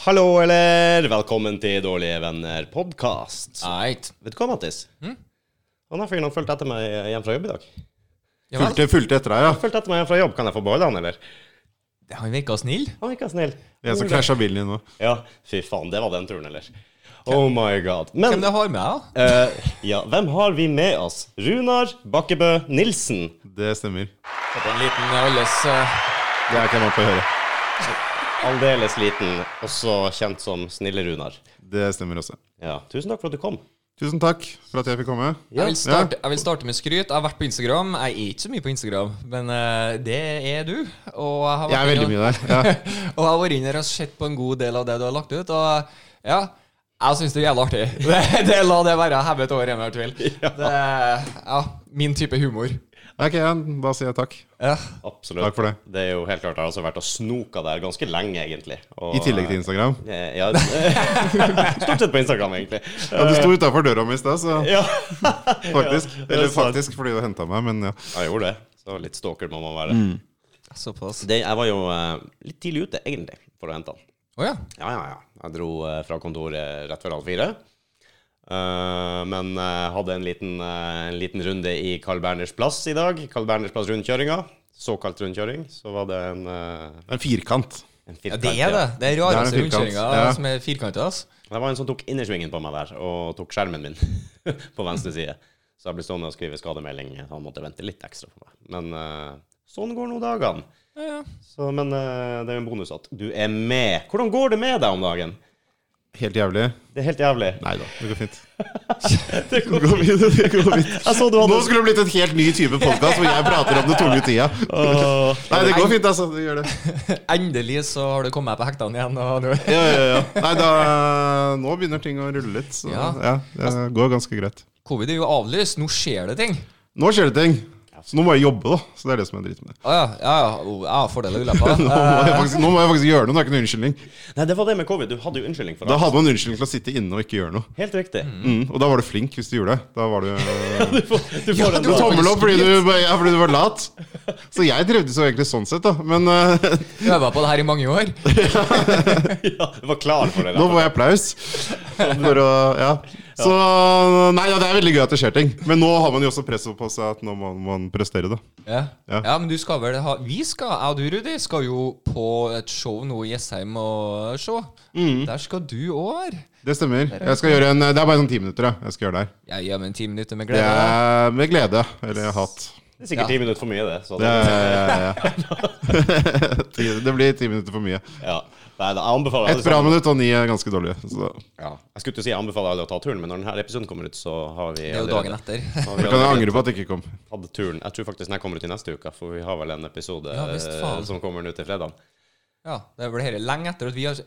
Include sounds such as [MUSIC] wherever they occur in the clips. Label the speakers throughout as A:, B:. A: Hallo, eller velkommen til Dårlige venner podkast.
B: Eit.
A: Vet du hva, Mattis?
C: Hm?
A: Han har fyren han fulgte etter meg hjem fra jobb i dag.
B: Ja vel.
C: Fulgte, fulgte etter deg, ja.
A: Fulgte etter meg hjem fra jobb, kan jeg få beholde han, eller?
B: Han virka snill.
A: Han virka snill.
C: Det er en som krasja bilen din nå.
A: Ja, fy faen, det var den turen, eller? Oh my god.
B: Hvem
A: Men
B: det har med, da?
A: eh, ja, hvem har vi med oss? Runar Bakkebø Nilsen.
C: Det stemmer.
B: Fått en liten alles eh,
C: Det er ikke jeg på å høre.
A: Aldeles liten, også kjent som Snille-Runar.
C: Det stemmer også.
A: Ja, tusen takk for at du kom.
C: Tusen takk for at jeg fikk komme.
B: jeg, vil starte, jeg vil starte med skryt. Jeg har vært på Instagram. Jeg er ikke så mye på Instagram, men eh, det er du. Og jeg har
C: Jeg
B: vært
C: er veldig
B: inne-
C: mye der. [LAUGHS] Ja.
B: [LAUGHS] og jeg har vært inne her og sett på en god del av det du har lagt ut. Og ja, jeg syns det er jævla artig. [LAUGHS] Det, det La det være hevet over enhver tvil.
C: [LAUGHS]
B: Det er ja, min type humor.
C: Ok, ja, da sier jeg takk.
B: Ja.
A: Absolutt.
C: Takk for det.
A: Det er jo helt klart, jeg har også vært og snoka der ganske lenge, egentlig. Og,
C: I tillegg til Instagram.
A: Eh, Ja, [LAUGHS] stort sett på Instagram, egentlig.
C: Ja, du sto utafor døra mi i stad, så
A: Ja, Ja, det
C: faktisk.
A: er
C: Eller
A: sant.
C: faktisk fordi du henta meg, men ja.
A: jeg gjorde det. Så litt stalker må man være.
B: Mm. Såpass.
A: Det, jeg var jo eh, litt tidlig ute, egentlig, for å hente han.
B: Å ja.
A: Ja, ja, ja. Jeg dro eh, fra kontoret rett før halv fire. Eh, men eh, hadde en liten, eh, en liten runde i Carl Berners plass i dag. Carl Berners plass rundkjøringa. Såkalt rundkjøring. Så var det en, eh,
C: En firkant.
A: en
B: ja.
A: firkant,
B: Det er det. Det er
C: Det er
B: rareste
C: en firkant.
B: rundkjøringa
C: Ja.
B: som er firkanta. ass.
A: Det var en som tok innersvingen på meg der, og tok skjermen min [LAUGHS] på venstre side. Så jeg ble stående og skrive skademelding. Han måtte vente litt ekstra på meg. Men eh, sånn går nå dagene.
B: Ja, ja.
A: Så, men eh, det er jo en bonus at du er med. Hvordan går det med deg om dagen?
C: Helt jævlig.
A: Det er helt jævlig.
C: Nei da, det går fint.
A: [LAUGHS] Det går
C: Det går fint, det går
A: [LAUGHS]
C: fint.
A: Jeg så du
C: Nå
A: hadde
C: skulle det blitt en helt ny type podkast hvor jeg prater om det tunge tida.
A: Åh.
C: Nei, det går fint, altså. Det gjør det.
B: Endelig så har du kommet deg på hektene igjen. Og nå.
C: Ja, ja, ja. Nei, da Nå begynner ting å rulle litt, så
B: Ja.
C: ja, det går ganske greit.
B: Covid er jo avlyst, nå skjer det ting.
C: Nå skjer det ting. Så nå må jeg jobbe, da. Så det er det som er dritten med det.
B: Å ja, ja, ja, oh, ja fordeler og ulemper.
C: [LAUGHS] Nå [LAUGHS] må,
B: Eh,
C: jeg faktisk, nå må jeg faktisk gjøre noe. Nå har jeg ikke noen unnskyldning.
A: Nei, det var det med covid. Du hadde jo unnskyldning for
C: Da
A: det.
C: hadde man unnskyldning til å sitte inne og ikke gjøre noe.
A: Helt riktig.
C: Mm, og da var du flink hvis du gjorde det. Da var du,
A: Du får, du får en
C: du tommel opp fordi du, bare- ja, fordi du var lat. Så jeg trivdes jo egentlig sånn sett, da. Men eh, [LAUGHS]
B: Øva på det her i mange år.
A: [LAUGHS] ja, Du var klar for det.
C: nå
A: Da.
C: får jeg applaus. For å, ja. Så Nei, ja, det er veldig gøy at det skjer ting. Men nå har man jo også presset på seg at nå må man prestere, da.
B: Ja.
C: Ja.
B: ja, men du skal vel ha Vi skal, jeg og du, Rudi, skal jo på et show nå i Jessheim og se.
C: Mm.
B: Der skal du òg være.
C: Det stemmer. Jeg skal gjøre en, det er bare sånn ti minutter, ja. Jeg skal gjøre det her.
B: Jeg gir meg en ti minutter med
C: Det
B: glede.
C: er med glede. Eller hat.
A: Det er sikkert ti minutter for mye, det. Så
C: Det,
A: det
C: [LAUGHS] er- [LAUGHS] Ti- det blir ti minutter for mye.
A: ja. Nei, da, jeg anbefaler alle
C: Ett bra
A: sammen-
C: minutt og ni er ganske dårlige. Så.
A: Ja. Jeg skulle til å si jeg anbefaler alle å ta turen, men når denne episoden kommer ut, så har vi
B: Det er jo dagen etter.
A: har vi
B: [LAUGHS]
C: Da kan jeg
A: allerede
C: angre på at det ikke kom.
A: tatt turen. Jeg tror faktisk den her kommer ut i neste uke, for vi har vel en episode
B: Ja, visst faen.
A: eh, som kommer nå til
B: [LAUGHS]
A: fredag.
B: Ja, det er vel dette lenge etter at vi har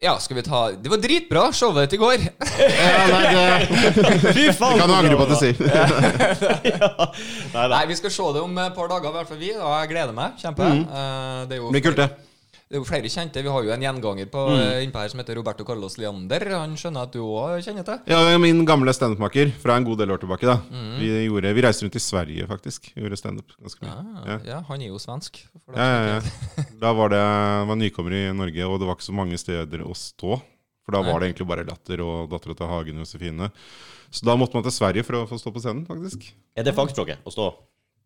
B: Ja, skal vi ta Det var dritbra showet til i går.
C: [LAUGHS] Ja, nei, det
A: Fy faen!
C: kan [LAUGHS] du angre på at du sier.
A: Nei da.
B: Nei, vi skal se det om et par dager, i hvert fall vi. Og jeg gleder meg. Kjempe. Eh, Det er jo
C: Blir kult, Mm. det.
B: Det er jo flere kjente. Vi har jo en gjenganger på
C: Mm.
B: eh, innpå her som heter Roberto Carlos Leander. Han skjønner jeg at du òg kjenner til.
C: Ja, det er min gamle standup-maker fra en god del år tilbake. da Vi, gjorde, vi reiste rundt i Sverige, faktisk. Gjorde standup ganske mye.
B: Ah, Ja.
C: Ja.
B: han er jo svensk. For
C: Ja, ja, ja. [LAUGHS] Da var det var nykommer i Norge, og det var ikke så mange steder å stå. For da var det egentlig bare Latter og Dattera til Hagen og Josefine. Så da måtte man til Sverige for å få stå på scenen, faktisk.
A: Er det fagspråket? Å stå?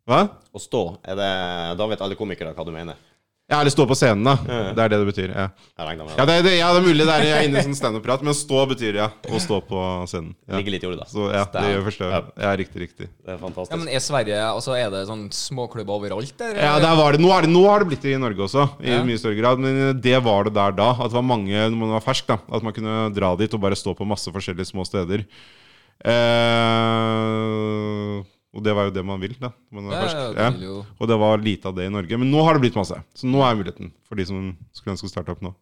C: Hva?
A: Å stå, er det, da vet alle komikere hva du mener.
C: Ja, eller stå på scenen, da. Det er det det betyr. Ja,
A: Jeg regner med
C: ja,
A: det.
C: det, det, ja det er mulig det er jeg er inne i sånn standup-prat, men stå betyr ja. Å stå på scenen. Ja.
A: Ligger litt i ordet, da.
C: Så ja, det gjør første. Ja, riktig, riktig.
A: Det er
B: Ja, men
A: fantastisk.
B: er Sverige altså Er det sånn småklubber overalt der?
C: Ja, der var det. Nå, er det, nå har det blitt det i Norge også, i
B: Ja.
C: mye større grad. Men det var det der da. At det var mange, når man var fersk, da, at man kunne dra dit og bare stå på masse forskjellige små steder. Eh, og det var jo det man vil, da. Når man
B: Ja,
C: er
B: ja,
C: fersk.
B: det
C: Ja.
B: vil jo-
C: Og det var lite av det i Norge. Men nå har det blitt masse. Så nå er muligheten for de som skulle ønske å starte opp nå.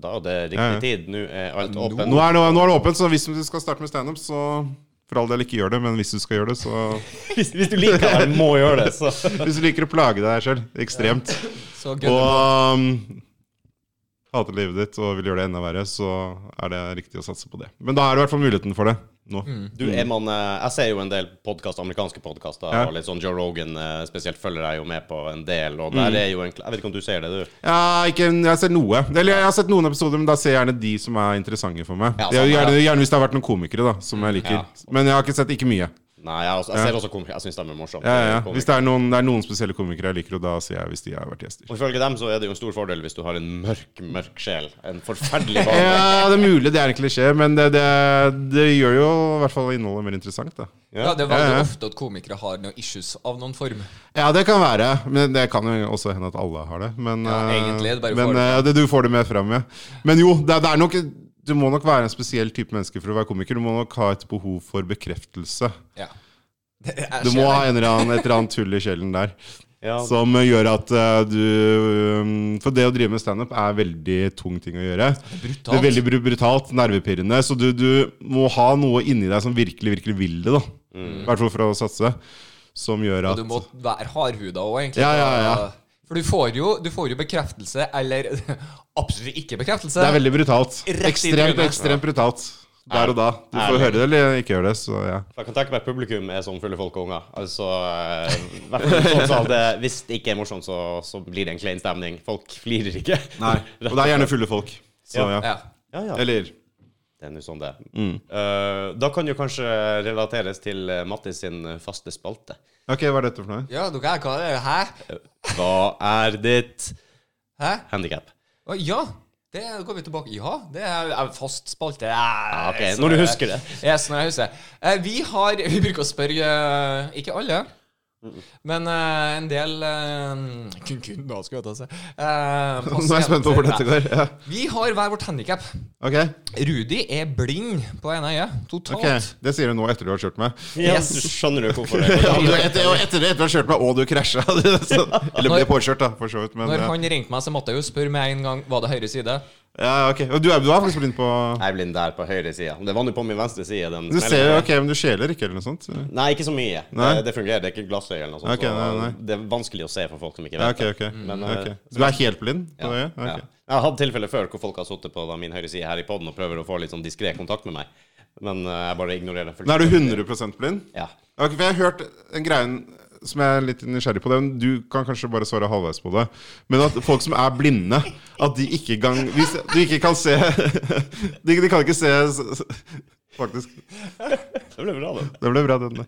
A: Da er det
C: Ja,
A: riktig
C: ja.
A: tid. Nå er alt
B: Nå-
A: åpent.
C: Nå er, det- nå er det åpent, så hvis du skal starte med standup, så for all del ikke gjør det. Men hvis du skal gjøre det, så
A: Hvis, hvis du liker det, må gjøre det. Så.
B: [LAUGHS]
C: Hvis du liker å plage deg sjøl ekstremt.
B: Så gønner
C: Og um, hater livet ditt og vil gjøre det enda verre, så er det riktig å satse på det. Men da er det i hvert fall muligheten for det. nå.
A: Mm. Du, er man, eh, jeg ser jo en del podcast, amerikanske podkaster,
C: Ja.
A: og litt sånn Joe Rogan eh, spesielt følger jeg jo med på en del, og
C: Mm.
A: der er jo egentlig Jeg vet ikke om du ser det, du?
C: Ja, ikke, jeg ser noe. Eller jeg har sett noen episoder, men da ser jeg gjerne de som er interessante for meg.
A: Ja,
C: Jeg-
A: samme,
C: gjerne, gjerne hvis det har vært noen komikere, da, som jeg liker.
A: Ja.
C: Men jeg har ikke sett ikke mye.
A: Nei, jeg, også, jeg ser også komikere. Jeg syns de er morsomme.
C: Ja, ja, ja.
A: Komikere.
C: Hvis det er, noen, det er noen spesielle komikere jeg liker, og da ser jeg hvis de har vært gjester.
A: Og ifølge dem så er det jo en stor fordel hvis du har en mørk, mørk sjel. En
C: [LAUGHS]
A: forferdelig barndom.
C: Ja, det er mulig det er en klisjé, men det, det, det gjør jo i hvert fall innholdet mer interessant. Da.
B: Ja, det er veldig
C: Ja, ja.
B: ofte at komikere har noen issues av noen form.
C: Ja, det kan være. Men det kan jo også hende at alle har det. Men,
B: Ja,
C: eh,
B: egentlig, det bare
C: men
B: får det
C: eh, det, du får det med fram, ja. Men jo, det, er- det er nok du må nok være en spesiell type menneske for å være komiker. Du må nok ha et behov for bekreftelse.
B: Ja. Det er
C: Du må
B: skjer.
C: ha en eller annen, et eller annet tull i sjelen [LAUGHS] der
A: Ja,
C: som gjør at eh, du um, For det å drive med standup er veldig tung ting å gjøre. Det
B: brutalt.
C: er veldig bru- brutalt, nervepirrende. Så du, du må ha noe inni deg som virkelig, virkelig vil det. da I hvert fall for å satse. Som gjør
B: Og
C: at
B: Mm. du må være hardhuda òg, egentlig.
C: Ja, ja, ja.
B: For du får, jo, du får jo bekreftelse, eller [LAUGHS] absolutt ikke bekreftelse.
C: Det er veldig brutalt.
B: Rett i
C: Ekstremt,
B: trynet.
C: ekstremt brutalt. Der og da. Du får
A: Ærlig.
C: høre det eller ikke gjøre det. Så ja.
A: for jeg kan tenke meg at publikum er sånn fulle folk og unger. Altså, eh, i hvert fall sånn som det, Hvis det ikke er morsomt, så, så blir det en klein stemning. Folk flirer ikke.
C: [LAUGHS] Og det er gjerne fulle folk. Så
A: Ja.
C: ja.
B: Ja.
A: Ja, ja.
C: Eller Mm.
A: Det er nå sånn det er. Eh, da kan jo kanskje relateres til eh, Mattis sin faste spalte.
C: Ok, hva er dette for noe?
B: ja, dere er hva er det? Hæ?
A: Hva er ditt
B: Hæ?
A: handikap?
B: Å, Ja, det går vi tilbake Ja, det er er fast spalte.
A: Ah,
B: Ja,
A: ok, når du husker det.
B: Yes, når jeg husker det. Eh, Vi har [LAUGHS] Vi bruker å spørre eh, ikke alle. Men eh, en del eh, Kun kun da, skulle jeg ta seg.
C: [LAUGHS] [LAUGHS] Nå er jeg spent på hvor dette går. Ja.
B: Vi har hver vårt handikap.
C: Ok,
B: Rudi er blind på ene øyet. Totalt.
C: ok Det sier du nå etter du har kjørt meg.
B: Yes.
A: Du skjønner jo hvorfor det går.
C: du, etter, og etter, etter du har kjørt meg, og du krasja [LAUGHS] Eller ble påkjørt, da, for så vidt. Men,
B: Når
C: ja.
B: han ringte meg, så måtte jeg jo spørre med en gang Var det høyre side.
C: ja, ok Og du er, du er faktisk blind på [LAUGHS]
A: Jeg er blind der på høyre side. Det var nå på min venstre side. Den
C: Du ser jo, ok, men du skjeler ikke, eller noe sånt? Ja,
A: Nei, ikke så mye.
C: Nei?
A: Det, det fungerer. Det er ikke glassøye eller noe sånt.
C: Ok, nei, nei.
A: Så det er vanskelig å se for folk som ikke
C: ok,
A: vet
C: ok,
A: Men,
C: ok.
A: eh,
C: Så du er helt blind på
A: det.
C: øyet?
A: Ja.
C: Ok.
A: Jeg har hatt tilfeller før hvor folk har sittet på da, min høyre side her i poden og prøver å få litt sånn diskré kontakt med meg, men eh, jeg bare ignorerer det.
C: Men er du 100 blind?
A: Ja.
C: Ok, for jeg har hørt en greie som jeg er litt nysgjerrig på. Det. men Du kan kanskje bare svare halvveis på det. Men at folk som er blinde, at de ikke gang, hvis de ikke kan se [LAUGHS] de, de kan ikke se s- s- Faktisk.
A: Det ble bra, det.
C: Det ble bra, den.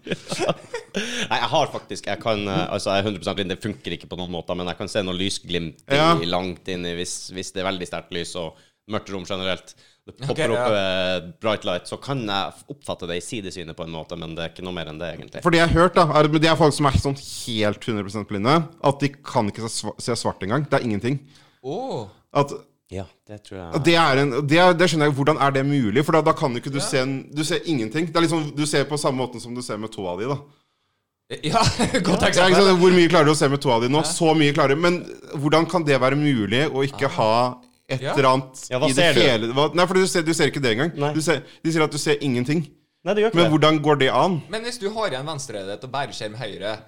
A: Nei, jeg har faktisk Jeg kan eh, Altså, jeg er 100 blind. Det funker ikke på noen måter, men jeg kan se noen lysglimt i-
C: Ja.
A: langt inn i hvis, hvis det er veldig sterkt lys og mørkt rom generelt. Det popper
B: Ok, ja.
A: opp eh, bright light, så kan jeg f- oppfatte det i sidesynet på en måte, men det er ikke noe mer enn det, egentlig.
C: For det jeg har hørt, da, er at det er folk som er sånn helt 100 blinde. At de kan ikke se sva- se svart engang. Det er ingenting.
B: Åh
C: At
A: Ja, det tror jeg
C: at det, er en, det, er, det skjønner jeg Hvordan er det mulig? For da, da kan jo ikke du se en, Du ser ingenting. Det er liksom, du ser på samme måten som du ser med tåa di. da
B: Ja, [LAUGHS] godt
C: Ja, ikke
B: eksempel.
C: sant? Hvor mye klarer du å se med tåa di nå? Så mye klarer du. Men hvordan kan det være mulig å ikke ha et
B: Ja.
C: eller annet
A: Ja, hva
C: i det
A: ser du?
C: fele- hva- Nei, for du ser, du ser ikke det engang.
A: Nei.
C: Du ser, de sier at du ser ingenting.
A: Nei, det gjør ikke
C: Men
A: det.
C: hvordan går det an?
B: Men hvis du har igjen venstreøyet og bæreskjerm høyre,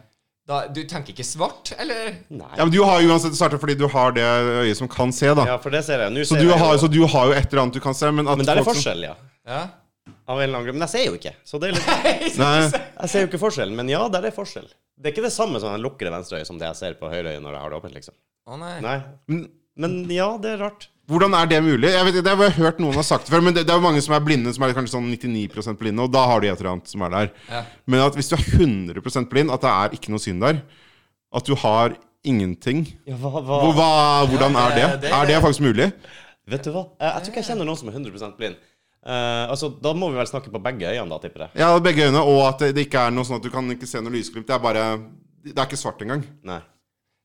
B: da du tenker ikke svart, eller?
A: Nei.
C: Ja, men Du har jo uansett starta fordi du har det øyet som kan se, da.
A: Ja, for det ser jeg. Nå
C: Så
A: ser
C: du,
A: jeg
C: har,
A: jo-
C: så du har jo sånn et eller annet du kan se. Men, at
A: Men der er
C: folk som-
A: forskjell, ja.
B: Ja.
A: Av en eller annen grunn. Men jeg ser jo ikke. Så det er [LAUGHS] litt
C: Nei.
A: Jeg ser jo ikke forskjellen, men ja, der er forskjell. Det er ikke det samme som jeg lukker det venstre øyet som det jeg ser på høyre øye når jeg har det åpent, liksom.
B: Å nei.
A: Nei.
C: Men
A: Men ja, det er rart.
C: Hvordan er det mulig? Jeg vet, ikke, det har jeg hørt noen har sagt det før, men det, det er jo mange som er blinde, som er kanskje sånn 99 blinde, og da har de et eller annet som er der.
B: Ja.
C: Men at hvis du er 100 blind, at det er ikke noe syn der, at du har ingenting
A: Ja, hva,
C: hvor, hva, Hvordan
B: Ja,
C: er
B: det-
C: det?
B: det-
C: Er det faktisk mulig?
A: Vet du hva? Jeg, jeg tror ikke jeg kjenner noen som er 100 blind. Eh, altså, Da må vi vel snakke på begge øynene, da, tipper jeg.
C: Ja, begge øyne, og at det, det ikke er noe sånn at du kan ikke se noe lysglimt. Det er bare Det er ikke svart engang.
A: Nei.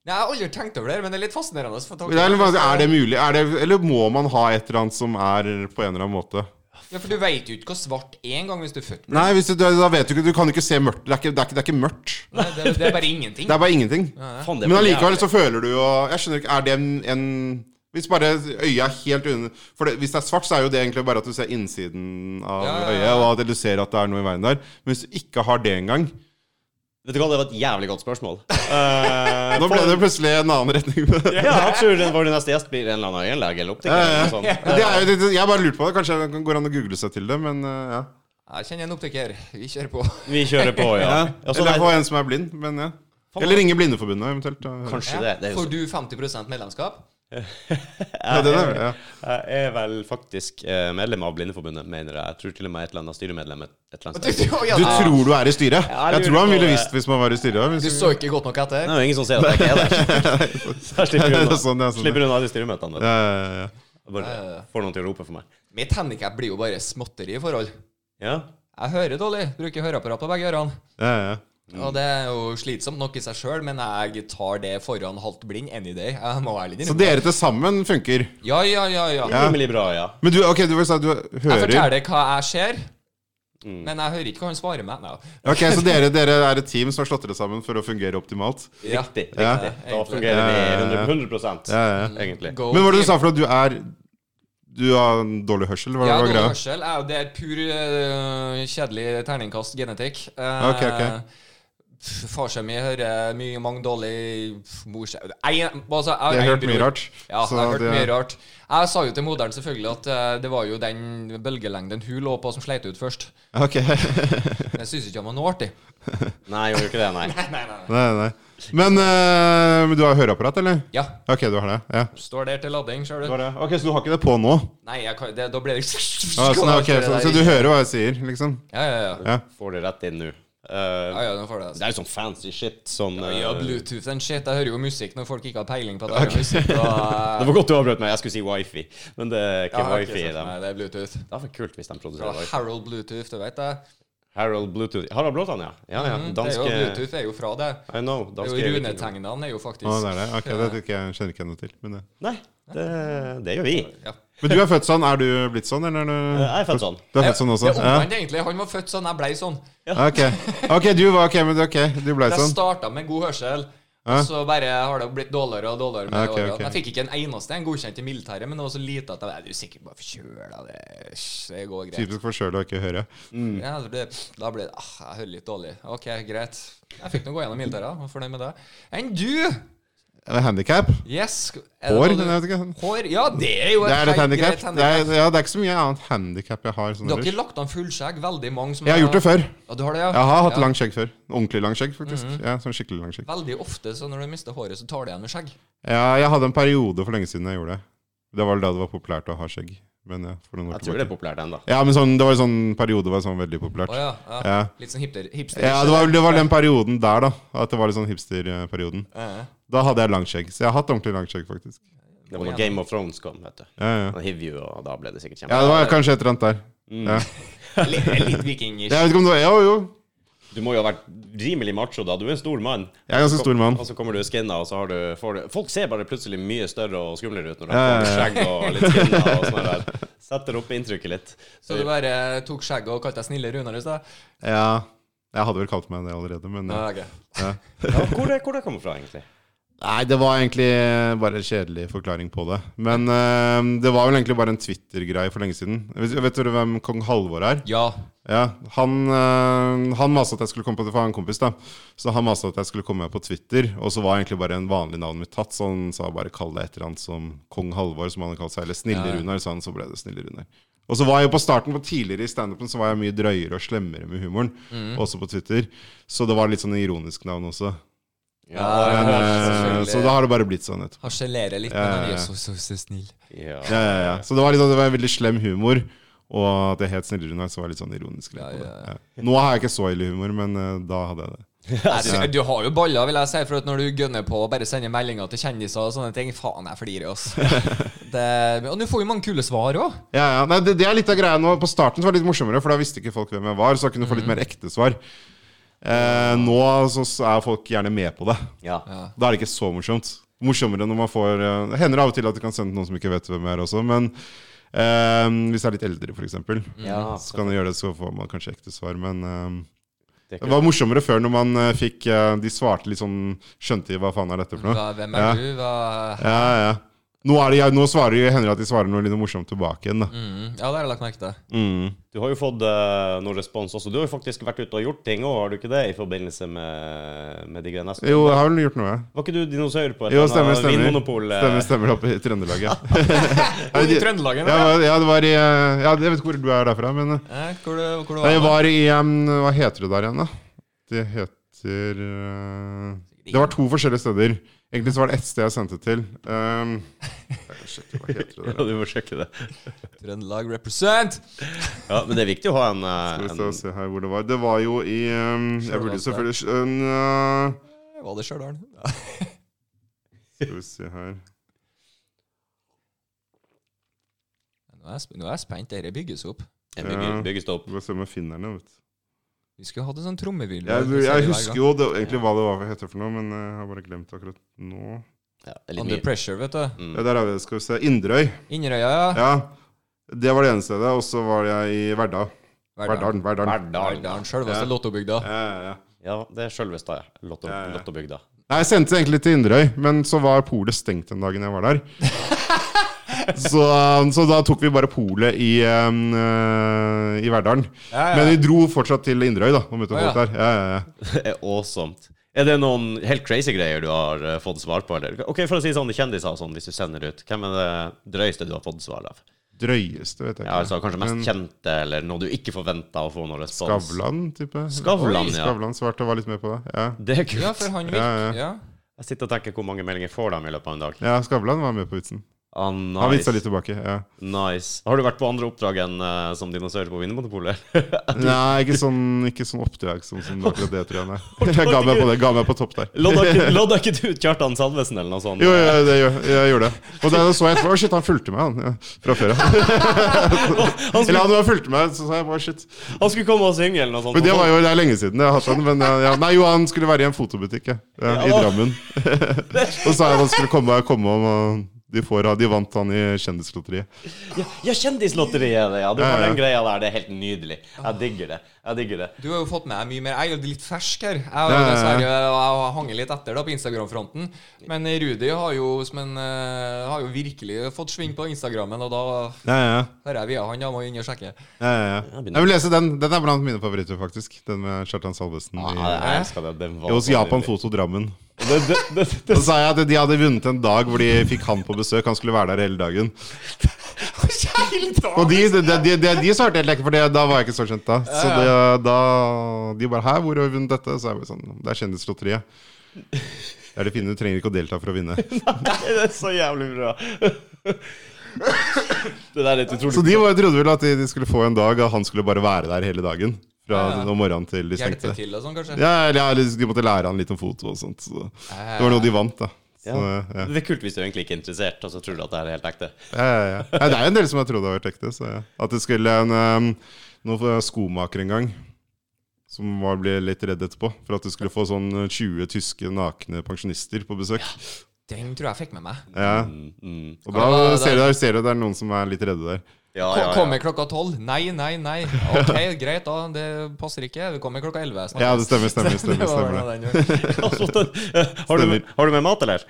B: Nei, Jeg har aldri tenkt over det, men det er litt fascinerende. for tanken-
C: Det er, litt vanskelig. er det mulig? Er det, eller må man ha et eller annet som er på en eller annen måte?
B: Ja, for du vet jo ikke hva svart er engang hvis du er født.
C: Nei, hvis du, da vet du ikke Du kan ikke se mørkt. Det er ikke, det er ikke, det er ikke mørkt.
B: Nei, det, det er bare ingenting.
C: [LAUGHS] Det er bare ingenting.
A: Faen, det er
C: Men
A: for
C: allikevel
A: jævlig.
C: så føler du jo Jeg skjønner ikke, er det en, en Hvis bare øyet er helt under For det, hvis det er svart, så er jo det egentlig bare at du ser innsiden av
B: Ja, ja, ja.
C: øyet, og at du ser at det er noe i veien der. Men hvis du ikke har det engang
A: Vet du hva, det var et jævlig godt spørsmål.
C: Nå ble det plutselig en annen retning.
A: [LAUGHS] ja, jeg tror den- vår neste gjest blir en eller annen øyenlege eller optiker.
C: Ja, ja,
A: eller noe
C: ja.
A: sånt.
C: Det er jo, det, jeg bare lurte på det. Kanskje det går an å google seg til det, men eh, ja.
B: Jeg kjenner en optiker. Vi kjører på.
A: Vi kjører på, ja.
C: Ja.
A: Altså,
C: Eller
A: nei,
C: ha en som er blind, men ja. Eller ringe Blindeforbundet, eventuelt. da.
A: kanskje det.
B: Ja.
A: det er jo
B: Får
A: så-
B: du 50 medlemskap?
C: Ja, den er, ja.
A: Jeg er vel faktisk eh, medlem av Blindeforbundet, mener jeg. Jeg tror til og med et eller annet styremedlem et, et eller annet
C: [LAUGHS]
A: sted.
B: ja,
C: [LAUGHS] Du tror du er i styret?
A: Ja, jeg
C: Jeg
A: lurer
C: tror han
A: på
C: ville
A: det.
C: visst hvis man var i styret.
B: Du
C: Hvis
B: så ikke godt nok etter?
A: Det er jo ingen som ser at jeg
C: [LAUGHS]
A: ikke er der. Så jeg slipper
C: Det er
A: unna,
C: sånn, det er sånn.
A: slipper unna alle styremøtene.
C: ja, ja, ja.
A: Jeg Bare får noen til å rope for meg.
B: Mitt handikap blir jo bare småtteri i forhold.
A: Ja?
B: Jeg hører dårlig, bruker høreapparat på begge ørene.
C: Ja, ja.
B: Og det er jo slitsomt nok i seg sjøl, men jeg tar det foran halvt blind any day. Jeg må være litt
C: Så
B: innrømme.
C: dere til sammen funker.
B: Ja, ja, ja, ja.
A: Rimelig bra, ja.
C: Men du, ok, du vil si at du
B: Jeg
C: hører
B: forteller hva jeg ser,
A: Mm.
B: men jeg hører ikke hva han svarer meg. Nei.
C: Ok, Så dere, dere er et team som har slått dere sammen for å fungere optimalt?
B: Ja.
A: Riktig.
C: Ja.
A: riktig. Da
B: egentlig.
A: fungerer
C: Ja, ja, ja.
A: det 100
C: Ja, ja.
A: egentlig.
B: Go
C: Men hva var det
B: team.
C: du sa for at du er Du har dårlig hørsel? Hva
B: Ja,
C: var
B: dårlig
C: greia?
B: hørsel. er jo- Det er pur øh, kjedelig terningkast genetikk. Uh,
C: Ok, ok.
B: Far seg min hører mye mange dårlig mor seg Jeg altså, jeg-
C: Jeg har
B: jeg-
C: hørt mye rart.
B: Ja, jeg
C: så
B: har hørt
C: det-
B: mye rart. Jeg sa jo til moderen selvfølgelig at eh, det var jo den bølgelengden hun lå på, som sleit ut først.
C: Ok. [LAUGHS]
B: Men Jeg syns ikke han var noe artig.
A: Nei, jeg gjør ikke det, nei.
B: Nei, nei, nei.
C: Nei, nei. Men, eh, men du har høreapparat, eller?
B: Ja.
C: Ok, du har det. Ja.
B: Står der til lading, ser
C: Du
B: du.
C: har det. Ok, Så du har ikke det på nå?
B: Nei, jeg kan, det, da blir det [LAUGHS]
C: Ah, sånn, ok, så, så du hører hva jeg sier, liksom?
B: Ja, ja, ja.
A: Får det rett inn nå. Eh,
B: ja, ja nå får du det.
A: det er jo sånn fancy shit. Sånn,
B: Ja, ja,
A: eh,
B: Bluetooth and shit. Jeg hører jo musikk når folk ikke har peiling på at jeg hører musikk.
A: [LAUGHS] Det
B: Og, eh,
A: var godt du avbrøt meg. Jeg skulle si wifi, men det er ikke
B: Ja, ok,
A: wifi i
B: sant.
A: dem.
B: Nei, det er Bluetooth.
A: Det hadde vært kult hvis de
B: Fra
A: produserer wifi.
B: Harold Bluetooth, du vet det.
A: Harold Bluetooth Harald Blåtann, ja. ja, ja.
B: Mm, Det er jo,
A: Danske
B: Bluetooth er jo fra det.
A: I know.
B: Det
A: Danske
B: er jo Runetegnene er jo faktisk
C: Å, det er det. Ok, det er ikke jeg kjenner ikke jeg noe til. Men, det.
A: Nei, det, det gjør vi. Eh,
B: Ja.
C: men du er født sånn. Er du blitt sånn, eller? er du-
A: Jeg er født sånn.
C: Du er født sånn også?
B: Det er omvendt, egentlig. Han var født sånn, jeg blei sånn.
C: Ja. Ok, Ok, du var ok, men ok, du ble
B: Jeg
C: sånn.
B: starta med god hørsel,
C: Ja.
B: og så bare har det blitt dårligere og dårligere. med
C: Ja, ok,
B: årene.
C: ok.
B: Jeg fikk ikke en eneste en godkjent i militæret, men det var så lite at jeg "Nei, Du er sikkert bare forkjøla, det, det går greit.
C: Typisk forkjøla å ikke høre.
B: Ja, det, da ble det ah, Jeg hører litt dårlig. OK, greit. Jeg fikk nå gå gjennom militæret. Jeg var fornøyd med det. Enn du!
C: Handikap?
B: Yes. er det
C: Hår?
B: noe du-
C: Jeg vet ikke.
B: Hår? Ja, det er jo
C: Det er et
B: helt
C: handikap.
B: greit
C: Det
B: handicap.
C: er, ja, det er ikke så mye annet handikap jeg har. Sånn
B: Du har ikke
C: ellers.
B: lagt an fullskjegg? Veldig mange som
C: jeg har gjort det før.
B: Ja, du har det, ja.
C: Jeg har hatt
B: ja. Mhm.
C: langt skjegg før. Ordentlig langt skjegg, faktisk. Ja, sånn skikkelig langt skjegg.
B: Veldig ofte så når du mister håret, så tar det igjen med skjegg.
C: Ja, jeg hadde en periode for lenge siden jeg gjorde det. Det var da det var populært å ha skjegg. Men ja, for noen år
A: Jeg tror det
C: tilbake.
A: er populært ennå.
C: Ja, men sånn, det var en sånn periode var sånn
B: Å
C: veldig populært.
B: ja, ja.
C: Ja.
B: Litt sånn hipster. hipster
C: Ja, det var, det var den perioden der, da. At det var litt sånn hipsterperioden.
B: Ja, ja.
C: Da hadde jeg langt skjegg. Så jeg har hatt ordentlig langt skjegg, faktisk.
A: Det var når Game of Thrones kom, vet du.
C: Ja, ja.
A: Da hiv jo, og da ble det sikkert
C: ja, Mm.
A: kjempe...
C: det var kanskje et eller annet der. Ja.
B: Litt, litt vikingish.
C: Jeg vet ikke om det var Jo, jo.
A: Du må jo ha vært rimelig macho da. Du er en stor mann.
C: Jeg er ganske stor mann.
A: Og så kommer du skinna, og så har du, får du Folk ser bare plutselig mye større og skumlere ut når de
C: Ja,
A: får
C: ja,
A: skjegg og litt skinna og sånn der. Setter opp inntrykket litt.
B: Så du bare tok skjegget og kalte deg snille Runar i sted?
C: Ja. Jeg hadde vel kalt meg det allerede, men
B: Ja, ok.
C: ja.
A: Ja, hvor det, hvor det kommer fra, egentlig?
C: Nei, det var egentlig bare en kjedelig forklaring på det. Men eh, det var vel egentlig bare en Twitter-greie for lenge siden. Vet, vet du hvem kong Halvor er?
B: Ja.
C: Ja, Han, eh, han masa at jeg skulle komme på det for han kompis, da. Så han masa at jeg skulle komme meg på Twitter, og så var egentlig bare en vanlig navn mitt tatt. Så han sa bare kall deg et eller annet som kong Halvor, som han hadde kalt seg. Eller Snille
B: Ja, ja.
C: Runar, sa han, så ble det Snille Runar. Og så var jeg jo på starten på tidligere i standupen så var jeg mye drøyere og slemmere med humoren.
B: Mhm.
C: Også på Twitter. Så det var litt sånn ironisk navn også.
B: Ja,
C: Men, eh,
B: selvfølgelig.
C: så da har det bare blitt sånn etterpå.
B: Harselerer litt, men
C: Ja, ja,
B: han
C: ja.
B: er så, så, så [LAUGHS] snill.
A: Ja.
C: Ja, ja, ja. Så det var, litt sånn- det var en veldig slem humor. Og at jeg het Snille Runar, så var jeg litt sånn ironisk. litt
B: Ja,
C: på det.
B: ja, ja.
C: Ja. Nå har jeg ikke så ille humor, men eh, da hadde jeg det.
B: Nei, du, du har jo baller, vil jeg si, for at når du gønner på og bare sender meldinger til kjendiser og sånne ting Faen, jeg flirer, [LAUGHS] ass. Det- Og du får jo mange kule svar òg.
C: Ja, ja. Nei, det, det er litt av greia nå. På starten så var det litt morsommere, for da visste ikke folk hvem jeg var. Så da kunne du få
B: Mm.
C: litt mer ekte svar. Eh, nå så så er folk gjerne med på det.
A: Ja.
C: Da er det ikke så morsomt. Morsommere når man får eh, Det hender av og til at du kan sende noen som ikke vet hvem jeg er også, men eh, hvis jeg er litt eldre, f.eks.,
B: Mm.
A: Ja,
C: så kan du gjøre det, så får man kanskje ekte svar. Men eh,
A: Det er
C: det
A: ikke-
C: var morsommere før når man eh, fikk eh, De svarte litt sånn Skjønte de hva faen er dette for noe?
B: Hva- Hvem er
C: Ja.
B: du? Hva
C: Ja, ja. Nå, er det, jeg- nå svarer jo Henry at de svarer noe litt morsomt tilbake igjen, da.
B: Mm, ja, det har jeg lagt merke til.
C: Mm.
A: Du har jo fått eh, noe respons også. Du har jo faktisk vært ute og gjort ting òg, har du ikke det? I forbindelse med, med de greiene. der?
C: Jo, jeg har vel gjort noe.
A: Var ikke du dinosaur på et
C: Jo,
A: eller
C: stemmer,
A: annet
C: stemmer.
A: vinmonopol? eh?
C: Stemmer, stemmer oppe i Trøndelag,
B: [LAUGHS]
C: ja.
B: Hvor i Trøndelag er det?
C: Jeg var- Ja, det var i eh, ja, Jeg vet ikke hvor du er derfra, men eh,
B: Eh, Hvor, du- hvor du
C: Nei,
B: var
C: jeg
B: da?
C: var i em, Hva heter det der igjen, da? Det heter eh, Det var to forskjellige steder. Egentlig så var det ett sted jeg sendte til.
B: [LAUGHS]
C: Um, jeg sjekker, hva heter
A: [LAUGHS]
C: det
A: Ja,
C: der?
A: du må sjekke det.
B: Trøndelag represent!
A: Ja, men det er viktig å ha en,
C: Skal
A: eh,
C: vi se,
A: en
C: se her hvor det var. Det var jo i em, Jeg burde jo selvfølgelig sk- en, eh,
B: Var det Stjørdal?
C: Skal vi se her
B: Nå er jeg, sp- nå er jeg spent. Dette bygges opp.
A: en bygge- byggestopp.
C: Vi får se om jeg finner den. vet du.
B: Vi skulle hatt en sånn trommevirvel.
C: Jeg,
B: for å se
C: jeg
B: det hver
C: husker
B: gang.
C: jo det, egentlig hva det var for heter for noe, men eh, jeg har bare glemt det akkurat nå.
A: Ja, det er litt
B: Under
A: mye. Mm.
B: pressure, vet du.
C: Ja, der er vi, skal vi se. Inderøy.
B: Inderøya, ja.
C: Ja, det var det ene stedet. Og så var jeg i Verdal. Verdalen. Verdalen.
A: Verdal.
B: Verdalen, altså selveste
C: Ja.
B: Lottobygda.
C: Ja, ja, ja.
A: Ja, det er sjølveste lotto,
C: Ja, ja.
A: Lottobygda. [LAUGHS]
C: Nei, jeg sendte egentlig til Inderøy, men så var polet stengt den dagen jeg var der. Så, um, så da tok vi bare polet i, em, eh, i Verdalen.
B: Ja, ja.
C: Men vi dro fortsatt til Inderøy, da. Og
B: Å,
C: møtte
B: ja.
C: folk der. Ja, ja, ja.
A: Det er awesome. Er det noen helt crazy greier du har eh, fått svar på? Eller? Ok, For å si sånn kjendiser og sånn, hvis du sender ut, hvem er det drøyeste du har fått svar av?
C: Drøyeste, vet jeg
A: Ja, altså
C: ikke.
A: Kanskje mest kjente, eller noe du ikke forventa å få noen respons?
C: Skavlan, type.
A: Skavlan, ja.
C: Skavlan svarte og var litt med på det. Ja,
A: Det er kult.
B: Ja, for han
C: Ja, ja.
B: virker ja.
A: Jeg sitter og tenker hvor mange meldinger får de i løpet av en dag.
C: ja Skavlan var med på vitsen.
A: Ah,
C: Han vitsa
A: nice.
C: litt tilbake. ja
A: nice. Har du vært på andre oppdrag enn eh, som dinosaur på
C: [LAUGHS]
A: Vinmonopolet?
C: Nei, ikke sånn, ikke sånn oppdrag som, som akkurat det, tror jeg. Nei. Jeg ga meg på det, ga meg på topp der.
A: Lodda ikke- lodda ikke du ut Kjartan Salvesen eller noe sånt?
C: Jo, jo, det, gjør- jeg gjorde det. Og da så jeg etterpå, Å, shit, han fulgte meg han, ja, fra før [LAUGHS] av.
A: Han
C: Eller
A: skulle,
C: han var fulgte meg, så sa jeg bare shit.
A: han skulle komme og synge eller noe sånt.
C: Men det var jo det er lenge siden jeg har hatt han. Men eh, ja. Nei, jo, han skulle være i en fotobutikk ja, ja, i
A: Ja.
C: [LAUGHS] Drammen. Og sa jeg han skulle komme, komme om, og de, får, de vant han i Kjendislotteriet.
A: Ja, ja Kjendislotteriet er det, ja. Du
C: Ja,
A: har
C: ja.
A: den greia der. Det er helt nydelig. Jeg digger det. Jeg digger det.
B: Du har jo fått med deg mye mer. Jeg er jo litt fersk her. Jeg har
C: Ja,
B: jo
C: ja, ja.
B: dessverre jeg hanger litt etter da på Instagram-fronten. Men Rudi har jo, som en, eh, har jo virkelig fått sving på Instagrammen, og da
C: Ja, ja,
B: hører jeg via han. Jeg må inn og sjekke.
C: ja, ja, ja. Jeg vil lese den. Den er blant mine favoritter, faktisk. Den med Kjartan Salvesen.
A: Ja,
C: I,
A: jeg elsker det. Den var
C: hos
A: så
C: Japan
A: nydelig.
C: Foto Drammen.
A: Det, det, det, det,
C: Da sa jeg at de hadde vunnet en dag hvor de fikk han på besøk. Han skulle være der hele dagen. Og de, de, de, de, de svarte helt ekkelt, for det- da var jeg ikke så kjent da. Så det, da de bare 'Hæ, hvor har vi vunnet dette?' Så jeg bare sånn Det er Kjendislotteriet. Det er det fine, du trenger ikke å delta for å vinne.
A: det er så jævlig bra. Det der er et utrolig
C: Så de bare trodde vel at de, de skulle få en dag, og han skulle bare være der hele dagen. Fra
B: Ja, ja.
C: om morgenen til de
B: Hjelpe
C: stengte.
B: til og sånn, kanskje.
C: Ja, eller ja, eller de måtte lære han litt om foto og sånt. Så det var noe de vant, da. Så,
A: Ja.
C: ja.
A: Det er kult hvis du egentlig ikke er interessert, og så tror du at det her er helt ekte.
C: Ja, ja, ja. ja, det er jo en del som har trodd det har vært ekte. Så ja. At det skulle en um, noen skomaker en gang, som var, ble litt redd etterpå, for at det skulle få sånn 20 tyske nakne pensjonister på besøk.
B: Eh, Den tror jeg fikk med meg.
C: Ja.
A: Mm, mm.
C: Og
B: Ja,
C: da
B: det-
C: ser du, der, ser du det er noen som er litt redde der.
A: Ja,
B: Ko-
A: ja, ja. [LAUGHS]
B: Kommer klokka tolv? Nei, nei, nei. Ok, greit, da. Det passer ikke. Vi kommer klokka elleve.
C: Ja, det stemmer,
B: [LAUGHS]
C: stemmer, stemmer,
B: var
C: stemmer.
B: den, ja.
A: Altså, den- har, du med, har du med mat, eller?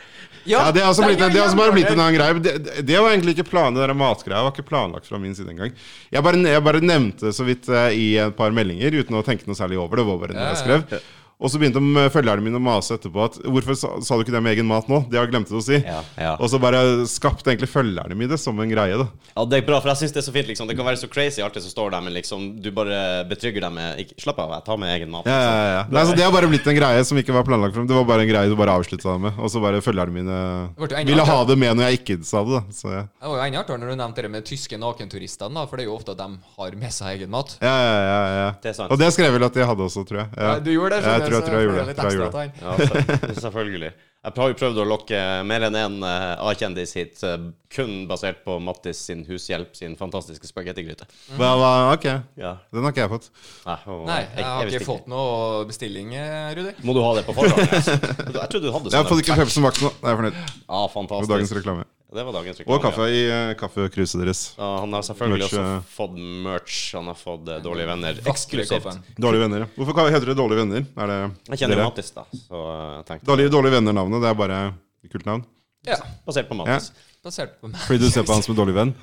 C: Ja, det har også
B: nei,
C: blitt, det har også bare
B: gjør
C: blitt
B: det.
C: en annen greie. men Det, det, det var egentlig ikke planen, det der matgreia var ikke planlagt fra min side engang. Jeg bare, jeg bare nevnte det så vidt eh, i et par meldinger uten å tenke noe særlig over det. det. var bare noe jeg
B: Ja, ja.
C: skrev. Og så begynte eh, følgerne mine å mase etterpå at hvorfor sa, sa du ikke det med egen mat nå? Det har jeg glemt å si.
A: Ja, ja.
C: Og så bare skapte egentlig følgerne mine det som en greie, da.
A: Ja, det er bra, for jeg syns det er så fint. liksom Det kan være så crazy alt det som står der, men liksom du bare betrygger dem med ikke, Slapp av, jeg tar med egen mat.
C: Ja, ja, ja. Nei, så det har bare blitt en greie som ikke var planlagt for dem. Det var bare en greie du bare avslutta med. Og så bare følgerne mine
B: Det ble jo enda
C: ville ha
B: artigere.
C: det med når jeg ikke sa det, da. Så ja.
B: Det var jo enda artigere når du nevnte det med tyske nakenturistene, da, for det er jo ofte at de har med seg egen mat.
C: Ja, ja, ja, ja.
A: Det er sant.
C: Og det skrev jeg vel at jeg hadde også, tror jeg. Ja.
B: Du gjorde det? skjønner
C: Ja, jeg tror jeg,
B: så
C: tror jeg
B: får litt
C: gjorde det. Tror jeg
B: ekstra
C: gjorde det.
B: tegn.
A: Ja, se- selvfølgelig. Jeg har jo prøvd å lokke mer enn én en, A-kjendis hit, eh, kun basert på Mattis sin hushjelp sin fantastiske spagettigryte.
C: Hva, hva, ok,
A: Ja.
C: den har ikke jeg fått.
A: Nei, og-
B: Nei,
A: jeg-
B: jeg har
A: jeg visste
B: ikke fått noe bestilling, eh, Rudi.
A: Må du ha det på [LAUGHS] forhånd? Altså? Jeg trodde du hadde
C: Jeg har fått
A: sånn.
C: ikke Pepsi Max nå. Jeg er fornøyd
A: Ja,
C: med dagens
A: fantastisk.
C: reklame.
A: Det var dagens reklame.
C: Og kaffe i uh, kaffekruset deres.
A: Ja, han har selvfølgelig
C: Merch, eh.
A: også fått merch. Han har fått eh, Dårlige venner eksklusivt.
B: Kaffen.
C: Dårlige venner. ja. Hvorfor ka- heter det Dårlige venner? Er det
A: Jeg kjenner jo
C: dere?
A: Mattis, da, så eh, jeg tenkte
C: Dårlige, dårlige venner-navnet, det er bare et kult navn.
B: Ja,
A: basert på Mattis.
B: basert på meg.
C: Fordi du
B: [LAUGHS]
C: ser på han som en dårlig venn?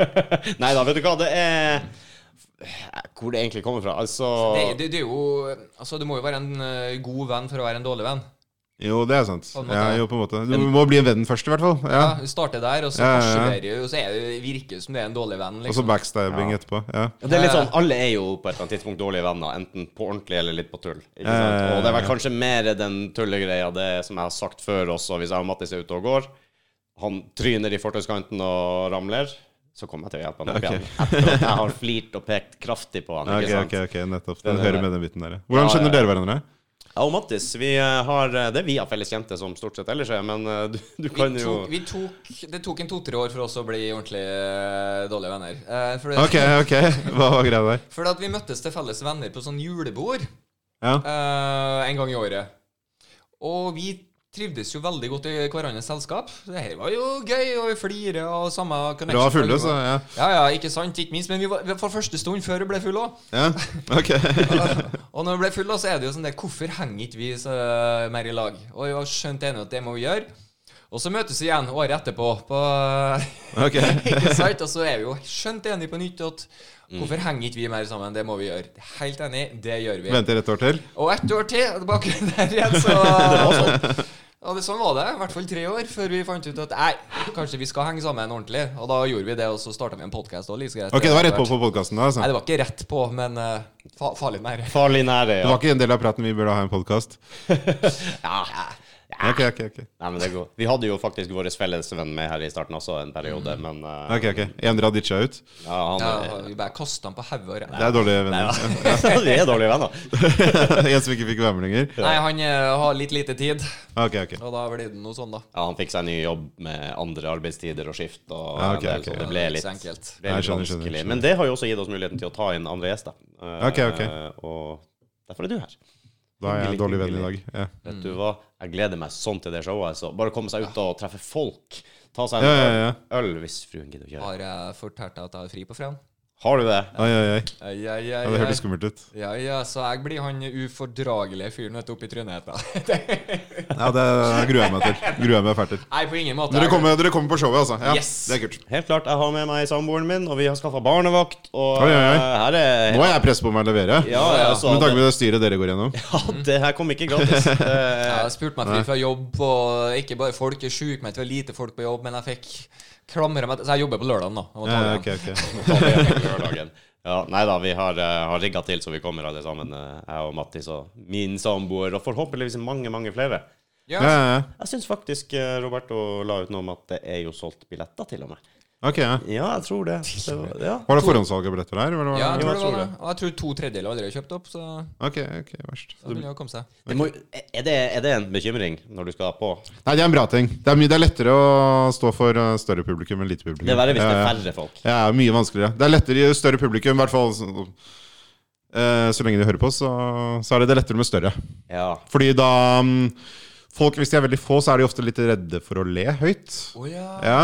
A: Nei da, vet du hva, det er Hvor det egentlig kommer fra. Altså
B: Det, det, det er jo Altså, du må jo være en eh, god venn for å være en dårlig venn.
C: Jo, det er sant.
B: På en måte,
C: Ja,
B: ja.
C: jo, på en måte. Du må bli en venn først, i hvert fall. Ja.
B: Ja, du starter der, og så
C: Ja, ja, ja.
B: perseverer du, og så er det, virker det som det er en dårlig venn.
C: Og så
B: Liksom.
C: backstabbing etterpå. Ja.
A: Ja, det er litt sånn, Alle er jo på et eller annet tidspunkt dårlige venner, enten på ordentlig eller litt på tull. Ikke sant?
C: Eh,
A: Og det er vel kanskje mer den tullegreia, det som jeg har sagt før også, hvis jeg og Mattis er ute og går. Han tryner i fortauskanten og ramler. Så kommer jeg til å hjelpe han opp
C: Ok.
A: igjen. Etter at jeg har flirt og pekt kraftig på han.
C: Ja,
A: ikke
C: ok,
A: sant?
C: ok, ok, nettopp.
A: er
C: Den
A: det
C: hører
A: der.
C: med den biten der. Hvordan
A: Ja,
C: kjenner
A: ja,
C: dere hverandre?
A: Jeg og Mattis, vi eh, har eh, Det er vi har felles kjente som stort sett ellers er, men eh, du, du kan
B: Vi
A: jo
B: tok, vi tok, det tok en to-tre år for oss å bli ordentlig eh, dårlige venner. Eh, for, det-
C: Ok, ok. [LAUGHS] Hva var greia der?
B: for at vi møttes til felles venner på sånn julebord
C: Ja.
B: eh, en gang i året. Og vi trivdes jo veldig godt i hverandres selskap. Det her var jo gøy, og vi flirer og samme
C: Dere var fulle, så ja.
B: Ja, ja, ikke sant, ikke minst. Men vi var, for første stund før vi ble fulle òg.
C: [LAUGHS] ja. Ok.
B: [LAUGHS] Og når vi ble full, da, så er det jo sånn der Hvorfor henger ikke vi så mer i lag? Og jeg var skjønt enig at det må vi gjøre. Og så møtes vi igjen året etterpå. På, [LAUGHS]
C: Ok.
B: ikke sant? Og så er vi jo skjønt enige på nytt at hvorfor
C: Mm.
B: henger ikke vi mer sammen? Det må vi gjøre. Helt enig, det gjør vi.
C: Venter et år til.
B: Og ett år til og tilbake der
C: [LAUGHS]
B: igjen, så Ja, det, sånn var det. I hvert fall tre år før vi fant ut at nei, kanskje vi skal henge sammen ordentlig. Og da gjorde vi det, og så starta vi en podkast òg.
C: Ok, det var rett på på podkasten, da.
B: Nei,
C: Altså.
B: det var ikke rett på, men eh, fa farlig nære.
A: Farlig nære,
C: Det
A: ja.
C: var ikke en del av praten vi burde ha en podkast.
A: ja. ja.
C: Ok, ok, ok.
A: Nei, men det går. Vi hadde jo faktisk vår felles venn med her i starten også en periode, men eh,
C: Ok, ok. En dere har ditcha ut?
A: ja, han
B: Mm. Ja, vi bare kasta den på hodet. rett.
C: Det er
A: Nei,
C: dårlige venner.
A: ja. [LAUGHS] Vi er dårlige venner.
C: [LAUGHS] en som ikke fikk være med lenger?
B: Nei, han eh, har litt lite tid,
C: Ok, ok.
B: og da blir det noe sånn, da.
A: Ja, han fikk seg ny jobb med andre arbeidstider og skift, og
C: Ja,
A: en
C: ok,
A: del,
C: ok,
A: så
C: ja.
A: det ble
B: Ikke
A: litt,
B: så
A: ble
B: enkelt.
C: Nei,
A: litt
C: skjønner, skjønner,
A: vanskelig.
C: skjønner.
A: Men det har jo også gitt oss muligheten til å ta inn andre gjester. Eh,
C: Ok, ok.
A: Og derfor er du her.
C: Da er jeg en dårlig venn i dag. Ja.
A: Vet du hva, jeg gleder meg sånn til det showet. Altså. Bare komme seg ut og treffe folk. Ta seg en
C: Ja, ja, ja.
A: øl hvis fruen gidder å gjøre det.
B: Har jeg fortalt deg at jeg har fri på fredag?
A: Har du det?
C: Oi, oi, oi.
B: Ai, ai, ai,
C: Ja, det
B: ai.
C: hørtes skummelt ut.
B: Ja, ja, så jeg blir han ufordragelige fyren vet du, oppi trynet. ditt, da. [LAUGHS]
C: Ja, det gruer jeg meg til. Gruer jeg meg fælt til.
B: Nei, på ingen måte.
C: Dere kommer, dere kommer på showet, altså. Ja,
B: Yes.
C: Det er kult.
A: Helt klart. Jeg har med meg samboeren min, og vi har skaffa barnevakt, og
C: Oi, oi, oi.
A: eh, her er
C: Nå har jeg press på meg å levere.
A: Ja, ja, så
C: Med tanke
A: det,
C: på det styret dere går gjennom.
A: [LAUGHS] ja, det her kom ikke
C: [LAUGHS]
A: gratis. Det,
C: Eh,
B: Jeg har spurt meg fri fra jobb, og ikke bare folk er sjuke, men det var lite folk på jobb, men jeg fikk klamre meg til Så jeg jobber på lørdagen, da. og må ta
C: Ja,
B: det
C: ok,
B: igjen.
C: ok.
A: Ta det igjen på lørdagen. Ja, nei da, vi har, eh, har rigga til så vi kommer alle sammen. eh, Jeg og Mattis og min samboer, og forhåpentligvis mange, mange flere.
B: Ja.
C: Ja, ja, ja.
A: Jeg syns faktisk eh, Roberto la ut noe om at det er jo solgt billetter, til og med.
C: Ok, ja.
A: Ja, jeg tror det. det var, ja.
C: Var det forhåndssalg av billetter der? eller var det-
B: Ja, jeg tror det var
A: tror
B: det. Og jeg tror to tredjedeler aldri har kjøpt opp, så
C: Ok, ok, verst.
B: da begynner det å komme seg.
A: Det må, er, det, er det en bekymring når du skal på?
C: Nei, det er en bra ting. Det er, mye, det er lettere å stå for eh, større publikum enn lite publikum.
A: Det er verre hvis det er
C: Ja, ja.
A: færre folk.
C: Ja, mye vanskeligere. Det er lettere i større publikum, i hvert fall så, eh, så lenge de hører på, så, så er det det lettere med større.
A: Ja.
C: Fordi da mm, Folk, hvis de er veldig få, så er de ofte litt redde for å le høyt.
B: Å ja.
C: Ja.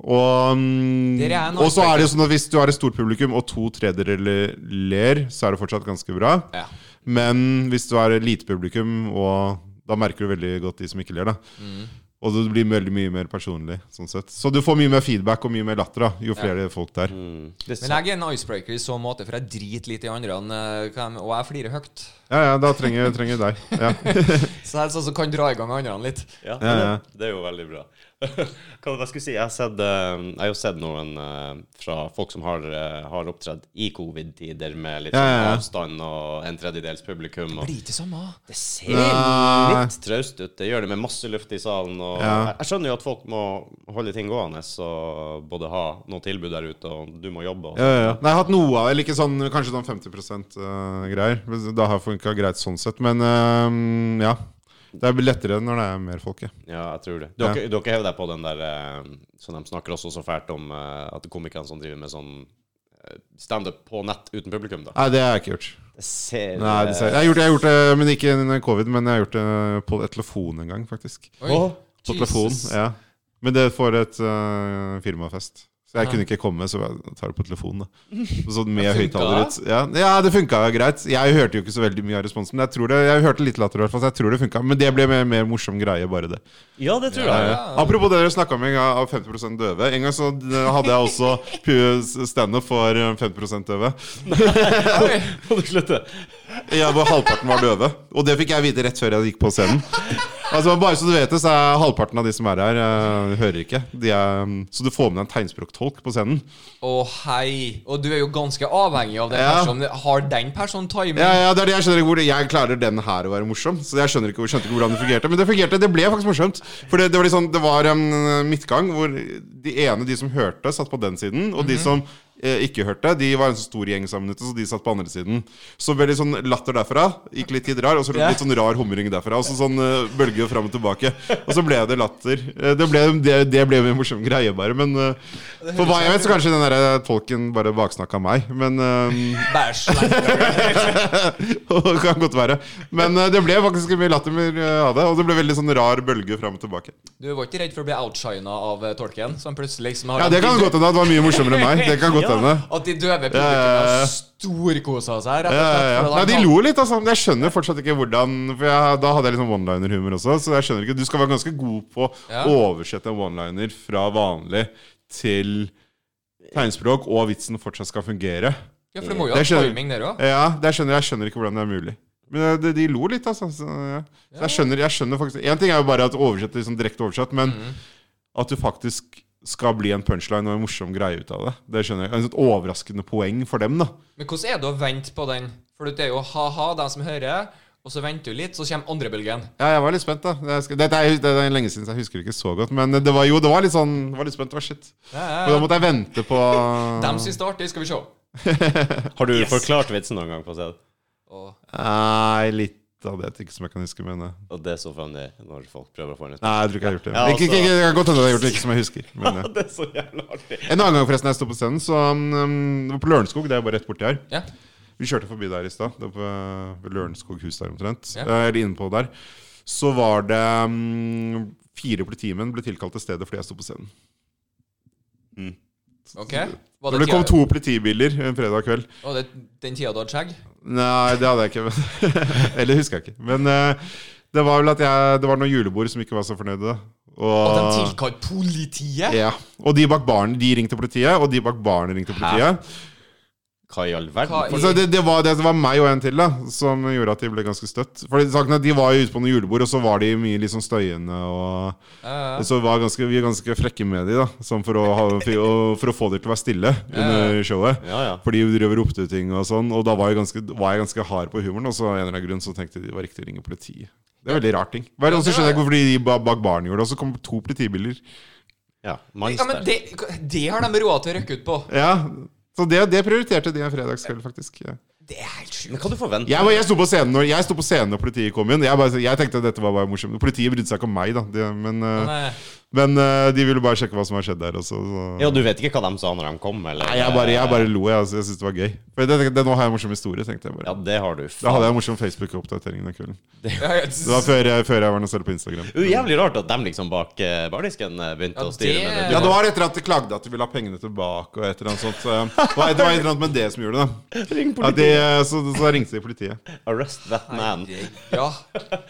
C: Og, mm,
B: Dere er en
C: og så er det jo sånn at hvis du har et stort publikum, og to tredjedeler ler, så er det fortsatt ganske bra.
B: Ja.
C: Men hvis du har et lite publikum, og da merker du veldig godt de som ikke ler, da. Og det blir veldig mye mer personlig. sånn sett. Så du får mye mer feedback og mye mer latter da, jo flere folk det er.
A: Mm. Det
B: Men jeg er en icebreaker i så måte, for jeg driter litt i andre, eh, hva de- og jeg flirer høyt.
C: Ja, ja, da trenger jeg trenger deg. Ja.
B: Så jeg er sånn som kan dra i gang andre litt.
A: Ja,
C: Ja, ja.
A: Det er jo veldig bra. [LAUGHS] Hva var det jeg skulle si? Jeg har, sett, eh, jeg har jo sett noen eh, fra folk som har, eh, har opptredd i covid-tider med litt
C: Ja,
A: sånn
C: ja, ja.
A: avstand og en tredjedels publikum.
B: Det
A: Og
B: blir ikke samme.
A: det ser
C: Nei.
A: litt traust ut. Det gjør det med masse luft i salen. Og
C: Ja.
A: Jeg skjønner jo at folk må holde ting gående, så både ha noe tilbud der ute, og du må jobbe. Og
C: [LAUGHS] Ja, ja, ja. Nei, jeg har hatt noe av det, eller ikke sånn, kanskje sånn 50 eh, greier. Men Da har funka greit sånn sett, men eh, ja. Det er lettere når det er mer folk, ja.
A: Ja, jeg tror det. Du har ikke- du har ikke hevet deg på den der eh, Som de snakker også så fælt om, eh, at komikerne som driver med sånn eh, standup på nett uten publikum, da.
C: Nei, det har jeg ikke gjort.
A: Det ser eh,
C: Nei, det ser jeg. Jeg har gjort, jeg har gjort det, men ikke under covid, men jeg har gjort det på et telefon en gang, faktisk.
B: Oi,
A: Åh,
C: På
B: Jesus.
C: telefon, ja. Men det får et eh, firmafest. Så jeg kunne ikke komme, så jeg tar det på telefonen. da Så med
B: Det funka?
C: høyttaler ut. Ja, ja, det funka greit. Jeg hørte jo ikke så veldig mye av responsen. Men jeg tror det, jeg hørte litt latter, i hvert fall. Så jeg tror det funka. Men det ble mer, mer morsom greie, bare det.
A: Ja, [LAUGHS] det tror jeg.
C: Ja. Apropos det dere snakka om en gang av 50 døve. En gang så hadde jeg også pu- standup for eh, 50 døve.
B: Oi.
A: Må du slutte?
C: Ja, hvor halvparten var døve. Og det fikk jeg vite rett før jeg gikk på scenen. Altså Bare så du vet det, så er halvparten av de som er her, eh, hører ikke. De er, mm, så du får med deg en tegnspråktolk på scenen.
B: Å, hei. Og du er jo ganske avhengig av den
C: Ja.
B: personen. Har den personen timing?
C: Ja, ja, det er det Jeg skjønner ikke hvor det, Jeg klarer den her å være morsom, så jeg skjønner ikke, skjønte ikke hvordan det fungerte. Men det fungerte, det ble faktisk morsomt. For det, det var, liksom, det var en midtgang hvor de ene, de som hørte, satt på den siden. Og de som eh, ikke hørte, de var en så stor gjeng sammen ute, så de satt på andre siden. Så veldig sånn latter derfra, gikk litt tid rar, og så
B: Ja.
C: litt sånn rar humring derfra. Og så sånn eh, bølge fram og tilbake. Og så ble det latter. Eh, Det ble, det, det ble en morsom greie, bare. Men eh, for hva jeg vet, så kanskje den der eh, tolken bare baksnakka meg. Men eh,
B: Bare sleng.
C: det kan godt være. Men eh, det ble faktisk mye latter eh, av det. Og det ble veldig sånn rar bølge fram og tilbake.
B: Du var ikke redd for å bli outshina av eh, tolken? Som plutselig liksom har
C: Ja, Det kan godt hende. at Det var mye morsommere enn meg. Det kan godt
A: Ja.
C: hende.
B: At de døve
C: Ja, ja, ja.
B: publikummene storkosa seg. Rett og
C: Ja, ja,
B: slett,
C: ja.
B: for
C: Nei, de lo litt, altså. Men jeg skjønner fortsatt ikke hvordan For jeg, da hadde jeg liksom one-liner-humor også. Så jeg skjønner ikke Du skal være ganske god på
B: Ja.
C: å oversette en one-liner fra vanlig til tegnspråk, og vitsen fortsatt skal fungere.
B: Ja, for du må jo
C: Det
B: ha
C: skjønner-
B: timing der òg.
C: Ja, det skjønner jeg. jeg skjønner ikke hvordan det er mulig. Men eh, de, de lo litt, altså. Så, ja. så jeg, skjønner, jeg skjønner faktisk En ting er jo bare at oversette liksom direkte oversatt, men at du faktisk skal bli en punchline og en morsom greie ut av det. Det skjønner jeg. En sånn overraskende poeng for dem, da.
B: Men hvordan er det å vente på den? For det er jo ha-ha, de som hører, og så venter du litt, så kommer andrebølgen.
C: Ja, jeg var litt spent, da. Jeg skal- Dette er, det er lenge siden, så jeg husker ikke så godt. Men det var jo det var litt sånn det var litt spent. Det var shit. Men da måtte jeg vente på [LAUGHS]
B: De syns det er artig, skal vi se.
A: Har du forklart vitsen noen gang på scenen?
B: Og-
C: Nei, litt av det ikke som jeg kan huske, men eh,
A: Og det er så funny når folk prøver å få en
C: Nei, jeg tror ikke jeg har gjort det.
A: Ja, altså-
C: ikke, ikke, ikke, det kan godt hende jeg har gjort det, ikke som jeg husker. Men, eh.
A: [LAUGHS] Det er så jævla artig.
C: En annen gang forresten jeg sto på scenen, så um, det var på Lørenskog. Det er bare rett borti her.
B: Ja.
C: Vi kjørte forbi der i stad. Det var på eh, ved Lørenskog hus der omtrent.
B: Ja.
C: Eh, Eller innpå der. Så var det um, Fire politimenn ble tilkalt til stedet fordi jeg sto på scenen.
B: OK. Var
C: Det, det kom to politibiler en fredag kveld.
B: Var det den tida du hadde skjegg?
C: Nei, det hadde jeg ikke. men- [LAUGHS] Eller husker jeg ikke. Men eh, det var vel at jeg, det var noen julebord som ikke var så fornøyde. Og,
B: At de tilkalte politiet?
C: Ah. ja. og de bak baren de ringte politiet, og de bak baren ringte politiet.
A: Hva i all
B: Hva
A: verden?
B: i-
C: Altså, det, det, var, det var meg og en til da som gjorde at de ble ganske støtt. Fordi saken er at De var jo ute på noen julebord, og så var de mye litt sånn støyende. Og,
B: Ja,
C: Så var ganske, vi var ganske frekke med de da sånn for, å ha, for, å, for å få de til å være stille under showet.
A: Ja, ja.
C: Fordi vi drev og ropte ut ting og sånn. Og da var jeg, ganske, var jeg ganske hard på humoren, og så av en eller annen grunn så tenkte jeg de var riktig å ringe politiet. Det er veldig rar ting. Hva er det- Og så skjønner jeg ikke hvorfor de ba- bak baren gjorde det. Og så kom to politibiler.
A: Ja,
B: ja men
A: Mangster.
B: det, det har de råd til å rykke ut på.
C: Ja, så det, det prioriterte de en fredagskveld, faktisk. Ja.
B: Det er helt
A: Men
B: sjukt.
A: kan du forvente
C: Jeg, var- jeg sto på scenen når, jeg sto på scenen når politiet kom inn. Jeg, bare, jeg tenkte at dette var bare morsomt. Politiet brydde seg ikke om meg, da. De, men eh,
B: Nei.
C: men eh, de ville bare sjekke hva som har skjedd der. Også, så.
A: Ja, du vet ikke hva de sa når de kom, eller?
C: Nei, jeg, bare, jeg bare lo. Jeg, altså, jeg syntes det var gøy. For det, det, nå har jeg en morsom historie, tenkte jeg
A: Ja,
C: bare.
A: det har du.
C: Da hadde
A: Faen.
C: jeg en morsom Facebook-oppdatering den kvelden.
B: Ja, ja,
C: Det var før, jeg- før jeg var noe selv på Instagram.
A: Det er jo jævlig rart at de liksom bak eh, bardisken eh, begynte
B: Ja,
A: å styre
B: det-
A: med det.
C: Ja, det var etter at de klagde at de ville ha pengene tilbake og et eller annet sånt. så, eh, Det var et det var et eller annet med det som gjorde det. da.
A: Ring
C: At de,
A: politiet.
C: eh, så, så ringte de politiet.
A: Arrest that man.
B: ja.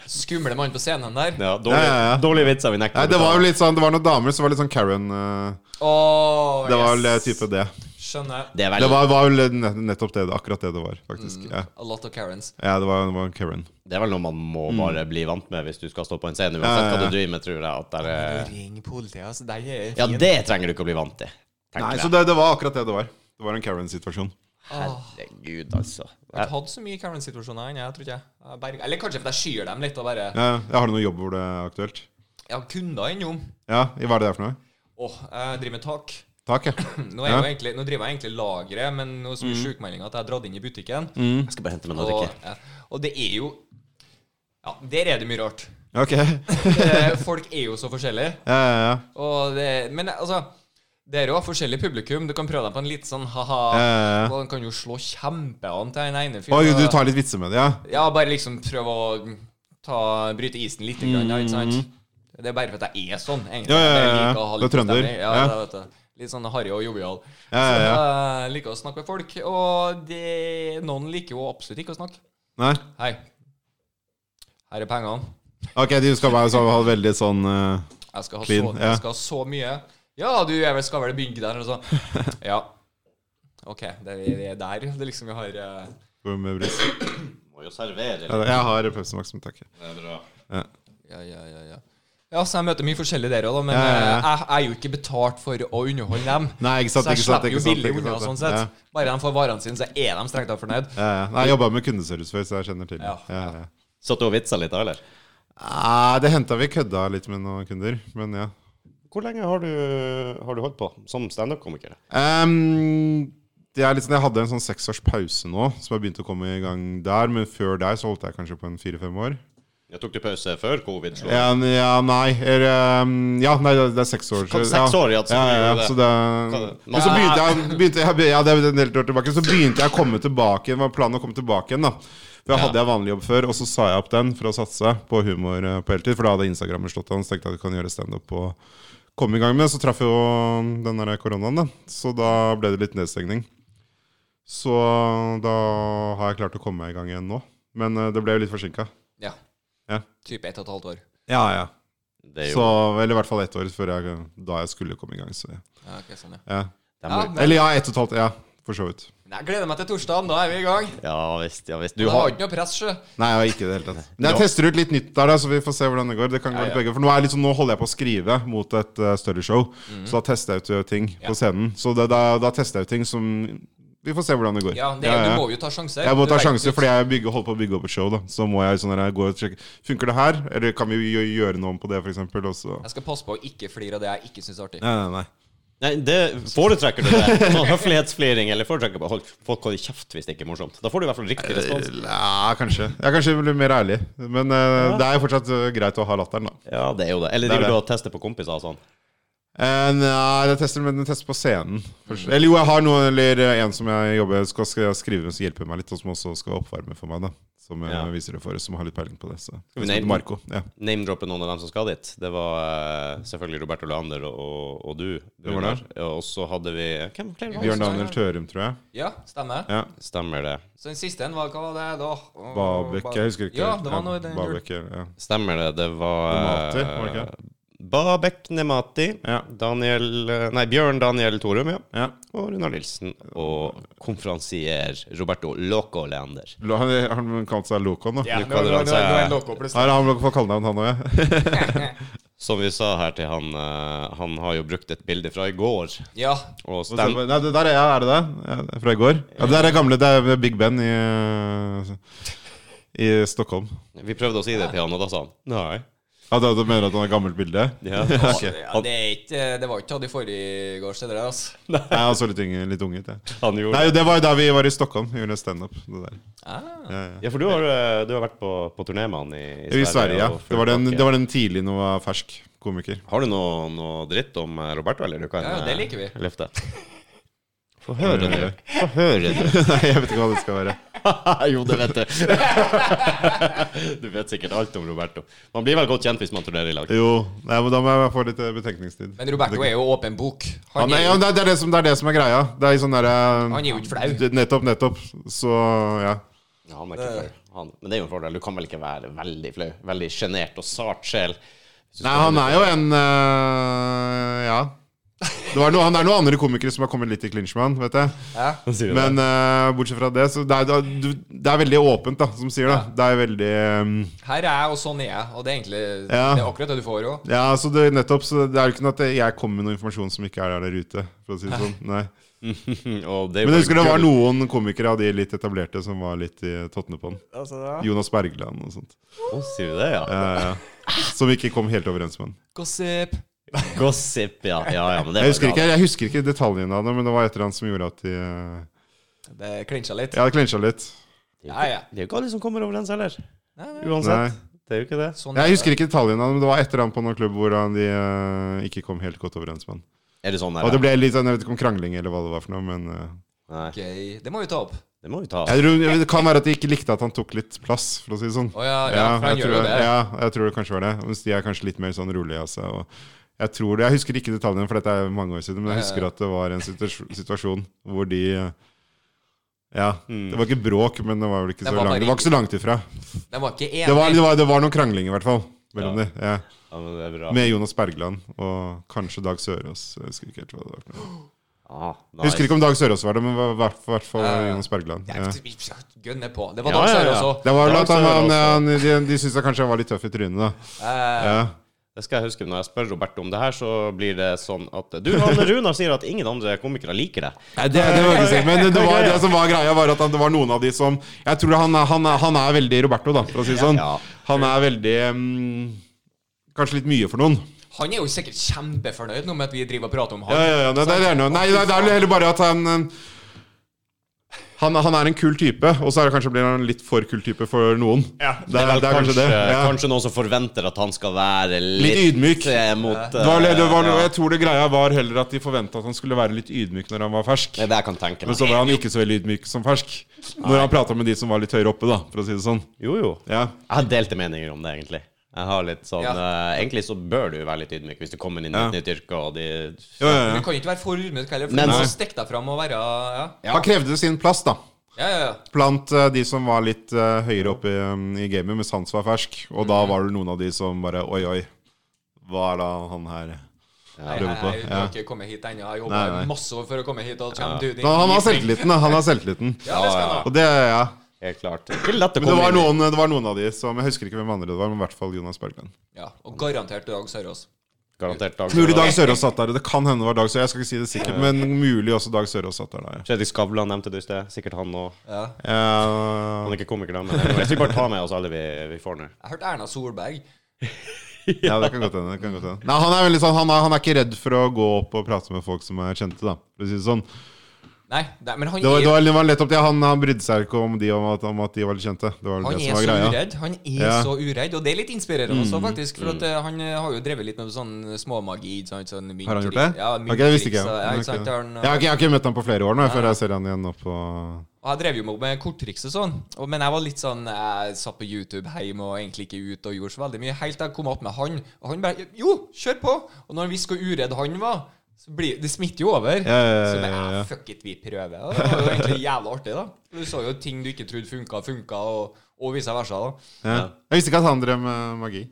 B: Skumle mann på scenen der.
A: Ja, dårlig,
C: Ja, ja, ja.
A: dårlige vitser vi nekter.
C: Nei,
A: å
C: det var jo
A: betale.
C: litt sånn, det var noen damer som var litt sånn Karen. eh,
B: Åh,
C: Det
B: yes.
C: var vel eh, type det.
B: Skjønner.
A: Det er
C: Det
A: veldig
C: Mm. var, var vel nett- nettopp det, akkurat det det var, faktisk. Ja.
B: A lot of Karens.
C: ja, det var, det var Karen.
A: Det er vel noe man må bare bli vant med hvis du skal stå på en scene.
C: Mm. Ja,
A: Uansett
C: ja,
A: hva
C: ja.
A: du driver med, tror jeg at det er
B: Ring politiet, altså. Det er fin.
A: Ja, det trenger du ikke å bli vant til. tenker
C: Nei,
A: jeg.
C: så det, det var akkurat det det var. Det var en Karen-situasjon.
B: Åh,
A: Herregud, altså.
B: jeg har ikke hatt så mye Karen-situasjoner ennå, jeg tror ikke jeg. jeg. berg- Eller kanskje fordi jeg skyr dem litt og bare
C: Ja, jeg har du noe jobb hvor det er aktuelt?
B: Jeg har kunder innom.
C: Ja, hva er det der for noe?
B: Åh, jeg driver med tak.
C: Tak, [CLEARS THROAT] ja.
B: Nå, er jeg
C: Ja. Mm.
B: jo egentlig, nå driver jeg egentlig lageret, men nå er så mye sjukmeldinger at jeg har dratt inn i butikken.
A: Jeg skal bare hente meg noe å
B: Og,
A: drikke.
B: ja, og det er jo Ja, der er det mye
C: [LAUGHS]
B: rart.
C: Ok. Ja,
B: Eh, Folk er jo så forskjellige.
C: ja, ja.
B: Og det, men altså det er jo forskjellig publikum. Du kan prøve deg på en litt sånn ha-ha.
C: Ja, ja, ja.
B: Og den kan jo slå kjempean til den ene
C: Oi,
B: fyren.
C: du tar litt vitser med det, ja?
B: Ja, bare liksom prøve å ta, bryte isen litt, grann, ja, ikke sant? Det er bare for at jeg er sånn, egentlig.
C: Mm. Ja, ja, ja,
B: Jeg
C: ja.
B: liker å ha
C: Du er
B: litt
C: trønder.
B: stemning. Ja,
C: Ja.
B: det vet du. Litt sånn harry og jovial.
C: Ja, ja, ja.
B: Så jeg liker å snakke med folk, og det, noen liker jo absolutt ikke å snakke.
C: Nei?
B: Hei, her er pengene.
C: Ok, de skal bare så, ha veldig sånn eh,
B: Jeg skal ha,
C: Clean,
B: så,
C: ja.
B: jeg skal ha så mye. Ja, du jeg vel- skal vel begynne der, eller
C: [LAUGHS]
B: sånn. Ja. OK, det er, det er der det liksom vi har eh,
C: hvor mye brus?
A: Må jo servere.
C: Ja, Jeg har Pepsi Max, men takk.
A: Det er bra.
B: Ja, ja, ja, ja. Ja, så jeg møter mye forskjellig der òg, da, men
C: Ja, ja, ja.
B: eh, Jeg, jeg er jo ikke betalt for å underholde dem.
C: Nei, ikke sant,
B: så jeg
C: ikke sant,
B: slipper
C: ikke
B: jo
C: sant,
B: billig
C: ikke
B: unna,
C: sant,
B: sånn sett.
C: ja.
B: Bare de får varene sine, så er de strengt tatt fornøyd.
C: Ja, ja. Nei, jeg jobba med kundeservice før, så jeg kjenner til det.
B: Ja.
C: Ja, ja.
A: Satt du og vitsa litt da, eller?
C: Nei, det henta vi kødda litt med noen kunder, men ja.
A: Hvor lenge har du, har du holdt på som standup-komiker?
C: Ehm, det er litt sånn, jeg hadde en sånn seks års pause nå, som jeg begynte å komme i gang der. Men før der så holdt jeg kanskje på en fire-fem år.
A: Jeg tok du pause før covid slo?
C: Ja, n- ja nei er, ehm, Ja, nei, det det er seks år.
A: Kan- seks år, ja,
C: ja.
A: så
C: ja, ja,
A: gjorde det.
C: så det,
A: Kan-
C: men så begynte jeg, begynte jeg be- Ja, det er en del år tilbake. Så begynte jeg å komme tilbake igjen. Var planen å komme tilbake igjen, da. For jeg hadde jeg vanlig jobb før, og så sa jeg opp den for å satse på humor eh, på heltid. For da hadde Instagrammer slått an, så tenkte jeg at jeg kan gjøre standup og komme i gang med det. Så traff jo den der koronaen, da. Så da ble det litt nedstengning. Så da har jeg klart å komme meg i gang igjen nå. Men eh, det ble jo litt forsinka.
B: Ja.
C: Ja.
B: Type ett og et halvt år.
C: Ja, ja.
A: Det er jo,
C: Så, eller i hvert fall ett år før jeg, da jeg skulle komme i gang. Så, ja.
B: Ja, ok, sånn, ja.
C: Ja.
A: de
B: Ja,
A: må-
B: men,
C: Eller ja, ett og et halvt. Ja, for så vidt.
B: men jeg gleder meg til torsdagen, da er vi i gang.
A: ja visst, ja visst.
B: Du
A: Du
B: har
A: har
B: ikke noe press, sjø.
C: Nei, jeg har ikke det hele tatt. Men jeg tester ut litt nytt der, da, så vi får se hvordan det går. Det kan gå
B: Ja,
C: litt
B: ja.
C: begge For nå, er jeg liksom, nå holder jeg på å skrive mot et eh, større show,
B: Mhm.
C: så da tester jeg ut eh, ting på scenen. Så det, da, da tester jeg ut ting som Vi får se hvordan det går.
B: Ja, det, Du må jo ta sjanser.
C: Jeg må
B: Du
C: ta
B: vet
C: sjanser,
B: ikke-
C: fordi jeg bygger, holder på å bygge opp et show. da Så må jeg sånn her, gå og sjekke Funker det her, eller kan vi gjø- gjøre noe om på det, f.eks.?
B: Jeg skal passe på å ikke flire av det jeg ikke syns er artig.
C: Nei, nei, nei.
A: Nei, det foretrekker du det. Sånn [LAUGHS] høflighetsfliring, eller foretrekker bare hold, folk holder kjeft hvis det ikke er morsomt. Da får du i hvert fall
C: Eh,
A: riktig respons.
C: Ja, kanskje. Jeg er kanskje blir mer ærlig. Men eh, det er jo fortsatt eh, greit å ha latteren, da.
A: Ja, det er jo det. Eller
C: Det er
A: driver du
C: det.
A: og tester på kompiser og sånn?
C: Eh, nei, jeg tester, men jeg tester på scenen. først. Eller jo, jeg har noe, eller eh, en som jeg jobber skal, skal jeg skrive med, som hjelper meg litt, og som også skal oppvarme for meg. da Som jeg
A: Ja.
C: viser det for, som har litt peiling på det. Så.
A: vi
C: Som heter
A: name-
C: Marco. Ja.
A: Name-droppe noen av dem som skal dit. Det var eh, selvfølgelig Roberto Leander og, og, og du.
C: var
A: Runar.
C: det.
A: Ja, Og så hadde vi eh, Hvem flere var det?
C: Bjørn Daniel Tørum, tror jeg.
B: Ja, stemmer.
C: Ja.
A: Stemmer det.
B: Så den siste en var Hva var det da? Åh,
C: Babek, jeg husker ikke.
B: Ja, det var noe i den
C: Babek, ja.
A: Stemmer det. Det var eh,
C: Nemati, var det ikke?
A: Babek Nemati.
C: Ja.
A: Daniel eh, Nei, Bjørn Daniel Torum, ja.
C: Ja.
A: Og Runar Nilsen. Og konferansier Roberto Loco Leander.
C: Lo- Han, han kalte seg Lokon, da.
B: Ja, nå,
A: Du
B: nå,
A: kaller
B: nå,
A: han
B: nå er
A: seg-
B: jeg loco, plutselig.
C: Har han fått kallenavn, han òg? Ja. [LAUGHS]
A: Som vi sa her til han, eh, han har jo brukt et bilde fra i går.
B: Ja.
A: Og
C: Og så-
A: stand,
C: Nei, det der er, ja, er det det? Ja, det er fra i går? Ja, det der er gamle, det er Big Ben i, eh, i Stockholm.
A: vi prøvde å si det til han, og da sa han nei.
C: Ja, da, du mener at han har gammelt bilde?
A: [LAUGHS] Ja.
B: ja det, er ikke, det var ikke tatt i forrige gårs, det der. Altså.
C: [LAUGHS] Nei, han så litt, yngre, litt ung ut, jeg.
A: Han gjorde
C: Nei, det var jo da vi var i Stockholm, gjorde standup. det der.
B: Ah.
C: Ja, ja.
A: Ja, for du har, eh, du har vært på, på turné med han i,
C: I Sverige, ja.
A: og full
C: Det var den,
A: pakke.
C: det var den tidlig når jeg var fersk komiker. [LAUGHS]
A: Har du noe, noe dritt om eh, Roberto, eller du kan
B: Ja, det
A: eh,
B: liker vi.
A: løfte? Mm. Få høre det.
C: det.
A: Få høre det.
C: Nei, jeg vet ikke hva det skal være.
A: [LAUGHS] jo, det vet jeg. [LAUGHS] du vet sikkert alt om Roberto. Man blir vel godt kjent hvis man turnerer i lag.
C: Jo, nei, men da må jeg få litt eh, betenkningstid.
B: Men Roberto er jo åpen bok.
C: Han er,
B: er jo-
C: ja, men det, er- det, er det, som, det er det som er greia. Det er i sånn derre
B: Han er jo ikke flau.
C: Nettopp, nettopp. Så ja.
A: Ja, han er
B: Eh.
A: ikke flau. Han- Men det er jo en fordel. Du kan vel ikke være veldig flau? Veldig sjenert og sart sjel? Hvis du
C: Nei,
A: skal
C: han
A: holde-
C: er jo en øh, Ja. Det, var noe, han, det er noen andre komikere som har kommet litt i clinch med han, vet jeg.
B: Ja.
A: Han sier det.
C: Men øh, bortsett fra det, så det er, da- du- det er veldig åpent, da, som sier det. Det er veldig eh, øhm,
B: Her er jeg, og sånn er jeg. Og det er egentlig
C: Ja.
B: det er akkurat det du får òg.
C: Ja, så det, nettopp. Så det er jo ikke noe at jeg kommer med noe informasjon som ikke er der ute, for å si det sånn. Nei.
A: [LAUGHS] og det er jo
C: Men jeg husker det var
A: gull.
C: noen komikere av de litt etablerte som var litt i tottene på han.
A: Altså,
C: Jonas Bergland og sånt.
A: Å, sier du det, ja?
C: Eh,
A: [LAUGHS]
C: som ikke kom helt overens med han.
B: Gossip.
A: Gossip, ja. ja, ja men det
C: Jeg husker
A: var
C: ikke, jeg husker ikke detaljene av det, men det var et eller annet som gjorde at de øh,
B: Det klinsja litt.
C: Ja, det klinsja litt.
B: Ja, ja.
A: Det er jo ikke alle som kommer overens heller.
B: Nei, nei.
A: Uansett. Det er jo ikke det.
B: Sånn
C: Jeg husker ikke detaljene, men det var et eller annet på noen klubb hvor han, de eh, ikke kom helt godt overens med han.
A: Er det sånn
C: Og
A: her?
C: det ble litt sånn, jeg vet ikke om krangling eller hva det var for noe, men eh,
A: Nei,
B: Gøy. Det må vi ta opp.
A: det må vi ta.
C: jeg tror, Det kan være at de ikke likte at han tok litt plass, for å si det sånn.
B: Å ja, ja, for han
C: jeg
B: gjør
C: tror,
B: jo det.
C: ja, jeg tror det kanskje var det. Mens de er kanskje litt mer sånn rolig av seg og Jeg tror det, jeg husker ikke detaljene, for dette er mange år siden, men
B: Ja,
C: jeg
B: ja,
C: husker
B: ja.
C: at det var en situasjon, situasjon hvor de eh, Ja,
A: Mm.
C: det var ikke bråk, men det var vel ikke
B: Det
C: så
B: var
C: langt
B: bare-
C: Det var ikke så langt ifra.
B: De var ikke
C: Det var, det
B: enige.
C: var, det var noen krangling, i hvert fall. Mellom
A: Ja.
C: de, ja.
A: Ja, men det er bra.
C: Med Jonas Bergland og kanskje Dag Sørås. Jeg husker ikke helt hva det var. for noe.
A: Ah,
C: Jeg husker ikke om Dag Sørås var det, men i hvert hvert fall
B: Ja, ja.
C: Jonas Bergland.
B: Det
C: Ja.
B: er ikke- Gønne på. Det var
A: Ja,
B: Dag
A: ja, ja.
B: Sørås òg.
C: Det var vel
A: Dag
C: at han,
A: Sørås,
C: han,
A: ja.
C: han, de, de syntes jeg kanskje jeg var litt tøff i trynet, da. Ja.
A: Det skal jeg huske. Når jeg spør Robert om det her, så blir det sånn at Du, han Runar sier at ingen andre komikere liker deg.
C: Nei, det, det var ikke sikkert, men det, var, det som var greia, var at det var noen av de som Jeg tror han, er- han, er- han er veldig Roberto, da, for å si det sånn.
A: Ja.
C: Han er veldig mm, Kanskje litt mye for noen.
B: Han er jo sikkert kjempefornøyd nå med at vi driver og prater om han.
C: Ja, ja, ja, nei, det, det er noe. Nei, det er- det er vel heller bare at han eh, han, han er en kul type, og så er det kanskje blir han en litt for kul type for noen. det, er,
A: vel
C: det er kanskje, det. Ja.
A: kanskje noen som forventer at han skal være litt,
C: Litt ydmyk.
A: eh, Mot, eh,
C: Det var, det var,
A: ja.
C: Jeg tror det greia var heller at de forventa at han skulle være litt ydmyk når han var fersk.
A: Det er det jeg kan tenke
C: Men så
A: meg.
C: var han ikke så veldig ydmyk som fersk. Når han prata med de som var litt høyere oppe, da, for å si det sånn.
A: Jo, jo.
C: Ja.
A: Jeg har delte meninger om det, egentlig. Jeg har litt sånn,
B: Ja.
A: eh, Egentlig så bør du være litt ydmyk hvis du kommer inn i
C: Ja.
A: et nytt yrke. Og de,
C: Jo, ja,
B: Du
C: ja.
B: kan jo ikke være for ydmyk heller, for
A: Men-
B: du må
A: Nei.
B: stikke deg fram og være Ja,
C: Han krevde sin plass, da.
B: ja, ja. ja.
C: Blant eh, de som var litt eh, høyere oppe i, um, i gamet, mens Hans var fersk. Og
B: Mm.
C: da var det noen av de som bare Oi, oi. Hva er da han her
B: Nei,
C: prøver på?
B: nei, jeg har
C: Ja.
B: ikke kommet hit ennå. Jeg
C: Nei, nei.
B: jobber masse år for å komme hit. Og ja. du,
C: Men han har selvtilliten, da. Han har selvtilliten.
B: Ja, det skal han ha.
C: Og det, ja.
A: Helt klart. Ikke lett å
C: Men det
A: komme
C: var,
A: inn i.
C: noen, det var noen av de som Jeg husker ikke hvem andre det var, men i hvert fall Jonas Bergland.
B: Ja, og garantert Dag Sørås.
A: Garantert Dag
C: Mulig Dag
A: Sørås.
C: Sørås satt der. Det kan hende det var Dag Sørås. Jeg skal ikke si det sikkert, men mulig også Dag Sørås satt der da. ja.
A: Fredrik Skavlan nevnte du i sted. Sikkert han òg.
B: Ja.
A: Han
C: Eh,
A: er ikke komiker, da,
C: [LAUGHS]
A: men jeg skal bare ta med oss alle vi, vi får nå.
B: Jeg hørte Erna Solberg.
C: ja, det kan godt hende. det kan godt hende. Nei, han er veldig sånn han er, han er ikke redd for å gå opp og prate med folk som er kjente, da. For å si det sånn.
B: Nei, nei men han
C: Det var, det
B: er,
C: var, det var nettopp det. Han, han brydde seg ikke om de, om at, om at de var litt kjente. Det var vel
B: han
C: det
B: er
C: som
B: så
C: var greia.
B: uredd. Han er
C: Ja. Mm,
B: så uredd, og det er litt inspirerende også, faktisk. For at, eh, han eh, har jo drevet litt med sånn småmagi. ikke sant, Sånn,
C: Har han gjort det?
B: Ja,
C: Ok, det visste ikke
B: mynttriks,
C: jeg.
B: og- Ja, ikke sant,
C: Ok.
B: han,
C: Jeg har ikke, jeg har ikke møtt ham på flere år nå, før jeg ser han igjen nå på
B: Og jeg drev jo med korttriks og sånn, og, men jeg var litt sånn Jeg satt på YouTube hjemme og egentlig ikke ut og gjorde så veldig mye. Helt til jeg kom opp med han, og han bare Jo, kjør på! Og når han visste hvor uredd han var, så blir Det smitter jo over.
C: Ja, ja, ja,
B: Så bare,
C: ja, ja.
B: «Ah, fuck it, vi prøver. Og det var jo egentlig jævlig artig, da. Du så jo ting du ikke trodde funka, funka, og, og vice versa, da.
C: ja. Jeg visste ikke at han drev med magi.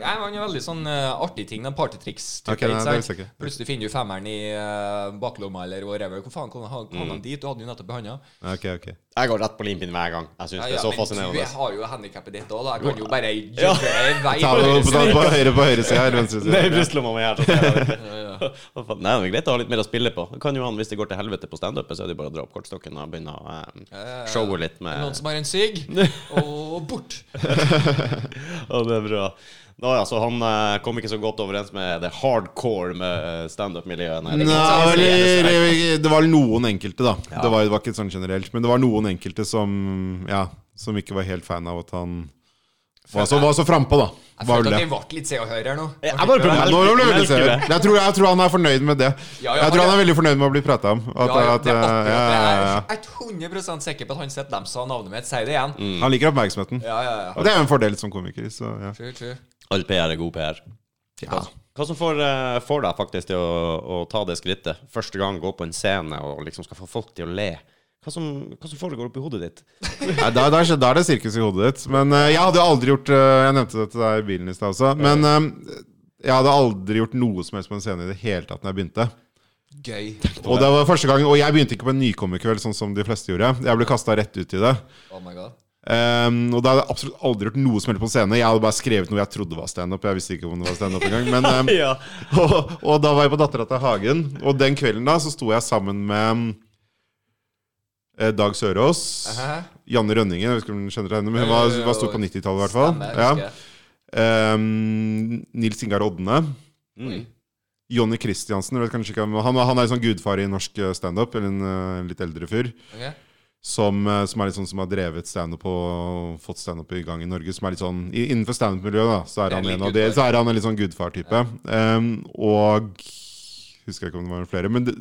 B: Ja, men han er veldig sånn eh, artig ting, den partytriks-typen.
C: Ok, nei, det visste jeg ikke.
B: Plutselig finner du femmeren i eh, baklomma eller whatever. Hvor faen kom han,
C: Mm.
B: kom han dit? Du hadde jo nettopp behandla.
C: Ja, Ok, ok
A: Jeg går rett på limpinnen hver gang. Jeg syns
B: Ja,
A: det
B: ja,
A: er så
B: Men
A: fascinerende.
B: du har jo handikappet ditt òg, da. Jeg kan jo bare gjøre i vei.
C: Ta det opp, ta det på høyre på høyre side eller venstre
A: Det er
C: side.
A: brystlomma mi her. så skal jeg-
B: [LAUGHS] Ja, ja.
A: [LAUGHS] Hva faen? Nei, det er greit å ha litt mer å spille på. Det Kan jo han, Hvis det går til helvete på standupet, så er det jo bare å dra opp kortstokken og begynne å eh,
B: ja, ja.
A: showe litt
B: Noen
A: med
B: som har en
C: [LAUGHS]
B: sigg, og bort.
A: [LAUGHS] Ja, det er bra. Nå, ja, så han eh, kom ikke så godt overens med det hardcore med eh, standup-miljøet. Nei, det
C: Nei,
A: kan jeg si.
C: eller, det var noen enkelte, da.
A: Ja.
C: Det, var, det var ikke sånn generelt. Men det var noen enkelte som Ja, som ikke var helt fan av at han var så, var så frampå, da.
B: Jeg
C: Var vel
B: følte
C: det.
B: at vi ble litt Se og Hør her nå.
A: Jeg bare prøver
C: Ja,
A: å
C: nå ble det veldig
A: melke
C: seriøst.
A: det.
C: jeg, tror, jeg tror han er fornøyd med det.
B: Ja, ja,
C: Jeg tror
B: han-
C: han er veldig fornøyd med å bli prata om. At,
B: Ja, ja,
C: at,
B: det er
C: eh, ja,
B: akkurat
C: ja, ja.
B: det. Jeg er 100 sikker på at han sett dem sa navnet mitt. Si det igjen.
C: Han liker oppmerksomheten.
B: Ja, ja, ja.
C: Og det er jo en fordel som komiker. Så,
B: [LAUGHS]
C: ja.
B: True, true.
A: All PR er god PR. Hva, hva som får, eh, får deg faktisk til å, å ta det skrittet? Første gang gå på en scene og liksom skal få folk til å le. Hva som, hva som foregår oppi hodet ditt?
C: Nei, da, da, da er det sirkus i hodet ditt. Men eh, jeg hadde jo aldri gjort eh, Jeg nevnte det til deg i bilen i stad også. Men eh, jeg hadde aldri gjort noe som helst på en scene i det hele tatt når jeg begynte.
B: Gøy.
C: Og det var første gang Og jeg begynte ikke på en nykommerkveld, sånn som de fleste gjorde. Jeg ble kasta rett ut i det.
B: Oh my god.
C: Ehm, og da hadde jeg absolutt aldri gjort noe som helst på en scene. Jeg hadde bare skrevet noe jeg trodde var standup. Jeg visste ikke om det var standup engang.
B: [LAUGHS]
C: Men, ehm,
A: [LAUGHS] Ja.
C: [LAUGHS] og, og da var jeg på Dattera til Hagen, og den kvelden da så sto jeg sammen med eh, Dag Sørås.
B: Aha.
C: Janne Rønningen, jeg vet ikke om du kjenner henne, men
B: Jo,
C: hun
B: jo,
C: var,
B: jo,
C: var stor på 90-tallet i hvert fall.
B: Stemmer,
C: Ja.
B: husker jeg.
C: Ehm, Nils Ingar Odne. Mm.
B: Oi.
C: Jonny Christiansen. vet kanskje ikke, om- han, han er en sånn gudfar i norsk eh, standup, eller en eh, litt eldre fyr
B: Ok.
C: som, eh, som er litt sånn som har drevet standup og fått standup i gang i Norge. Som er litt sånn i- Innenfor standup-miljøet, da, så er
B: Det er
C: han
B: litt
C: en av de
B: gudfar.
C: Så er han en litt sånn gudfar-type. Um, og Husker jeg ikke om det var noen flere. Men det,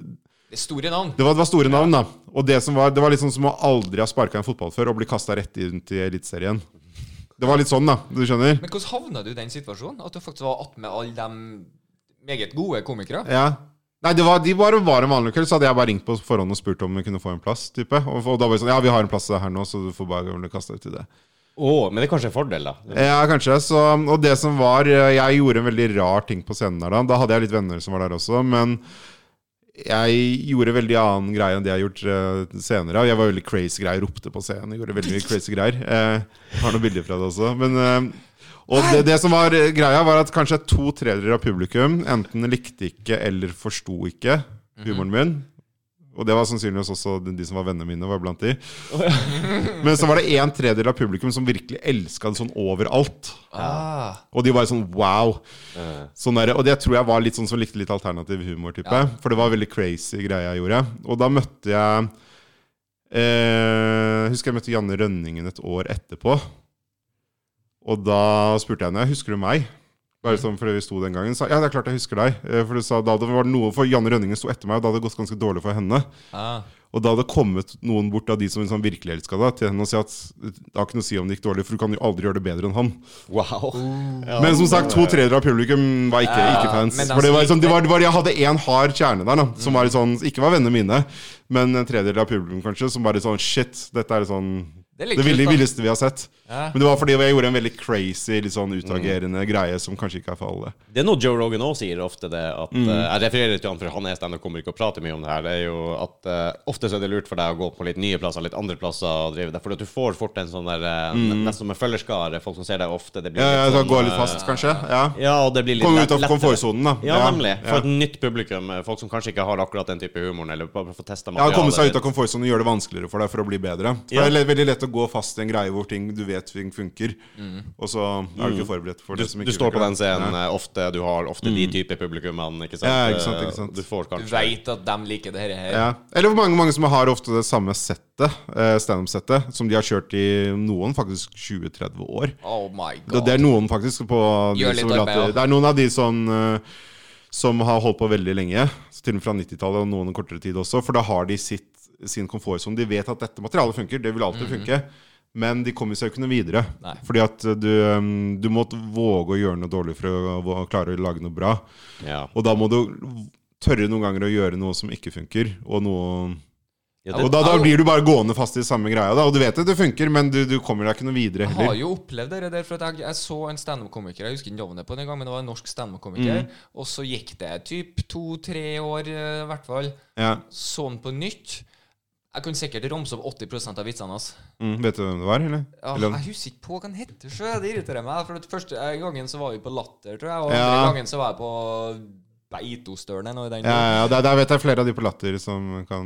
B: Det er store navn.
C: det, var, det var store navn, da. Og det, som var, det var litt sånn som å aldri ha sparka en fotball før og bli kasta rett inn til Eliteserien. Det var litt sånn, da. Du skjønner?
B: Men hvordan havna du i den situasjonen? At du faktisk var attmed alle de meget gode komikere.
C: Ja. Nei, det var, de bare var en vanlig kveld, så hadde jeg bare ringt på forhånd og spurt om vi kunne få en plass. type Og, og da var det sånn, ja, vi har en plass her nå, så du får bare kaste deg til det.
A: Å, men det er kanskje en fordel, da.
C: Ja, kanskje. Så, og det som var eh, Jeg gjorde en veldig rar ting på scenen der da. Da hadde jeg litt venner som var der også, men jeg gjorde veldig annen greie enn det jeg har gjort eh, senere. Og jeg var veldig crazy greier, ropte på scenen. Jeg gjorde veldig mye crazy greier. Eh, jeg har noen bilder fra det også. Men, eh, og det, det som var eh, greia, var at kanskje to tredjedeler av publikum enten likte ikke eller forsto ikke humoren min. Og det var sannsynligvis også de de som var vennene mine, var blant de. Men så var det en tredjedel av publikum som virkelig elska det sånn overalt.
B: Ah.
C: Og de var sånn wow. Sånn der, og det tror jeg var litt sånn som likte litt alternativ humor. type For det var veldig crazy greie jeg gjorde. Og da møtte jeg eh, Husker jeg møtte Janne Rønningen et år etterpå. Og da spurte jeg henne Husker du meg. Bare sånn fordi vi sto den gangen sa, Ja, det er klart jeg husker deg. Eh, For, du sa, da det var noe, for Janne Rønningen sto etter meg, og da hadde det gått ganske dårlig for henne.
B: Ah.
C: Og da hadde det kommet noen bort av de som liksom virkelig elska deg, til henne og si at det har ikke noe å si om det gikk dårlig, for du kan jo aldri gjøre det bedre enn han.
A: Wow. Ja,
C: Men som sagt, to tredjedeler av publikum var ikke,
B: Ja,
C: ikke fans.
B: men de
C: For det
B: som
C: var, liksom,
B: likte-
C: det var, det var, jeg hadde én hard kjerne der, da, som var litt sånn, ikke var vennene mine, men en tredjedel av publikum kanskje, som bare sånn Shit, dette er sånn
B: Det
C: det,
B: er litt kult,
C: ville,
B: da.
C: villeste vi har sett.
B: Ja.
C: Men det var fordi jeg gjorde en veldig crazy, litt sånn utagerende greie som kanskje ikke er for alle.
A: Det er noe Joe Rogan òg sier ofte, det at
C: Mm.
A: eh, Jeg refererer til han, for han er standup kommer ikke og prater mye om det her. Det er jo at eh, ofte så er det lurt for deg å gå på litt nye plasser, litt andre plasser og drive det. For at du får fort en sånn der eh, Nesten som en følgerskare. Folk som ser deg ofte. Det blir
C: Mm. Ja, ja,
A: litt
C: så
A: sånn,
C: gå litt
A: eh,
C: fast, kanskje. Ja.
A: Ja, og det blir litt
C: Komme
A: lett-
C: ut av
A: lettere.
C: komfortsonen, da.
A: Ja, nemlig.
C: Ja.
A: For et nytt publikum. eh, Folk som kanskje ikke har akkurat den type humoren, eller bare får testa
C: Ja, komme seg ut
A: ditt.
C: av komfortsonen og gjøre det vanskeligere for deg for å bli bedre. For
A: Ja.
C: Det er le- veldig lett å gå fast i en greie hvor ting du vet ting funker, og så er du ikke forberedt for det som
A: Mm. Du
C: ikke
A: står på den
C: funker.
A: scenen eh, ofte, du har ofte de type publikummene, ikke sant?
C: Mm. Ja, ikke sant,
A: Eh,
C: ikke sant.
A: Du får
B: Du
A: kanskje
B: veit at de liker det her.
C: Ja. Eller hvor mange, mange som har ofte det samme settet, eh, standup-settet, som de har kjørt i noen faktisk 20-30 år.
B: Oh my god.
C: Det, det er noen faktisk på de
B: Gjør litt
C: som vil at-
B: arbeid, ja.
C: Det er noen av de som, eh, som har holdt på veldig lenge, så til og med fra 90-tallet og noen kortere tid også, for da har de sitt, sin komfortsone. De vet at dette materialet funker, det vil alltid funke. Men de kommer seg jo ikke noe videre.
B: Mhm. Nei.
C: Fordi at du, eh, du må våge å gjøre noe dårlig for å vå- klare å lage noe bra.
A: Ja.
C: Og da må du tørre noen ganger å gjøre noe som ikke funker, og noe
A: Ja, det,
C: og da, da blir du bare gående fast i samme greia. Da. Og du vet at det funker, men du, du kommer deg ikke noe videre
B: Jeg har
C: heller.
B: jo opplevd det der, for at jeg, jeg så en standup-komiker, jeg husker ikke navnet på den gang, men det var en norsk
C: Mm.
B: standup-komiker, og så gikk det typ to-tre år, eh, i hvert fall,
C: Ja.
B: så han på nytt. Jeg kunne sikkert ramse opp 80 av vitsene hans.
C: Mm, vet du hvem det var, eller?
B: Ja,
C: eller
B: jeg husker ikke på hva han heter, så det irriterer meg. For at første eh, gangen så var vi på Latter, tror jeg, og
C: Ja.
B: andre gangen så var jeg på Beitostølen eller noe i den
C: ja,
B: duren.
C: ja, der, der vet jeg flere av de på Latter som kan,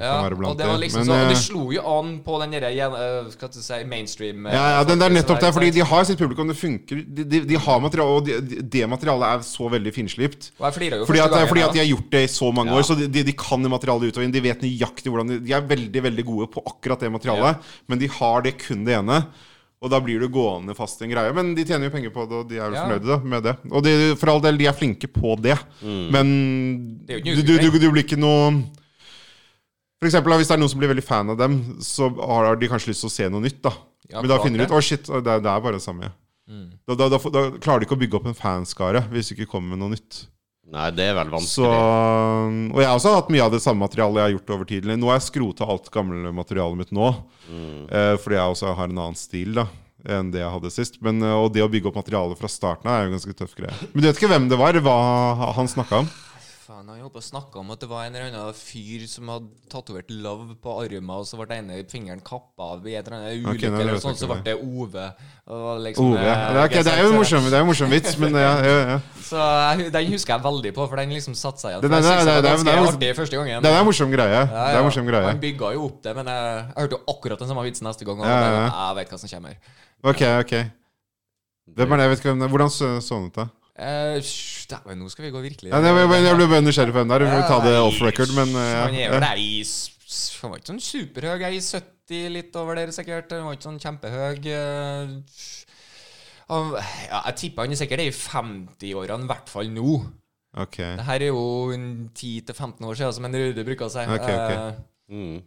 B: Ja,
C: kan være
B: og
C: blant
B: det var liksom
C: Men,
B: sånn, og det
C: eh,
B: slo jo an på den derre eh, Hva skal du si, mainstream eh,
C: ja, ja, den, det er
B: folket,
C: nettopp
B: så
C: der, fordi
B: ikke sant?
C: de har sitt publikum, det funker. De, de, de har materiale, og de- de, det materialet er så veldig finslipt.
B: Og jeg flirer jo
C: Fordi
B: første
C: at,
B: gangen,
C: fordi
B: ja.
C: at de har gjort det i så mange
B: Ja.
C: år, så de, de, de kan det materialet ut og inn. De vet nøyaktig hvordan de, de er veldig veldig gode på akkurat det materialet, men de har det kun det ene. Og da blir du gående fast i en greie. Men de tjener jo penger på det, og de er jo
B: Ja.
C: fornøyde da, med det. Og de, for all del, de er flinke på det, men
B: Mm. Det er jo
C: du,
B: ikke
C: du, du,
B: utvikling.
C: du blir ikke noe for eksempel, da, Hvis det er noen som blir veldig fan av dem, så har de kanskje lyst til å se noe nytt. da
B: Ja,
C: Men da
B: klart
C: finner du
B: det. Mm.
C: ut Å, shit, det, er- det er bare det samme. Da, da, da, får- da klarer du ikke å bygge opp en fanskare hvis du ikke kommer med noe nytt.
A: nei, det er vel
C: Så,
A: vanskelig.
C: og jeg har også hatt mye av det samme materialet jeg har gjort over tid. Nå har jeg skrota alt gamle materialet mitt nå,
B: Mm.
C: eh, fordi jeg også har en annen stil da enn det jeg hadde sist. Men, eh, og det å bygge opp materialet fra starten av er jo en ganske tøff greie. Men du vet ikke hvem det var, hva han snakka om?
B: Faen, han holdt på å snakke om at det var en eller annen fyr som hadde tatovert 'love' på armen, og så ble den ene fingeren kappa av i en eller annen ulykke,
C: Ok, nei, det
B: eller
C: vet jeg
B: sånn, så ble
C: ikke.
B: det Ove. Og liksom,
C: Ove. Oh, Det
B: eh,
C: er, ikke- det er jo en
B: så-
C: morsom, det er en morsom vits, men ja, ja, ja.
B: Så jeg- den husker jeg veldig på, for den liksom satte seg igjen.
C: Den-
B: For jeg
C: den-
B: synes
C: den-
B: det
C: den-
B: var
C: den-
B: ganske artig første gangen.
C: Det er en morsom greie.
B: Ja,
C: Det er
B: ja.
C: en morsom greie.
B: Han bygga jo opp det, men eh, jeg, jeg hørte jo akkurat den samme vitsen neste gang. Og
C: Ja, ja, ja.
B: jeg bare, Jeg vet hva som kommer.
C: Ok, ok. Hvem er det? Jeg vet ikke hvem det er. Hvordan så så han ut, da?
B: Eh, sj, Dæven, nå skal vi gå virkelig
C: Ja, det- jeg, jeg, jeg ble bare nysgjerrig på hvem det er. Vi får ta det off record, men eh,
B: Han er
C: ja.
B: vel der i s- s- Han var ikke sånn superhøy, jeg er i 70 litt over der sikkert. Han var ikke sånn kjempehøy. eh, Han, ja, jeg tipper han er sikkert er i 50-årene, i hvert fall nå.
C: Ok.
B: Det her er jo en 10-15 år siden, som en Rude bruker å si.
C: Ok, ok.
B: Eh,
A: Mm.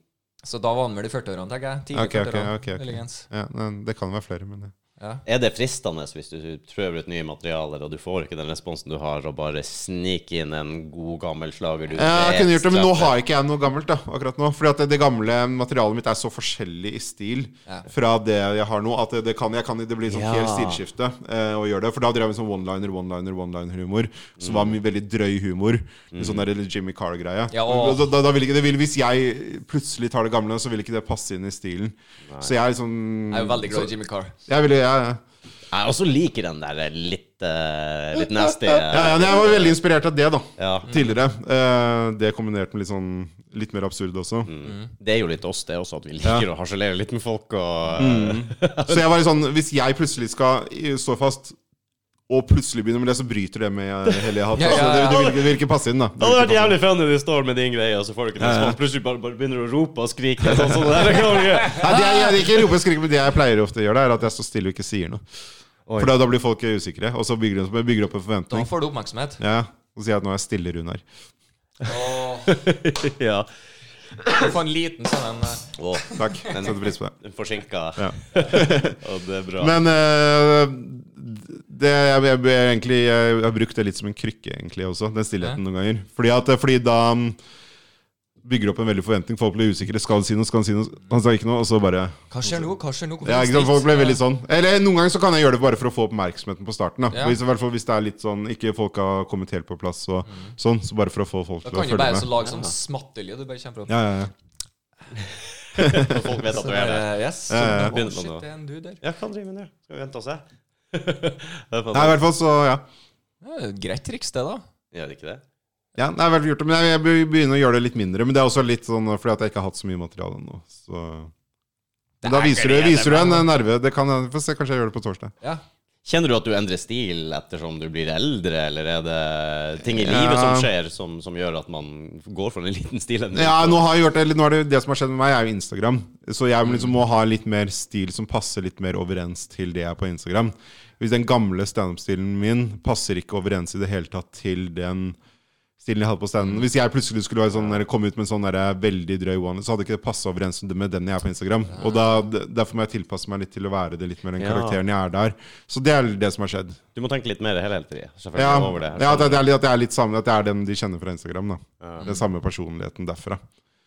B: Så da var han vel i 40-årene, tenker jeg. Tidlig
C: Ok, ok,
B: 40-årene,
C: ok, ok.
B: muligens.
C: Ja, nei, det kan være flere, men eh. ja.
B: Ja.
A: Er det fristende hvis du prøver ut nye materialer, og du får ikke den responsen du har, og bare snike inn en god, gammel slager du
C: Ja, jeg
A: vet
C: kunne gjort det, men nå
A: treffer?
C: har ikke jeg noe gammelt da, akkurat nå. Fordi at det, det gamle materialet mitt er så forskjellig i stil
B: Ja.
C: fra det jeg har nå, at det, det kan jeg kan det blir sånn
A: Ja.
C: helt stilskifte eh, å gjøre det. For da drev jeg med sånn one-liner, one-liner, one-liner-humor, som var mye veldig drøy humor. Med Sånn der Jimmy Carr-greie.
B: Mm. Ja, og-
C: da, da, da vil ikke det vil, Hvis jeg plutselig tar det gamle, så vil ikke det passe inn i stilen. Så jeg er liksom
B: Jeg er jo veldig glad i Jimmy Carr.
C: Jeg ville jeg,
A: Jeg også liker den der litt, eh, litt nasty eh,
C: ja, ja, men jeg var veldig inspirert av det, da.
A: ja.
C: Tidligere. Eh, det kombinert med litt sånn litt mer absurd også.
B: Mm.
A: Det er jo litt oss, det også, at vi liker å harselere litt med folk. Og,
C: Mm. Så jeg var litt sånn, hvis jeg plutselig skal i- stå fast og plutselig begynne med det, så bryter det med hele jeg har hatt.
B: Ja, ja,
C: Altså, det,
B: ja.
C: det, vil, ikke- det vil ikke passe inn, da.
A: Det
C: Det
A: hadde vært
C: vil ikke passe inn.
A: jævlig funny når du står med din greie, og så får du ikke noen respons. Plutselig bare, bare begynner du å rope og skrike. Sånn, som det der.
C: Nei, det jeg, jeg, ikke rope og skrike, men det jeg pleier ofte å gjøre, det er at jeg står stille og ikke sier noe. For da, da blir folk usikre, og så bygger de bygger de opp en
B: Da
C: forventning.
B: får du oppmerksomhet.
C: Ja, og sier jeg at nå er jeg stille, Runar.
B: Åh,
A: [LAUGHS] Ja.
B: du får en liten sånn en eh,
A: Å,
C: Takk. Setter pris på det.
A: den forsinka. [LAUGHS]
C: Ja.
A: og det er bra.
C: Men eh, det, jeg, jeg, jeg, egentlig, jeg, jeg har brukt det litt som en krykke, egentlig, også. Den stillheten noen ganger. Fordi, at, fordi da mm, bygger opp en veldig forventning. Folk blir usikre. Skal han si noe? Skal han si noe? Han sa ikke noe, og så bare
B: Hva skjer nå? Hva skjer nå? Hvorfor
C: ja,
B: er det
C: ikke sant? Folk
B: stilt?
C: blir veldig sånn. Eller noen ganger så kan jeg gjøre det bare for å få oppmerksomheten på starten. Da.
B: Ja.
C: Hvis, I hvert fall hvis det er litt sånn ikke folk har kommet helt på plass og sånn. Så bare for å få folk
B: Mm. Da
C: til å
B: kan du
C: følge
B: bare så
C: med.
B: lage sånn smattelyd. Du bare kommer fram.
C: Ja, ja, ja.
A: Så folk vet at du er der.
B: Eh, Yes.
C: Ja, ja, ja.
B: Å, shit, det er en dude der.
A: Ja, hva driver vi med nå? Skal vi vente og se? det er
C: Nei, i
A: fantastisk.
C: hvert fall så, ja.
B: Ja, det er et greit triks, det, da.
A: Gjør det ikke det?
C: Ja, nei, jeg har gjort det, men jeg, jeg be- begynner å gjøre det litt mindre. Men det er også litt sånn fordi at jeg ikke har hatt så mye materiale ennå. Så Men da viser du, viser du en eh, nerve. Det kan jeg, Få se, kanskje jeg gjør det på torsdag.
B: Ja.
A: Kjenner du at du endrer stil ettersom du blir eldre, eller er det ting i
C: Ja.
A: livet som skjer som, som gjør at man går for en liten stilendring?
C: Ja, nå har jeg gjort det, eller nå er det, det som har skjedd med meg, er jo Instagram. Så jeg må liksom må ha litt mer stil som passer litt mer overens til det jeg er på Instagram. Hvis den gamle standup-stilen min passer ikke overens i det hele tatt til den stilen jeg hadde på standen. Hvis jeg plutselig skulle være sånn, eller komme ut med en sånn der veldig drøy one, så hadde ikke det passa overens med den jeg er på Instagram. Og da, Derfor må jeg tilpasse meg litt til å være det litt mer den
A: Ja.
C: karakteren jeg er der. Så det er det som har skjedd.
A: Du må tenke litt mer helhetlig selvfølgelig
C: Ja,
A: over det. her.
C: ja at, det er, litt- at det er litt samme, at det er den de kjenner fra Instagram. da Den samme personligheten derfra.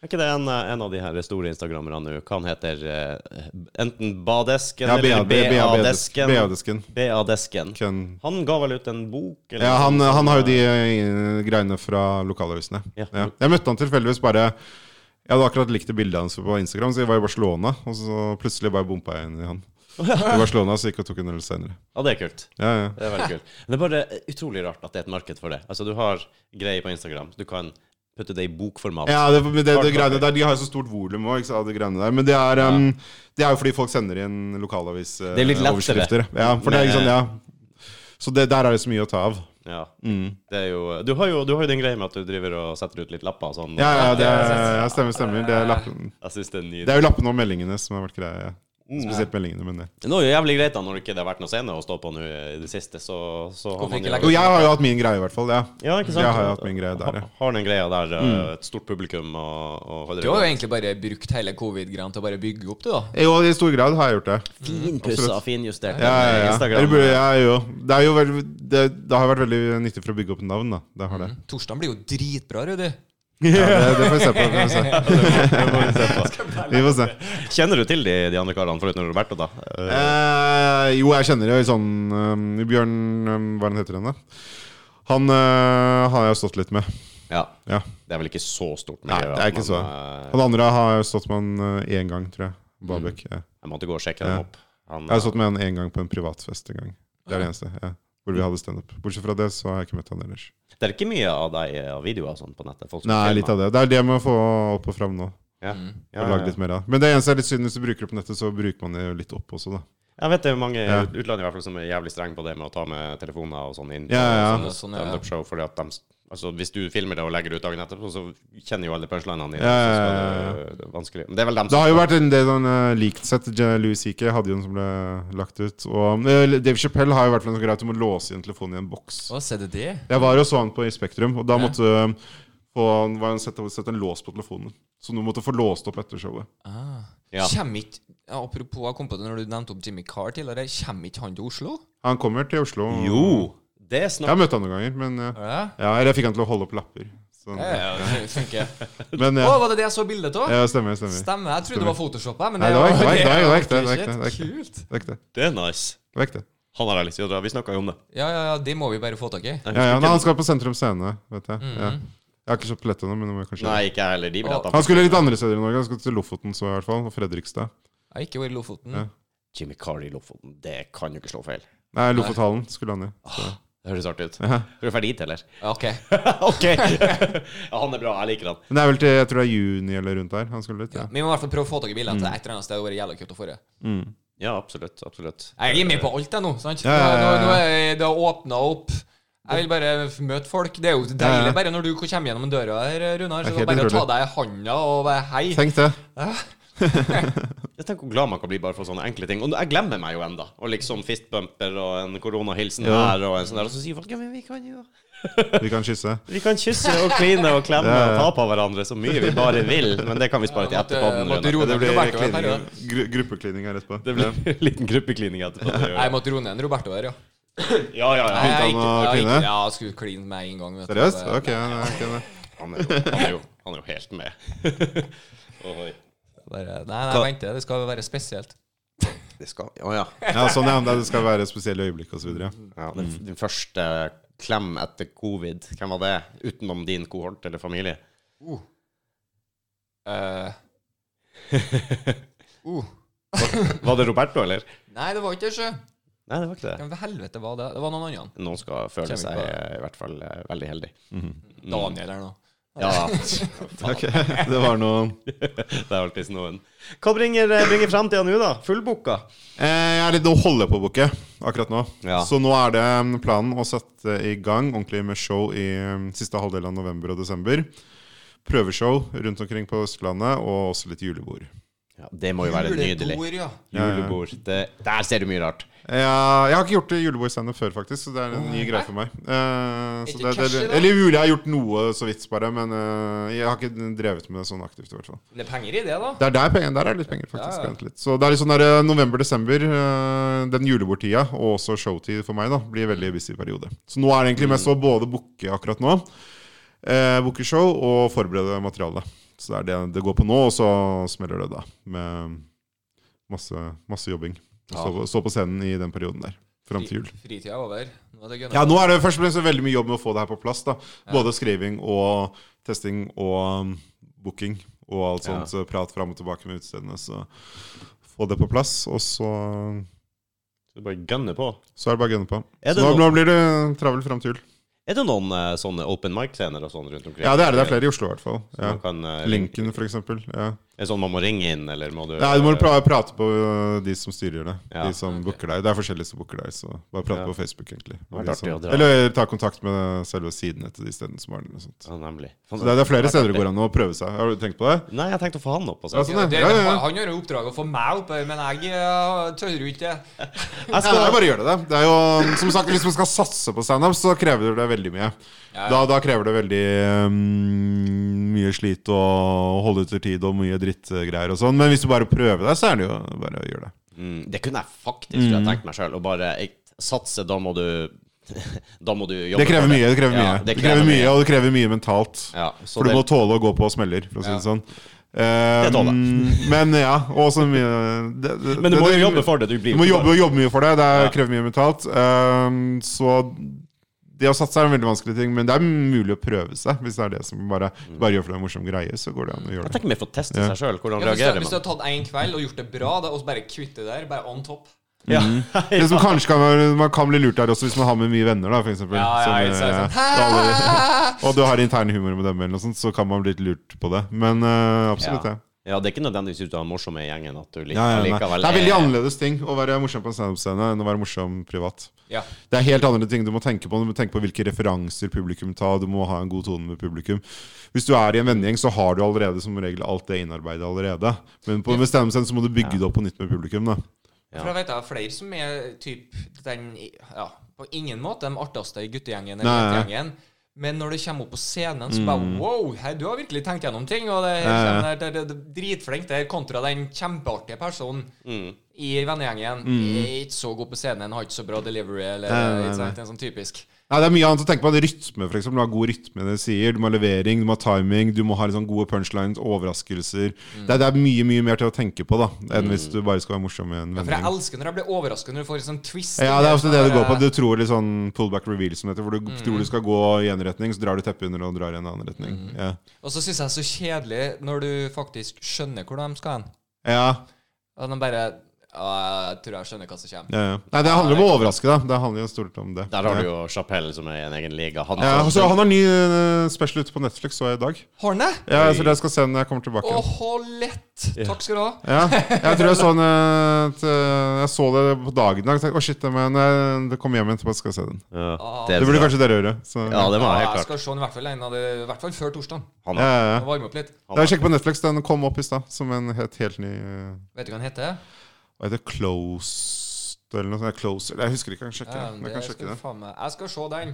A: Er ikke det en, eh, en av de her store instagrammerne nå? Hva han heter eh, enten Badesken
C: Ja,
A: eller
C: BA-desken.
A: BA-desken?
C: BA-desken.
A: BA-desken.
C: Ken-
A: Han ga vel ut en bok? eller
C: Ja,
A: noe
C: han,
A: sånt?
C: han har jo de eh, greiene fra lokalavisene.
A: Ja.
C: Ja. Jeg møtte han tilfeldigvis bare Jeg hadde akkurat likt det bildet hans på Instagram, så jeg var i Barcelona. Og så plutselig bare bompa jeg inn i han. I Barcelona så gikk jeg og tok en øl senere.
A: Ja, det er kult.
C: Ja, ja.
A: Det er veldig kult. Men det er bare utrolig rart at det er et marked for det. Altså, du har greier på Instagram. Du kan putte det i bokformat.
C: Ja, det, men det, det greiene der, De har jo så stort volum òg, de greiene der. Men det er, em, det er jo fordi folk sender
A: Det er
C: inn
A: litt lettere.
C: lokalavisoverskrifter. ja, for det er ikke sånn, ja. Så det, der er det så mye å ta av.
A: Ja.
C: Mm.
A: Det er jo, du, har jo, du har jo den greia med at du driver og setter ut litt lapper og sånn.
C: Ja, ja, det er, ja stemmer, stemmer. Det er, lappen.
A: Jeg synes det er
C: det
A: nydelig.
C: er jo lappene og meldingene som har vært greia. Mm, Ja. Spesielt meldingene mine.
A: Nå er det jo jævlig greit da, når det ikke har vært noe scene å stå på nå i det siste, så, så har
B: Hvorfor
A: man
B: ikke
A: jo
B: legge
C: Jo, jeg har jo hatt min greie, i hvert fall. Ja.
A: Ja, ikke sant?
C: Jeg har jo hatt min greie der, ja. Mm.
A: Ha- Har den greia der, eh, et stort publikum og, og holder
B: Du har jo egentlig bare brukt hele covid-greia til å bare bygge opp det, da.
C: Jo, i stor grad har jeg gjort det.
A: finpussa, finjustert
C: Ja, ja, ja.
A: Instagram.
C: Eller burde jeg jo. Det, er jo veldig, det, det har vært veldig nyttig for å bygge opp navn, da. Det har det.
B: Torsdagen blir jo dritbra, Rudi.
C: Ja, det, det får vi se på. Det får vi [LAUGHS] se. [LAUGHS] Vi får se.
A: Kjenner du til de, de andre karene foruten Roberto, da? Eh,
C: Eh, jo, jeg kjenner jo sånn eh, Bjørn eh, Hva er han heter han, da? Han eh, har jeg jo stått litt med.
A: ja.
C: Ja.
A: Det er vel ikke så stort
C: Nei, det er ikke så.
A: eh,
C: Han andre har jeg stått med han eh, én gang, tror jeg. Babek. Ja.
A: jeg måtte gå og sjekke dem
C: Ja.
A: opp. Han,
C: Jeg har stått med han én gang på en privatfest en gang. Det er det eneste. Ja. Hvor vi hadde standup. Bortsett fra det, så har jeg ikke møtt han ellers.
A: eh, det er ikke mye av deg eh, av videoer og sånn på nettet? Folk som
C: Nei,
A: filmer.
C: litt av det. Det er det jeg må få opp og fram nå.
A: Ja.
C: Og
A: Ja, ja,
C: lage
A: ja.
C: litt mer av. Men det eneste er litt synd hvis du bruker opp nettet, så bruker man det jo litt opp også, da.
A: Jeg vet det er mange i
C: Ja.
A: utlandet i hvert fall som er jævlig strenge på det med å ta med telefoner og sånn inn. på
C: Ja, ja.
A: sånne
B: Sånn, ja.
A: stand-up-show, fordi at de, altså, hvis du filmer det og legger det ut dagen etterpå, så kjenner jo alle punchlinene dine.
C: Ja, ja,
A: så
C: ja,
A: skal det- Det er vanskelig. Men det er vel dem
C: Det
A: som
C: har jo vært en del sånn eh, leaked sett. Je- Louis CK hadde jo en som ble lagt ut. Og eh, Dave Chappelle har jo vært noe greit om å låse inn telefonen i en boks.
B: Å, se det det?
C: Jeg var og så han på i Spektrum, og da måtte eh, på var en, sette, sette en lås på telefonen. Så du måtte få låst opp etter showet.
B: Ah.
A: Ja.
B: Kjem ikke ja, Apropos, jeg kom på det når du nevnte opp Jimmy Carr tidligere. Kommer ikke han til Oslo?
C: Han kommer til Oslo.
A: Jo, det
C: Jeg har
A: snakker
C: møtt han noen ganger, men eh, ja.
B: Ja.
C: ja, Eller jeg fikk han til å holde opp lapper. Så,
B: Ja, ja, det funker.
C: men
B: Å,
C: [LAUGHS] ja,
B: var det det jeg så bildet av?
C: ja, stemmer, stemmer.
B: Stemmer. Jeg trodde det var Photoshop. jeg, Men
C: Nei,
B: det
C: det var
B: var-
C: ikke- det var ikke- det var
B: det
C: ikke- det
B: var
C: var ikke- det var ikke-
B: Kult.
C: Det er ikke det.
A: Det er nice.
C: Det er ikke det.
A: Han har jeg lyst til å dra. Vi snakka jo om det.
B: Ja, ja, ja, det må vi bare få tak i.
A: Jeg
C: Ja, ja,
A: husker
C: nei,
A: ikke-
C: han skal på Sentrum Scene, vet jeg. Ja. Jeg har ikke kjøpt billett ennå, men det må jeg kanskje
A: Nei, ikke jeg heller. De
B: Å.
C: Han
A: billettene.
C: skulle litt andre steder i Norge. Han skulle til Lofoten så i hvert fall, og Fredrikstad.
B: Jeg har ikke vært i Lofoten.
C: Ja.
A: Jimmy Carl i Lofoten, det kan jo ikke slå feil. Ah,
C: Nei, Lofothallen skulle han i.
A: Det høres artig ut. Tror du er ferdig hit,
C: [LAUGHS]
A: eller? [LAUGHS]
B: Ok.
A: OK! [LAUGHS] ja, han er bra. Jeg liker han.
C: Men det er vel til jeg tror det er juni eller rundt der han skulle dit.
B: Ja.
C: Ja.
B: Vi må i hvert fall prøve å få tak i bildene
C: Mm.
B: til et eller annet sted. Det hadde vært jævla kult å få det.
A: Ja, absolutt. Absolutt.
B: Jeg er med på alt, jeg nå. sant?
C: Ja, ja, ja, ja.
B: Nå, nå er det åpna opp. Jeg vil bare f- møte folk. Det er jo
C: Ja, ja.
B: deilig bare når du kommer gjennom døra her, Runar. Så
C: Ok,
B: det er bare
C: det
B: å ta
C: tror
B: deg i handa og være hei.
C: Tenk det.
A: Jeg tenker hvor glad man kan bli bare for sånne enkle ting. Og jeg glemmer meg jo enda Og liksom fistbumper og en koronahilsen
C: Ja.
A: her og en sånn der. Og så sier folk ja, men vi kan jo
C: Vi kan kysse.
A: Vi kan kysse og kline og klemme
C: Ja, ja.
A: og ta på hverandre så mye vi bare vil. Men det kan vi spare til
B: måtte-
A: etterpå. den
B: måtte
A: runden.
B: roe
C: Det
B: ned
C: blir
B: Roberto en
C: klining,
B: periode.
C: gru, gruppeklining her etterpå.
A: Det blir en liten gruppeklining etterpå. det gjør
B: Jeg
A: jeg.
B: måtte roe ned en Roberto her, ja.
A: Ja, ja, ja.
B: Jeg- jeg-
C: han å
B: jeg-
C: kline?
B: Ja, jeg skulle kline med en gang. vet du.
C: Seriøst? Ok, ja, nei, ok, nei.
A: Han er jo, han er jo, han er jo helt med. [LAUGHS] Oi. Hva-
B: Bare, nei, nei, vent, det Det skal være spesielt.
A: Det skal Å ja.
C: ja, sånn ja. Det skal være spesielle øyeblikk og så videre. Ja.
A: ja den, f- din første klem etter covid, hvem var det? Utenom din kohort eller familie?
B: Eh, uh.
A: Var det Roberto, eller?
B: Nei, det var ikke det, sjø.
A: Nei, det var ikke det.
B: Hvem for helvete var det? Det var noen andre.
A: Noen skal føle
B: Kjenner
A: seg
B: ikke på Mhm.
A: eh, i hvert fall eh, veldig heldig. Mm.
B: Daniel eller noe.
A: Ja,
C: Ok, [LAUGHS] det var noen
A: det er alltid noen. Hva bringer, eh, bringer fremtiden nå, da? Fullboka?
C: Eh, Jeg er litt å holde på boke akkurat nå.
A: Ja.
C: Så nå er det mm, planen å sette i gang ordentlig med show i mm, siste halvdel av november og desember. Prøveshow rundt omkring på Østlandet, og også litt julebord.
A: Ja, det må jo være nydelig.
B: Julebord, ja.
A: Julebord. Det, der ser du mye rart.
C: Ja, Eh, jeg har ikke gjort det julebordstandup før, faktisk, så det er en ny greie for meg. Eh, så
B: Ikke
C: det,
B: cash
C: det,
B: i dag?
C: eller jule, jeg har gjort noe så vidt, bare, men eh, jeg har ikke drevet med det sånn aktivt. i hvert fall
B: Det er penger i det, da.
C: Det er der, penger, der er det litt penger, faktisk.
B: Ja, ja.
C: vent Litt. Så det er litt sånn der, eh, november-desember, eh, den julebordtida, og også showtid for meg, da, blir veldig busy periode. Så nå er det egentlig
B: Mm.
C: mest å både booke akkurat nå, eh, booke show og forberede materialet. Så det er det det går på nå, og så smeller det da, med masse, masse jobbing.
B: Ja.
C: Stå, på, stå på scenen i den perioden der, fram til jul.
B: Fri- Fritida er over. Nå er det gønna.
C: Ja, nå er det først og fremst veldig mye jobb med å få det her på plass. da
B: Ja.
C: Både skriving og testing og um, booking og alt
A: Ja.
C: sånt. Så prat fram og tilbake med utestedene. Så få det på plass, og så,
A: Du bare gønner på.
C: så er det bare å gunne på.
A: Er
C: Så
A: det
C: nå,
A: noe-
C: nå blir det travel fram til jul.
A: Er det noen eh, sånne open mic-scener og sånn rundt omkring?
C: Ja, det er det. Det er flere i Oslo, i hvert fall.
A: Så
C: Ja.
A: man kan, eh, ring-
C: Linken, for eksempel. Ja.
A: Er det sånn man må ringe inn, eller må du eh,
C: Nei, du må pra prate på uh, de som styrer det.
A: Ja.
C: De som
B: Ok.
C: booker deg. Det er forskjellige som booker deg, så bare
A: Ja.
C: prate på Facebook, egentlig.
A: Det hadde vært
C: De som,
A: artig å dra.
C: eller øh, ta kontakt med selve sidene til de stedene som har den. og sånt.
A: Ja, nemlig.
C: Så det, er- det er flere steder det går an å prøve seg. Har du tenkt på det?
A: Nei, jeg tenkte å få han opp. Altså.
C: Ja, sånn, ja.
B: det,
C: Ja, ja, ja.
B: Han gjør jo oppdraget å få meg opp her, men jeg eh, tør jo ikke det.
A: Jeg
C: Ja, det er
A: skal...
C: bare å gjøre det. Det er jo, um, som sagt, Hvis man skal satse på standup, så krever det veldig mye.
B: Ja, ja.
C: Da, da krever det veldig mm, mye slit og holde ut til tid og mye drittgreier og sånn. Men hvis du bare prøver deg, så er det jo bare å gjøre det.
A: Mm, det kunne jeg faktisk mm. tenkt meg sjøl. Å bare jeg, satse, da må du [LAUGHS] Da må du jobbe
C: Det krever
A: for
C: mye. Det krever
A: Ja,
C: mye, det krever mye Og det krever mye mentalt.
A: Ja, så
C: For du
A: det,
C: må tåle å gå på smeller, for å si det sånn. Eh,
A: Det tåler
C: men ja, og også mye det, det,
A: Men du må
C: det-
A: jo jobbe for det. Du blir
C: Du må
A: ikke
C: jobbe,
A: bare-
C: jobbe mye for det. Det er,
A: Ja.
C: krever mye mentalt. Ehm, så det å satse er en veldig vanskelig ting, men det er mulig å prøve seg. Hvis det er det som bare, bare gjør for deg en morsom greie, så går det an å gjøre
A: Jeg
C: det.
A: tenker mer for å teste
C: Ja.
A: seg sjøl. Hvordan
B: Ja, hvis, du,
A: reagerer
B: hvis du
A: man?
B: har tatt en kveld og gjort det bra, da, og så bare kvitte det der, bare on top
A: Ja.
C: Det som kanskje kan være Man kan bli lurt der også hvis man har med mye venner, da, for eksempel.
B: Ja, ja,
C: Som,
B: jeg ser
C: eh,
B: sånn.
C: da alle- og du har intern humor med dem, eller noe sånt, så kan man bli litt lurt på det. Men eh, absolutt,
A: Ja.
C: det.
A: ja, det er ikke nødvendigvis ut av den morsomme gjengen at du liker Eh,
C: Ja, ja, nei.
A: likevel
C: det er veldig annerledes ting å være morsom på en standup-scene enn å være morsom privat.
B: Ja.
C: Det er helt andre ting du må tenke på. Du må tenke på hvilke referanser publikum tar. Du må ha en god tone med publikum. Hvis du er i en vennegjeng, så har du allerede som regel alt det innarbeidet allerede. Men på med standup-scene så må du bygge det opp på nytt med publikum. da
A: Ja.
B: For jeg vet det er flere som er typ den i- Ja, på ingen måte den artigste i guttegjengen eller
C: Nei, Mm. nei.
B: jentegjengen. Men når det kommer opp på scenen, så bare Wow, her, du har virkelig tenkt gjennom ting. Og det,
C: Ja,
B: det, det, det, det dritflink der, kontra den kjempeartige personen
A: Mm.
B: i vennegjengen. Er ikke så god på scenen, har ikke så bra delivery, eller
C: Mm. Nei, nei,
B: ikke sant,
C: nei.
B: en sånn typisk.
C: Nei, det er mye annet å tenke på. Det er Rytme, for eksempel. Du må ha god rytme, det sier. Du må ha levering, du må ha timing, du må ha litt sånn gode punchlines, overraskelser. Det, er, det er mye mye mer til å tenke på da enn hvis du bare skal være morsom med en
B: For jeg
C: vending.
B: elsker når jeg blir overrasket når du får en sånn twist.
C: Ja, det er ofte det du går på.
B: Bare-
C: Du tror litt sånn pullback reveal, som det heter. Hvor du tror du skal gå i en retning, så drar du teppet under og drar i en annen retning. Ja.
B: Og så syns jeg det er så kjedelig når du faktisk skjønner hvor de skal hen.
C: Ja,
B: Og de bare ja, jeg tror jeg skjønner hva som kommer.
C: ja, ja. Nei, det handler om å overraske, da. Det handler jo stort om det.
A: Der har
C: ja.
A: du jo Chapelle, som er i en egen liga. Han,
C: ja, altså, Han har ny eh, special ute på Netflix, så jeg i dag.
B: Har han det?
C: Ja, så det jeg skal se når jeg kommer tilbake.
B: Åh, lett! Takk skal du ha.
C: Ja, jeg tror jeg så den eh, t- Jeg så det på dagen i dag. tenkte, Å, shit, men jeg- det kom hjem etterpå, så skal jeg se den.
A: ja,
C: Det burde kanskje dere gjøre. Så.
A: Ja, det må Ah, jeg
B: Ja,
A: helt
B: jeg
A: klart.
B: skal se den i hvert fall, en av de, i hvert fall før torsdag.
A: Han
C: Ja,
A: er.
C: ja, ja.
B: Varme opp litt.
C: Jeg har sjekket på Netflix, den kom opp i stad som en helt, helt ny eh,
B: Vet du hva den heter?
C: Hva heter det? Closed eller noe sånt? ja, Closed. Jeg husker ikke, jeg kan sjekke
B: Ja,
C: det. Jeg kan sjekke
B: skal
C: det.
B: faen meg- jeg skal se den.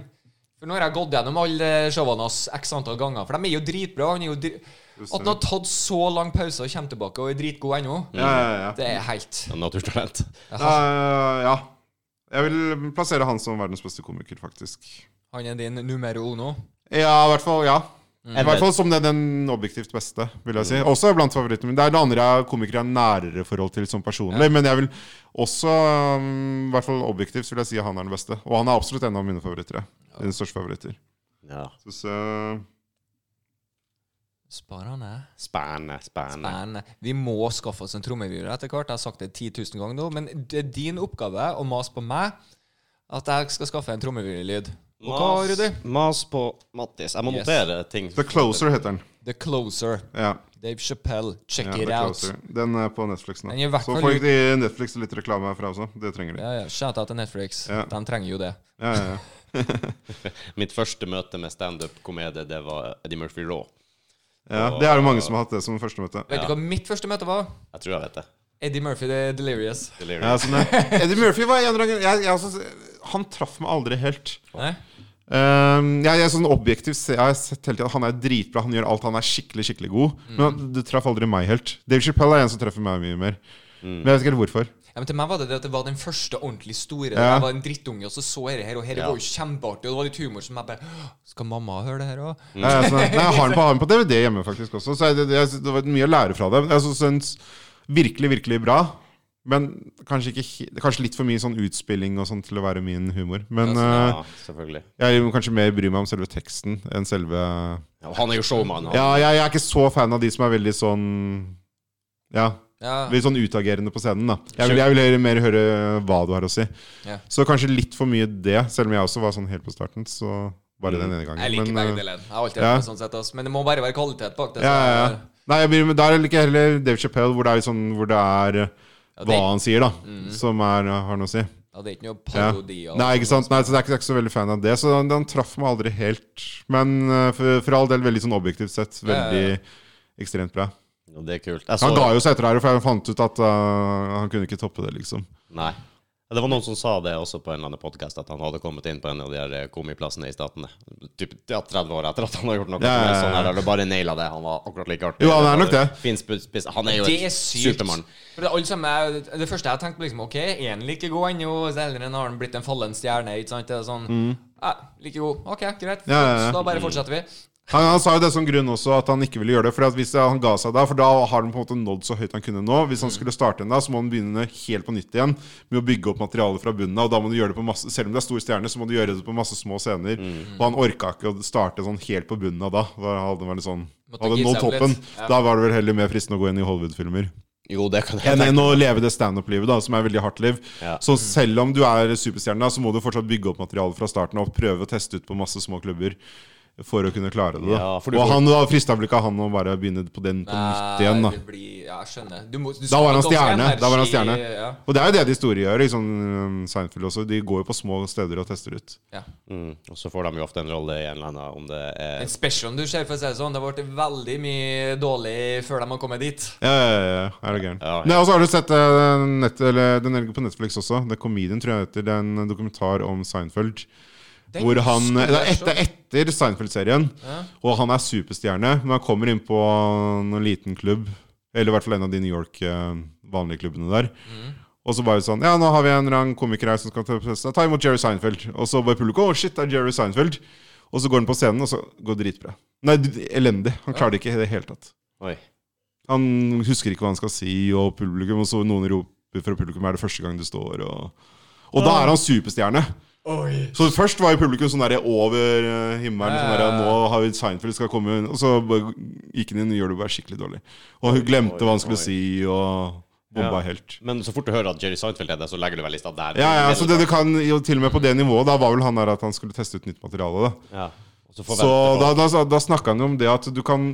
B: For nå har jeg gått gjennom alle showene hans x antall ganger. For de er jo dritbra. Han er jo dri At han har tatt så lang pause og kommer tilbake og er dritgod ennå,
C: Ja, ja, ja.
B: det er helt
A: En naturtalent.
C: Eh, ja. Jeg vil plassere han som verdens beste komiker, faktisk.
B: Han er din numero uno.
C: Ja, i hvert fall. Ja. I
A: Eller-
C: hvert fall som den, den objektivt beste, vil jeg si. Også blant favorittene mine. Det er det andre jeg komikere har nærere forhold til som personlig. Men jeg vil også, um, i hvert fall objektivt, så vil jeg si at han er den beste. Og han er absolutt en av mine favoritter. Ja. Mine største favoritter.
A: Ja.
C: Så, så-
B: Spar han ned.
A: Spennende, spennende.
B: Men vi må skaffe oss en trommevirvel etter hvert. Jeg har sagt det 10 000 ganger nå, men det er din oppgave å mase på meg at jeg skal skaffe en trommevirvellyd. Og hva, Rudi?
A: mas på Mattis. Jeg må
B: Yes.
A: notere ting.
C: The Closer heter den.
B: The Closer.
C: Ja,
B: Dave Chappelle. Check
C: ja
B: it
C: The
B: out.
C: Closer. Den er på Netflix nå.
B: Den er i hvert
C: Så
B: fall
C: får
B: ut-
C: de Netflix litt reklame herfra også. Det trenger de.
B: Ja, ja. Shout out til Netflix.
C: Ja.
B: De trenger jo det.
C: Ja, ja, ja.
A: Mitt første møte med standup-komedie, det var Eddie Murphy Raw.
C: ja det er det mange som har hatt det som første møte.
B: Vet du hva mitt første møte var?
A: Jeg tror jeg vet det.
B: Eddie Murphy The Delirious.
A: Delirious.
C: Ja, sånn er.
B: [LAUGHS]
C: Eddie Murphy var en eller annen gang jeg, jeg, altså, Han traff meg aldri helt.
B: Nei?
C: Um, jeg, jeg, er sånn objektivt se- jeg har sett hele tiden, at Han er dritbra, han gjør alt. Han er skikkelig skikkelig god.
A: Mm.
C: Men han- det traff aldri meg helt. Dave Chappelle er en som treffer meg mye mer.
A: Mm.
C: Men jeg vet ikke helt hvorfor.
B: Ja, men til meg var det det at det var den første ordentlig store.
C: Ja.
B: Jeg var en drittunge, og så så jeg det her, og her
A: Ja.
B: var jo kjempeartig, og det var litt humor som jeg bare «Åh, Skal mamma høre det her òg?
A: Mm.
C: Nei, jeg, er sånn, nei, jeg har den på, har den på DVD hjemme faktisk også, så jeg, det, jeg, det var mye å lære fra det. Men Jeg så- syns virkelig, virkelig bra. Men kanskje, ikke, he- kanskje litt for mye sånn utspilling og sånn til å være min humor. Men
A: Ja, selvfølgelig.
C: eh, jeg må kanskje mer bry meg om selve teksten enn selve
A: Ja, han er jo showman. Han.
C: Ja, jeg, jeg er ikke så fan av de som er veldig sånn Ja,
B: Ja.
C: litt sånn utagerende på scenen. da Jeg vil, jeg vil heller mer høre eh, hva du har å si.
B: Ja.
C: Så kanskje litt for mye det, selv om jeg også var sånn helt på starten. Så bare den ene gangen.
B: Mm. Jeg liker
C: men,
B: begge
C: eh,
B: deler. Jeg har alltid
C: ja.
B: vært med sånn sett, ass. Men det må bare være kvalitet bak det.
C: Ja, ja, ja.
B: så-
C: Nei, jeg blir, men der liker jeg heller Dave Chappelle, hvor det er, litt sånn, hvor det er eh,
B: det-
C: hva han sier, da. Som er, eh, har noe å si.
B: Ja, det er ikke noe
C: Ja.
B: parodi. og-
C: Nei, ikke sant? Nei, så jeg er ikke, jeg er ikke så veldig fan av det. Så han, han traff meg aldri helt. Men eh, for, for all del, veldig sånn objektivt sett,
B: ja,
C: veldig ekstremt bra.
A: Ja, det er kult. Jeg så,
C: Han ga jo seg etter det her, for jeg fant ut at øh, han kunne ikke toppe det, liksom.
A: Nei. Det var noen som sa det også på en eller annen podkast, at han hadde kommet inn på en av de her eh, komiplassene i Statene. Typ ja, 30 år etter at han har gjort noe
C: Ja, ja, ja.
A: sånn her, eller bare naila det. Han var akkurat like artig.
C: Jo, han er nok det.
A: Fin sp- spiss. Han er jo
B: Det er
A: en
B: sykt.
A: supermann.
B: For det, er alle sammen er, det første jeg tenkte på, liksom OK, er han like god ennå? Så Eller har han blitt en fallen stjerne? Ikke sant? Det er sånn ja, Like god. OK, greit.
C: Mm. Ja, ja, ja.
B: Så
C: Mm.
B: da bare fortsetter vi.
C: Han, han sa jo det som grunn også, at han ikke ville gjøre det. For at hvis han ga seg da, for da har han på en måte nådd så høyt han kunne nå.
B: Mm.
C: Hvis han skulle starte en da, så må han begynne helt på nytt igjen med å bygge opp materialet fra bunnen av. Og da må du gjøre det på masse, selv om det er stor stjerne, så må du gjøre det på masse små scener.
B: Mm.
C: Og han orka ikke å starte sånn helt på bunnen av da. Da hadde han vært sånn
B: Måtte
C: Hadde
B: gi
C: nådd
B: seg opp
C: toppen.
B: litt. Ja.
C: Da var det vel heller mer fristende å gå inn i Hollywood-filmer.
A: Jo, det kan jeg
C: enn
A: tenke.
C: enn å leve det standup-livet, da, som er veldig hardt liv.
A: Ja.
C: Så selv om du er superstjerne, da, så må du fortsatt bygge opp materialet fra starten av og prøve å teste ut på masse små klubber for å kunne klare det. Da.
A: Ja, for du får-
C: og han da frista vel ikke han å bare begynne på den på nytt igjen, da.
B: Nei, det blir, ja, jeg skjønner. Du må, du
C: Da
B: skal
C: var han
B: ganske
C: stjerne. Da var han
B: energi-
C: stjerne.
B: Ja.
C: Og det er jo det de store gjør. Liksom um, Seinfeld også. De går jo på små steder og tester ut.
B: ja.
A: Mm. Og så får de jo ofte en rolle i en eller annen, om det
B: Den
A: er
B: specialen du ser, for å si det sånn, det har vært veldig mye dårlig før de har kommet dit.
C: Ja, ja, ja, ja. Er det gæren.
A: Ja, ja.
C: Nei, Og så har du sett eh, nett, eller, den ligger på Netflix også. The Comedian, tror jeg det heter. Det er en dokumentar om Seinfeld.
B: Den
C: Hvor han
B: skulle
C: Det er
B: jeg
C: etter,
B: se.
C: etter etter Seinfeld-serien, og han er superstjerne, men han kommer inn på en liten klubb, eller i hvert fall en av de New York eh, vanlige klubbene der.
B: Mm.
C: Og så bare sånn Ja, nå har vi en eller annen komiker her som skal ta presse. Ta imot Jerry Seinfeld. Og så bare publikum Å, shit, det er Jerry Seinfeld. Og så går han på scenen, og så går det dritbra. Nei, d- elendig. Han klarer det ikke i det hele tatt.
A: Oi.
C: Han husker ikke hva han skal si, og publikum, og så noen roper fra publikum er det første gang du står, og Og da er han superstjerne. Så først var jo publikum sånn der over eh, himmelen. Sånn der, nå har vi Seinfeld skal komme inn. Og så bare gikk han inn og gjør det bare skikkelig dårlig. Og hun glemte hva han skulle si, og bomba
A: Ja.
C: helt.
A: Men så fort du hører at Jerry Seinfeld er det, så legger du vel lista der.
C: Ja, ja, så det du kan jo til og med på det nivået Da var vel han der at han skulle teste ut nytt materiale. da
A: Ja. Og så
C: Så
A: forventer
C: da,
A: folk
C: da, da snakka han jo om det at du kan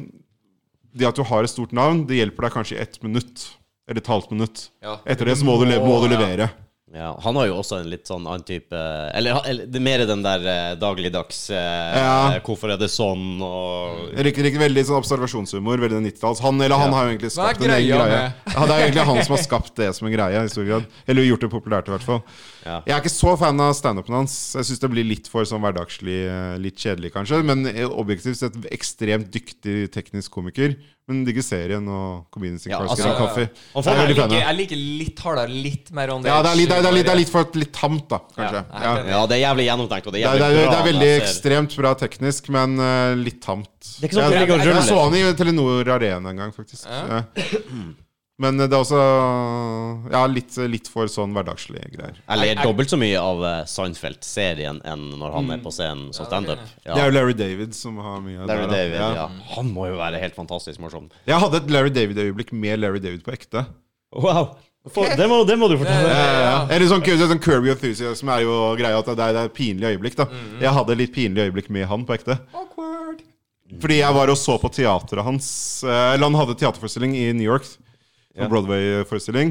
C: Det at du har et stort navn, det hjelper deg kanskje i ett minutt. Eller et halvt minutt.
B: Ja.
C: Etter det så må du, le må du
B: Ja.
C: levere.
A: ja, Han har jo også en litt sånn annen type Eller, eller det er mer den der eh, dagligdags eh,
C: Ja.
A: Hvorfor er det sånn? Og
C: Riktig, riktig, veldig sånn observasjonshumor. Veldig 90-talls. Han eller han har jo egentlig
B: Hva er
C: skapt en egen
B: greia
C: greie.
B: med-
C: Ja, det er jo egentlig han som har skapt det som en greie. I stor grad. Eller gjort det populært, i hvert fall.
A: Ja.
C: Jeg er ikke så fan av standupen hans. Jeg syns det blir litt for sånn hverdagslig, eh, litt kjedelig kanskje. Men eh, objektivt sett ekstremt dyktig teknisk komiker. Men digger serien og comedien sin
A: Ja,
C: Karlsson
A: altså,
C: og kaffe.
A: og
C: Jeg
A: folk
C: er
A: er
B: Jeg
C: veldig
B: liker,
C: fan av
B: jeg liker litt hardere, litt mer on the
C: ja, det er litt, det er, litt, det er
B: edge.
C: litt for litt tamt, da, kanskje.
B: Ja,
C: Ja.
B: jeg er helt enig.
A: Ja, det er jævlig gjennomtenkt, og det
C: Det
A: er
C: er, det,
A: jævlig
C: er, det
A: bra
C: er veldig
A: når jeg ser-
C: ekstremt bra teknisk, men eh, litt tamt.
A: Det er ikke sånn at du
C: jeg,
A: ligger og
C: jeg
A: ruller.
C: så han i Telenor Arena en gang, faktisk.
B: Ja.
C: Ja. Men eh, det er også Ja, litt, litt for sånn hverdagslige greier.
A: Jeg ler dobbelt så mye av eh, Seinfeld-serien enn når han er på scenen som
B: Ja, det er
A: standup.
C: Det
A: Ja.
C: er jo Larry David som har mye av
A: Larry
C: det. da.
A: David,
C: Ja.
A: ja. Han må jo være helt fantastisk morsom.
C: Jeg hadde et Larry David-øyeblikk med Larry David på ekte.
A: Wow! For, det, må, det må du fortelle.
B: Ja, ja.
C: Eller sånn, det er sånn Kirby Enthusiasm er jo greia at det er, det er pinlige øyeblikk, da. Jeg hadde litt pinlige øyeblikk med han på ekte.
B: Awkward.
C: Fordi jeg var og så på teateret hans eh, Eller han hadde teaterforestilling i New York. En Broadway-forestilling.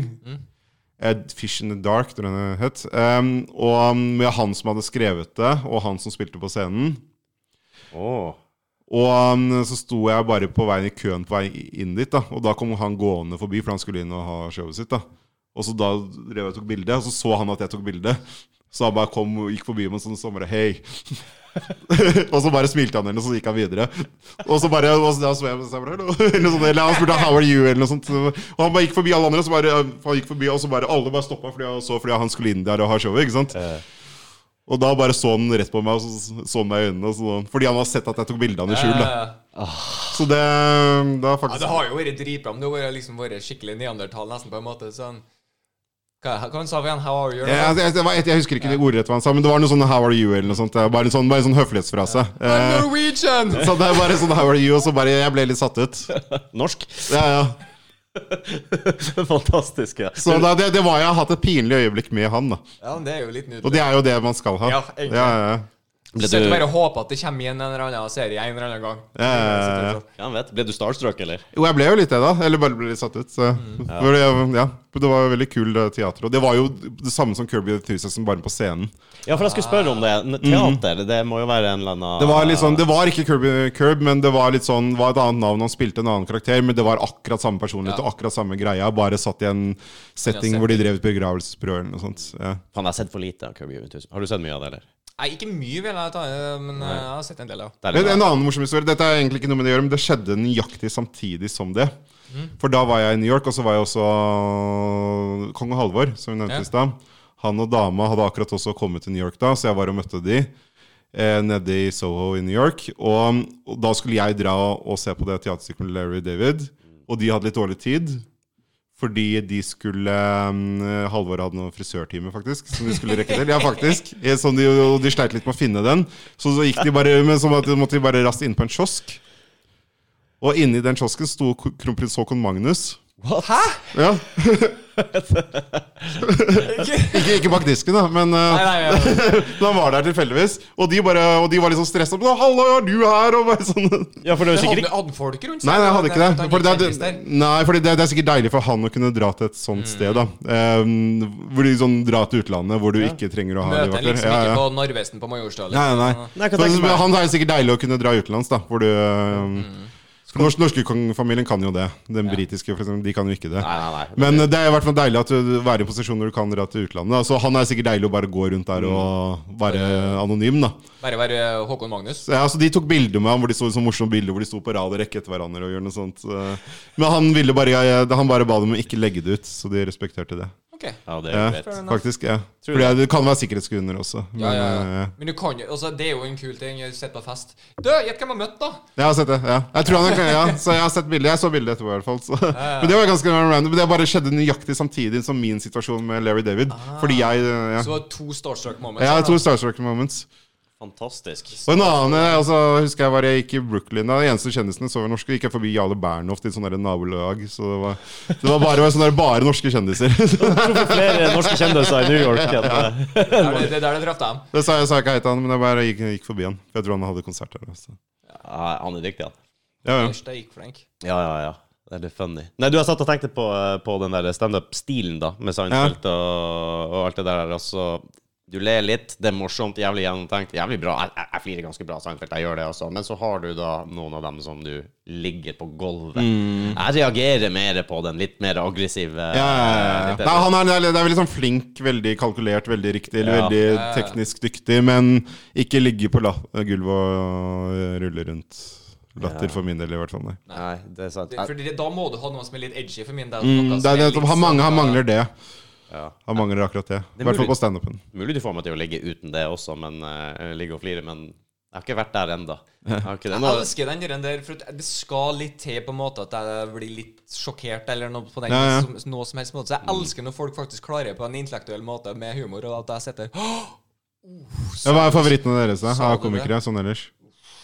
C: Eh, Fish in the Dark, tror jeg den het. Em, og med han som hadde skrevet det, og han som spilte på scenen.
A: Åh.
C: Og em, så sto jeg bare på veien i køen på vei inn dit, da. Og da kom han gående forbi, for han skulle inn og ha showet sitt. da Og så da drev jeg og tok bilde, og så så han at jeg tok bilde. Så han bare kom og gikk forbi med en sånn sommer Hei! [LAUGHS] og så bare smilte han, eller og så gikk han videre. Og så bare og så, da så jeg, så jeg bare, «Hallo», [LAUGHS] eller, noe sånt, eller han spurte How are you? eller noe sånt. Og han bare gikk forbi alle andre, og så bare, eh, han gikk forbi, og så bare alle bare stoppa fordi, han- så fordi han skulle inn der og ha showet. ikke sant? Og da bare så han rett på meg, og så så han meg i øynene. Og så, fordi han har sett at jeg tok bilde av han i skjul. da.
B: Eh,
C: Så det, det er
B: Ja,
C: faktisk
B: det har jo vært dritbra, men det har vært liksom vært skikkelig neandertal, nesten, på en måte. Sånn Hva hva han sa vi igjen? How are you?
C: jeg, jeg, det var et, jeg husker ikke det ordrett hva han sa, men det var noe sånn 'how are you' eller noe sånt. Det var Bare en sånn, bare en sånn høflighetsfrase.
B: I'm
C: Eh,
B: Norwegian!
C: så det er bare sånn 'how are you', og så bare Jeg ble litt satt ut.
A: Norsk. [LAUGHS]
C: Ja, ja.
A: Fantastisk. ja.
C: Så da, det, det var jeg har hatt et pinlig øyeblikk med han, da.
B: Ja, men det er jo litt
C: Og
B: nydelig.
C: det er jo det man skal ha.
B: Ja, egentlig.
C: Ja, ja, ja.
A: Ble
B: Så jeg
A: du,
B: bare håper at det kommer igjen en eller annen serie en eller annen gang.
C: Ja, ja, ja.
A: ja, vet, ble du starstruck, eller?
C: Jo, jeg ble jo litt det, da. Eller bare ble litt satt ut. Så.
B: Mm.
C: For det, ja. det var jo veldig kul eh, teater. Og det var jo det samme som Kirby Enthusiasm, bare på scenen.
A: Ja, for jeg skulle spørre om det. N- Teater, det må jo være en eller annen
C: Det
B: Ah.
C: var litt sånn, det var ikke Kirby Curb, men det var litt sånn, var et annet navn. Han spilte en annen karakter, men det var akkurat samme personlighet
B: Ja.
C: og akkurat samme greia. Bare satt i en
B: Ja,
C: setting hvor de drev et begravelsesbyrå eller noe sånt. Ja.
A: Faen, jeg har sett for lite av Kirby Enthusiasm. Har du sett mye av det, eller?
B: Nei, ikke mye, vil jeg ta, men eh, jeg har sett en del, ja.
A: Der,
C: Men en annen morsom historie. Dette er egentlig ikke noe med det å gjøre, men det skjedde nøyaktig samtidig som det. For da var jeg i New York, og så var jeg også øh, kong Halvor, som vi nevnte
B: Ja.
C: i stad. Han og dama hadde akkurat også kommet til New York da, så jeg var og møtte de eh, nede i Soho i New York. Og, og da skulle jeg dra og, og se på det teaterstykket med Larry David, og de hadde litt dårlig tid. Fordi de skulle um, Halvor hadde noen frisørtime, faktisk. Som de skulle rekke til. Ja, faktisk. Eh, Som de, og de sleit litt med å finne den. Så, så gikk de bare Men så måtte måtte de bare raskt inn på en kiosk. Og inni den kiosken sto k- kronprins Haakon Magnus.
B: Hæ?!
C: Ja,
B: Ikke-
C: Ikke, ikke bak disken, da, men eh,
B: Nei, nei, [LAUGHS] nei, nei.
C: men han var der tilfeldigvis. Og de, bare, og de var liksom stressa. 'Hallo, er du her?' Og bare sånn
A: Ja, for det er jo sikkert
B: Hadde
A: ikke
B: hadde folk rundt
C: Nei, nei, jeg hadde ikke det.
B: Han
C: Fordi
B: gikk
C: det,
B: kjendis
C: er,
B: der.
C: nei, fordi det, det er sikkert deilig for han å kunne dra til et sånt
B: Mm.
C: sted. da Ehm, Hvor de sånn dra til utlandet hvor du ikke trenger å ha
B: Møter han
C: livvakter.
B: liksom
C: Ja,
B: ikke
C: ja.
B: på Narvesen på Majorstua.
C: Nei,
B: liksom.
C: nei.
A: Nei, jeg kan
C: For
A: tenke meg-
B: Mm.
C: han er sikkert deilig å kunne dra utenlands, da. Hvor du ehm, For norsk, norske kongefamilien kan jo det. Den britiske for eksempel, de kan jo ikke det.
A: Nei, nei, nei.
C: Men eh, det er i hvert fall deilig at du være i en posisjon når du kan dra til utlandet. da. Så han er sikkert deilig å bare gå
B: Mm.
C: rundt der og være anonym, da.
B: Bare være eh, Håkon Magnus.
C: Så, ja, så De tok bilder med ham hvor de sto i sånne morsomme bilder hvor de sto på rad og rekke etter hverandre. og gjør noe sånt eh. Men han ville bare ja, ja, Han bare ba dem om ikke legge det ut, så de respekterte det.
B: Ok.
A: Ja, det
C: Ja,
A: er greit.
C: faktisk, ja
A: Tror
C: Fordi det kan være sikkerhetsgrunner også. Men,
B: Ja, ja, ja.
C: eh,
B: Men du kan jo altså, Det er jo en kul ting. Sitte på fest. Du, gjett hvem jeg har møtt, da!
C: Jeg har sett det, ja. Jeg tror han, ja så jeg har sett bildet. Jeg så bildet etterpå, i hvert fall. Så. Men det var ganske random. Det bare skjedde nøyaktig samtidig som min situasjon med Larry David. Fordi jeg eh, ja.
B: Ah. Så to starstruck moments.
C: Jeg
B: her,
C: har
B: da.
C: to starstruck moments.
A: Fantastisk.
C: Og en annen eh, altså, husker jeg var jeg gikk i Brooklyn. Da. De eneste kjendisene så var norske. Gikk jeg forbi Jarle Bernhoft i sånn der nabolag. Så det var, det var bare, det var sånn der bare norske kjendiser. [LAUGHS]
A: Flere norske kjendiser i New York. enn-
B: Det er det- det er der du traff dem.
C: Det sa jeg sa jeg ikke hei til han, men jeg bare gikk, gikk forbi han. For jeg tror han hadde konsert der. Så.
A: Ja, han er dyktig, han.
C: Ja, ja.
B: Først jeg gikk flink.
A: Ja, ja, ja. Det er litt funny. Nei, du, jeg satt og tenkte på, eh, på den der standup-stilen, da, med Seinfeld og, og alt det der. Altså, du ler litt, det er morsomt, jævlig gjennomtenkt, jævlig bra. Jeg, jeg, jeg flirer ganske bra av Seinfeld, jeg gjør det, altså. Men så har du da noen av dem som du ligger på gulvet. Jeg reagerer mer på den litt mer aggressive
C: Mm.
A: eh,
C: Ja, ja, ja, ja.
A: litt-
C: Nei, han er, det er- det er veldig sånn flink, veldig kalkulert, veldig riktig, eller
A: Ja.
C: veldig teknisk dyktig, men ikke ligge på la gulvet og øh, rulle rundt. Latter for min del, i hvert fall. Nei.
A: Nei, det er sant.
B: Det-
A: Jeg,
B: Fordi det- da må du ha noe som er litt edgy for min del.
C: Mm,
B: noe
C: det
B: som
C: er,
B: er
C: nettopp-
B: litt
C: han,
B: sånn,
C: mangler, han
B: eh,
C: mangler det.
A: ja.
C: Han mangler akkurat det.
A: Det er
C: I hvert fall
A: mulig.
C: på standupen.
A: Mulig du får meg til å ligge uten det også, men eh, ligge og flire. Men jeg har ikke vært der ennå.
B: Jeg elsker den der, der, for det skal litt til på en måte at jeg blir litt sjokkert eller noe på den
C: Ja, Mm. ja.
B: Som, noe som helst måte. Så jeg elsker når folk faktisk klarer det på en intellektuell måte med humor, og at jeg sitter
C: Ja, hva er favorittene deres da,
B: Sa du
C: av
B: det?
C: komikere? Sånn ellers.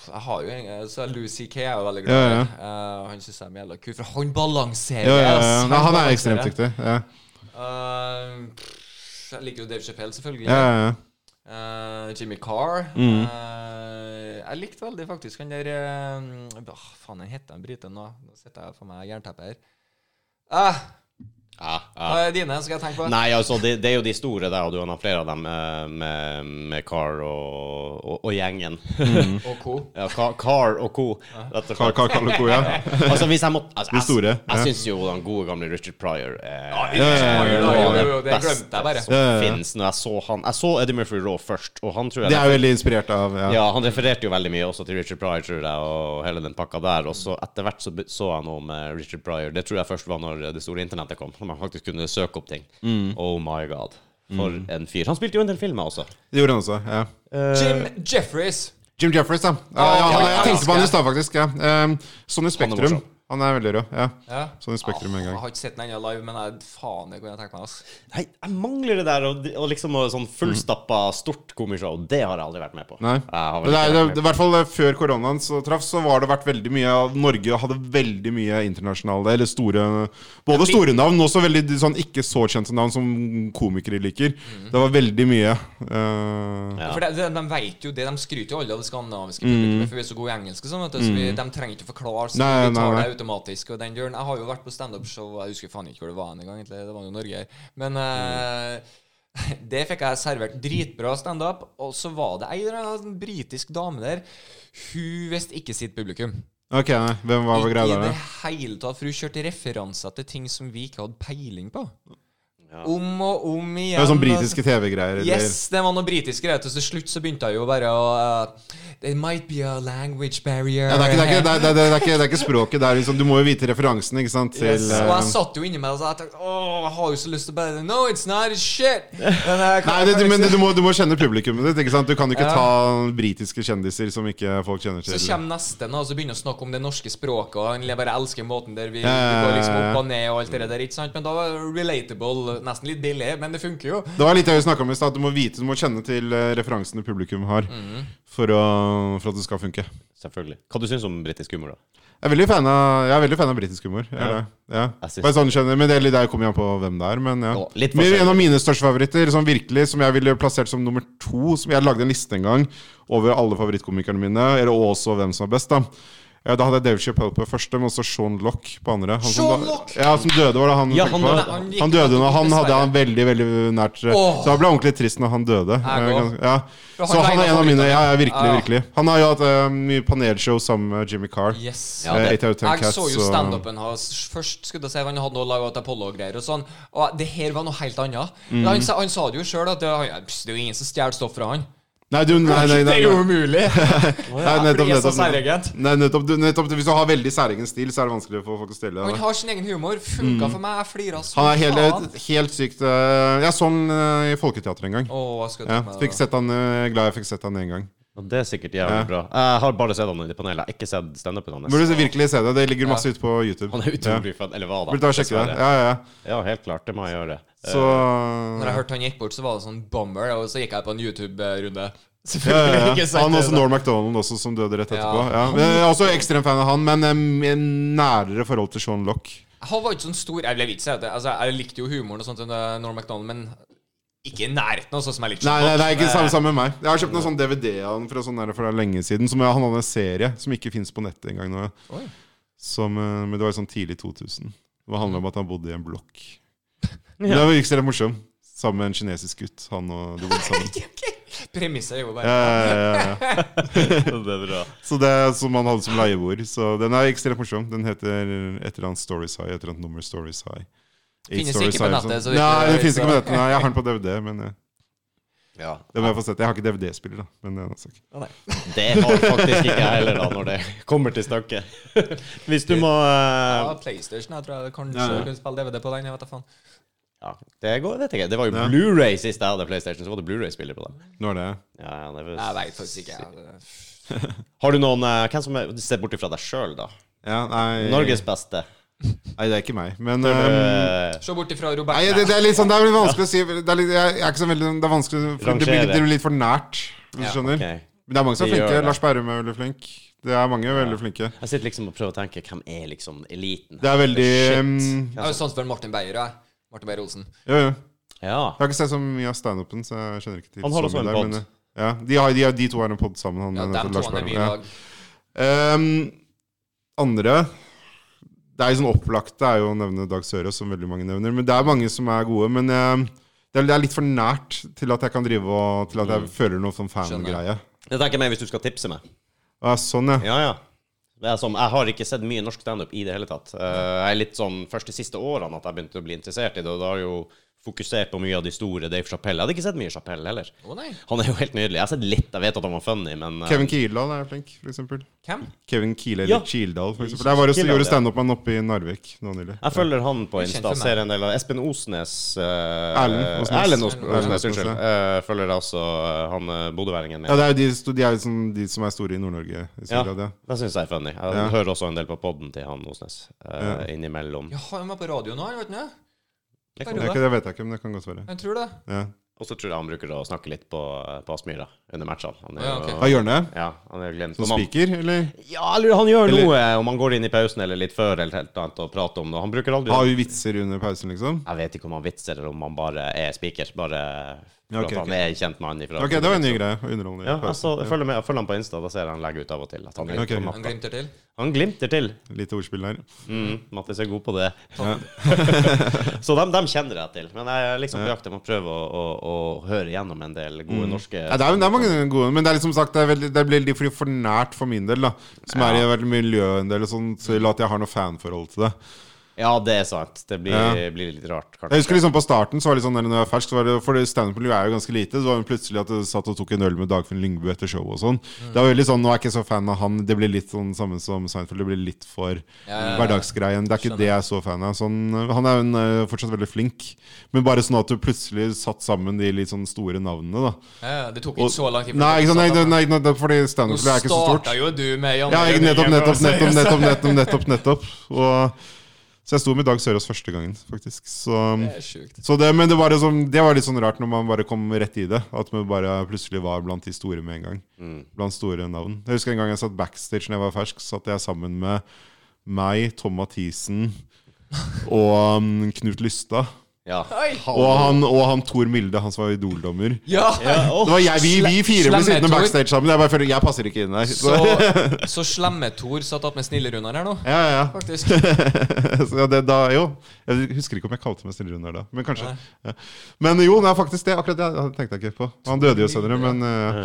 B: Jeg har jo en eh, så Louis C.K. er jo veldig glad
C: Ja, ja.
B: i. Eh, han syns jeg er en jævla kul, for han balanserer.
C: Ja, ja, ja.
B: ass.
C: Nei, han er
B: balanserer.
C: ekstremt dyktig. Ja,
B: Eh, pff, jeg liker jo Dave Chappelle, selvfølgelig.
C: ja, ja. ja.
B: Eh, Jimmy Carr.
C: Mm.
B: Eh, jeg likte veldig faktisk han der eh, Hva faen han heter han briten nå? Nå sitter jeg for meg jernteppe her. Eh,
A: Ja, ja.
B: hva er dine, skal jeg tenke på?
A: Nei, altså, det, det er jo de store der, og du har flere av dem eh, med, med Carr og, og, og gjengen.
C: Mm.
B: Og co.
A: ja, Carr Carr og co., rett og
C: Carl,
A: slett.
C: Carl, Carl og Co, [LAUGHS] ja.
A: Altså, hvis jeg måtte altså,
C: De store,
A: Jeg,
C: ja.
A: jeg syns jo den gode gamle Richard Pryor eh,
C: ja, ja, ja.
A: var
B: Jo, jo, jo, det
A: det beste
B: glemte jeg bare.
A: som
C: Ja, ja, ja.
A: finnes når jeg så han. Jeg så Eddie Murphy Raw først, og han tror jeg
C: Det er jo veldig inspirert av ja.
A: ja, Han refererte jo veldig mye også til Richard Pryor, tror jeg, og hele den pakka der. Og så etter hvert så be- så jeg noe med Richard Pryor. Det tror jeg først var når det store internettet kom, når man faktisk kunne søke opp ting.
C: Mm.
A: Oh my god. For en fyr. Han spilte jo en del filmer også.
C: Det gjorde han også. ja Eh.
B: Jim Jeffries.
C: Jim Jeffries, da. Ja, ja, han, jeg tenkte på han i stad, faktisk. Ja. Um, Sonny Spektrum.
A: morsom.
C: Han er veldig rå. Ja.
B: Ja. Ah,
C: Sonny Sånn Spektrum en
B: Jeg
C: gang.
B: har ikke sett den ennå live, men jeg, faen, det kunne jeg tenkt meg. ass.
A: Nei, jeg mangler det der og, og liksom og sånn fullstappa stort komishow. Det har jeg aldri vært med på.
C: Nei.
A: Jeg har vel
C: Men det
A: ikke
C: er,
A: vært
C: det,
A: med
C: I hvert fall eh, før koronaen så traff, så var det vært veldig mye av Norge hadde veldig mye internasjonale, eller store Både store navn, men også veldig de sånn ikke så kjente navn som komikere liker. Det var veldig mye. eh,
A: Ja.
B: For det, det, De vet jo det, de skryter jo alle av det skandinaviske publikummet, for vi er så gode i engelsk. og Sånn, vet du, så vi, de trenger ikke å forklare, så
C: Mm. Nei,
B: vi
C: nei,
B: tar
C: nei.
B: det automatisk. Og den døren, Jeg har jo vært på standup-show, jeg husker faen ikke hvor det var en gang, egentlig, det var jo Norge her. Men eh, [LAUGHS] det fikk jeg servert dritbra standup, og så var det ei eller annen britisk dame der. Hun visste ikke sitt publikum.
C: Ok, nei. Hvem var, var
B: Ikke
C: greia
B: i
C: der?
B: det
C: da?
B: hele tatt, for hun kjørte referanser til ting som vi ikke hadde peiling på. Om og om igjen.
C: Det var sånn
B: og-
C: britiske TV-greier. eller-
B: Yes, det var noe britisk greit, og til slutt så begynte jeg jo bare å uh, There might be a language barrier
C: Ja, det, er ikke, det, er ikke, det, er, det, er, det, er ikke, det er ikke språket. Det er liksom, du må jo vite referansen, ikke sant? Til,
B: Yes, Og altså,
C: eh,
B: jeg satt jo inni meg og så jeg tenkte Åh, jeg har jo så lyst til å bare No, it's not, it's
C: [LAUGHS]
B: shit! Men, jeg kan-
C: Nei, det,
B: jeg
C: du,
B: kan
C: men
B: liksom-
C: du må, du må kjenne publikummet ditt. ikke sant? Du kan jo ikke
B: Ja.
C: ta britiske kjendiser som ikke folk kjenner til.
B: Så kommer nesten og så begynner å snakke om det norske språket, og han jeg bare elsker måten der vi, vi
C: Ja, ja,
B: går liksom
C: ja, ja.
B: opp og ned og alt det der, ikke sant? Men da var det relatable, nesten litt billig, men det funker jo.
C: Det var litt det vi snakka om i stad. at Du må vite, du må kjenne til eh, referansene publikum har
B: Mm.
C: for, å, for at det skal funke. Jeg
A: Selvfølgelig. Hva du syns du om britisk humor, da?
C: er veldig fan av, jeg er veldig fan av britisk humor. Jeg er det. Ja.
A: Jeg synes-
C: Bare sånn skjønner, men det, er litt- det kommer jo an på hvem det er. Men ja.
A: Ja, litt
C: men
A: forskjellig.
C: en av mine største favoritter, sånn virkelig, som jeg ville plassert som nummer to Som Jeg lagde en liste en gang over alle favorittkomikerne mine, eller også hvem som er best. da Ja, Da hadde jeg Dave Chappelle på første, men også Sean Lock på andre. Han
B: Sean
C: som, da-
B: Locke!
C: Ja, som døde, var det han
A: Ja,
C: tenkte
A: han-
C: på.
A: han-
C: han,
B: han gikk-
C: døde når han hadde
B: dessverre.
C: han veldig veldig nært
B: Åh.
C: Så jeg ble ordentlig trist når han døde.
B: Jeg
C: Eh,
B: også.
C: gans- Ja.
B: For han
C: Så han
B: regnet
C: er en
B: favorittene.
C: av mine. Ja, ja, virkelig,
B: Ja.
C: virkelig. Han har jo hatt eh, mye panelshow sammen med Jimmy Carr.
B: Yes.
A: Ja,
C: Eh,
A: det-
C: Eight Out of Ten
B: Jeg
C: Cats,
B: så jo
C: og-
B: standupen hans først. skulle jeg si Han hadde noe laga til Apollo og greier. Og sånn Og det her var noe helt annet.
C: Mm.
B: Men han, sa- han sa det jo sjøl, at det, han, pss, det er jo ingen som stjeler stoff fra han.
C: Nei, du, nei, nei, nei,
B: Det er jo
C: nei.
B: umulig!
C: [LAUGHS] Nei,
B: fordi
C: nettopp,
B: jeg er så
C: nettopp.
B: særegent.
C: Nei, nettopp, du, nettopp. Hvis du har veldig særegen stil, så er det vanskelig for folk å stille
B: Han
C: deg.
B: har sin egen humor. Funka for meg. Jeg flira så
C: Mm. Han er helt,
B: faen.
C: helt sykt eh, Jeg så han eh, i Folketeatret en gang.
B: Å, jeg skal
C: Ja,
B: ta meg
C: fikk sett han, eh, glad jeg fikk sett han en gang.
A: Og det er sikkert jævlig
C: Ja.
A: bra. Jeg har bare sett han i det panelet. Jeg har ikke sett standupen hans.
C: Burde du virkelig se det. Det ligger masse ute på YouTube.
A: Han er
C: Ja.
A: utrolig fett. Eller hva da?
C: Burde ta og sjekke det.
A: Dessverre.
C: Ja, ja, ja.
A: Ja, helt klart. Det må jeg
C: [LAUGHS]
A: gjøre. Eh,
C: Så
B: Når jeg hørte han gikk bort, så var det sånn bummer, og så gikk jeg på en YouTube-runde. [LAUGHS]
C: ja, ja, ja.
B: Ikke sant,
C: Han også
B: det, da.
C: Norm MacDonald, også, som døde rett
B: Ja.
C: etterpå. Ja. Men Jeg er også ekstrem fan av han, men em, i nærere forhold til Sean Lock.
B: Han var ikke sånn stor Jeg vil ikke si at jeg, altså, jeg likte jo humoren og sånt til Norm MacDonald, men ikke i nærheten av sånn som jeg likte
C: Nei,
B: Sean
C: nei,
B: Lock.
C: nei ikke samme, samme med meg. Jeg har kjøpt en sånn DVD av han fra sånn der, for det er lenge siden. Som jeg, han hadde en serie som ikke fins på nettet engang nå.
B: Oi.
C: Som, eh, men det var jo sånn tidlig 2000. Det handla om at han bodde i en blokk.
B: [LAUGHS]
C: Det var ikke så morsomt. Sammen med en kinesisk gutt. Han og de bodde sammen.
B: [LAUGHS] Premisset er jo
C: Ja,
B: bare
C: ja, ja, ja.
A: det er bra.
C: Så det er som han hadde som leiebord. Så den er ekstremt morsom. Den heter et eller annet Stories High. Et eller annet nummer Stories High. Eight
B: Finnes
C: Stories
B: ikke på
C: High,
B: nettet,
C: sånn.
B: så vidt
C: Nei,
B: jeg
C: det
B: vet,
C: finnes ikke på
B: så-
C: nettet. Nei, jeg har den på DVD, men eh,
A: Ja.
C: det må jeg få sett. Jeg har ikke DVD-spiller, da. Men eh, altså. det er en annen sak.
A: Det har faktisk ikke jeg heller, da, når det kommer til stykket. [LAUGHS] Hvis du må
B: ja,
A: eh,
B: PlayStation. Jeg tror jeg kanskje
C: Ja, ja.
B: kunne spille DVD på den. Jeg vet da faen.
A: Ja, det går, vet jeg ikke. Det var jo
C: Ja.
A: Blu-ray sist jeg hadde PlayStation, så var det Blu-ray-spiller på den.
C: Nå er det
A: Ja, ja, det var-
B: Jeg vet faktisk ikke. jeg.
A: Har du noen eh, Hvem som er Sett bort ifra deg sjøl, da.
C: ja, nei,
A: Norges beste.
C: Nei, det er ikke meg. Men eh,
A: Eh,
B: Se bort ifra
C: Nei,
B: Robert.
C: det, det er litt sånn Det er litt vanskelig å si. Det er, litt, jeg er ikke så veldig sånn, Det er vanskelig for, det, blir litt, det blir litt for nært, hvis
B: Ja,
C: du skjønner.
A: ok.
C: Men det er mange som er
A: Det gjør
C: flinke.
A: det.
C: Lars Berrum er veldig flink. Det er mange veldig flinke.
A: Jeg sitter liksom og prøver å tenke hvem er liksom eliten?
C: Det er veldig
A: Shit.
C: em,
B: Jeg har jo sans for Martin Beyer. jeg. Martin Beyer-Olsen.
C: Jo, jo.
A: Ja.
C: Jeg har ikke sett så mye av standupen, så jeg kjenner ikke til
A: Han har
C: så
A: også
C: mye
A: en
C: der,
A: pod.
C: men, ja, de, har, de, har, de to har en pod sammen. Han,
B: Ja,
C: han
B: dem
C: heter
B: to
C: Lars
B: han er
C: Berrum,
B: mye i
C: ja.
B: lag.
C: Ehm, andre Det er jo sånn opplagte er jo å nevne Dag Sørås, som veldig mange nevner. Men det er mange som er gode. Men ehm, det, er, det er litt for nært til at jeg kan drive og Til at
A: Mm.
C: jeg føler noe sånn fan-greie.
A: Det tenker jeg meg hvis du skal tipse meg.
C: Ja, sånn, ja.
A: Ja, ja. Det er som, jeg har ikke sett mye norsk standup i det hele tatt. Eh, Jeg er litt sånn først de siste årene at jeg begynte å bli interessert i det, og da har jeg jo fokusert på mye av de store. Dave Chappelle. Jeg hadde ikke sett mye Chappelle heller.
B: Å nei.
A: Han er jo helt nydelig. Jeg har sett litt, jeg vet at han var funny, men eh,
C: Kevin Kildahl er flink, for eksempel.
B: Hvem?
C: Kevin Kiel eller
A: Ja.
C: Kildahl, for eksempel. Jeg var og
A: Kildahl,
C: gjorde
A: ja.
C: standup med han oppe i Narvik nå nylig.
A: jeg følger han på
B: Ukjent
A: Insta.
B: for meg.
A: Ser en del av Espen Osnes eh,
C: Erlend Osnes.
A: Erlend Os-
B: Erlend
A: Osnes,
C: Osnes,
A: unnskyld. Eh, følger også eh, han eh, bodøværingen min.
C: Ja, det er jo de, sto- de, er jo som, de som er store i Nord-Norge. i stor
A: Ja,
C: grad, ja.
A: det syns jeg er funny. Jeg
C: Ja.
A: hører også en del på podden til han Osnes eh, innimellom.
B: Ja, han var på radio nå, han vet ikke?
A: Det
B: Der
A: kan-
C: Det, er
B: gjorde
C: ikke,
B: det.
C: det vet jeg ikke, men det kan godt være.
B: Jeg tror det.
C: Ja.
A: Og så tror jeg han bruker å snakke litt på, på Aspmyra under matchene. Han er
B: Ja,
A: jo-
B: ok.
C: Av hjørnet?
A: Ja, han er jo glemt.
C: Som
A: Om han-
C: spiker, eller?
A: Ja, eller han gjør
C: Eller-
A: noe, eh, om han går inn i pausen eller litt før eller helt annet og prater om det. Han bruker aldri
C: Har vi vitser under pausen, liksom?
A: Jeg vet ikke om han vitser eller om han bare er spiker. Bare for
C: Ja, ok,
A: at han
C: ok.
A: er en kjent mann ifra
C: Ok, det var en ny greie. Underholdende.
A: Ja,
C: i pausen.
A: altså, jeg følger, med, jeg følger han på Insta, da ser jeg han legger ut av og til. At han, er
C: Ok.
A: på
B: Han
A: mappa.
B: glimter til.
A: han glimter til.
C: Lite ordspill der.
A: Mm, Mattis er god på det.
C: Ja.
A: [LAUGHS] Så dem, dem kjenner jeg til. Men jeg er liksom på jakt. Jeg må prøve å, å, å høre gjennom en del gode norske
C: Mm. Ja, det, er, det er mange gode, men det er liksom sagt Det, er veldig, det blir litt for, for nært for min del, da. Som er i veldig miljø en del, og sånn, til at jeg har noe fanforhold til det.
A: Ja, det er sant. Det blir,
C: Ja.
A: blir litt rart, kanskje.
C: Jeg husker liksom På starten så var det sånn, der, når jeg var fersk, så var det, for det standup-miljøet er jo ganske lite. Så var det plutselig at jeg satt og tok en øl med Dagfinn Lyngbø etter showet og sånn.
B: Mm.
C: Det var veldig sånn, Nå er jeg ikke så fan av han. Det blir litt sånn samme som Seinfeld. Det blir litt for
B: ja, ja.
C: hverdagsgreien. Det er ikke det jeg er så fan av. Sånn, han er jo en, eh, fortsatt veldig flink, men bare sånn at du plutselig satt sammen de litt sånn store navnene, da.
B: Ja, ja, det tok ikke så lang tid.
C: Nei, ikke sant, nei, nei, nei, nei, fordi
B: Nå
C: standup-miljøet er ikke så stort.
B: starta jo du med Jan
C: Ja, jeg, nettopp, nettopp,
B: [LAUGHS]
C: nettopp, nettopp, nettopp, nettopp, nettopp. Og, så jeg sto med Dag Sørås første gangen, faktisk. Så, um,
B: Det er sjukt.
C: så det, men det var, liksom, det var litt sånn rart når man bare kom rett i det. At man bare plutselig var blant de store med en gang.
B: Mm.
C: Blant store navn. Jeg husker en gang jeg satt backstage da jeg var fersk. Satt jeg sammen med meg, Tom Mathisen og um, Knut Lystad.
A: Ja.
B: Oi.
C: Og han, og han Tor Milde, han som var idoldommer.
B: Ja!
A: Ja, åh.
C: Det var jeg, vi, vi fire ble
B: Slemme
C: sittende
B: Tor.
C: backstage sammen. Jeg bare føler, jeg passer ikke inn der.
B: Så,
C: Så,
B: så slemme Tor satt opp med Snille-Runar her nå,
C: ja, ja, [LAUGHS] ja.
B: faktisk.
C: så ja, det, da, jo. Jeg husker ikke om jeg kalte meg Stille Runar da. Men kanskje ja. Men jo, nei, faktisk det. Akkurat det hadde- tenkte jeg ikke på. Han døde jo senere, men eh,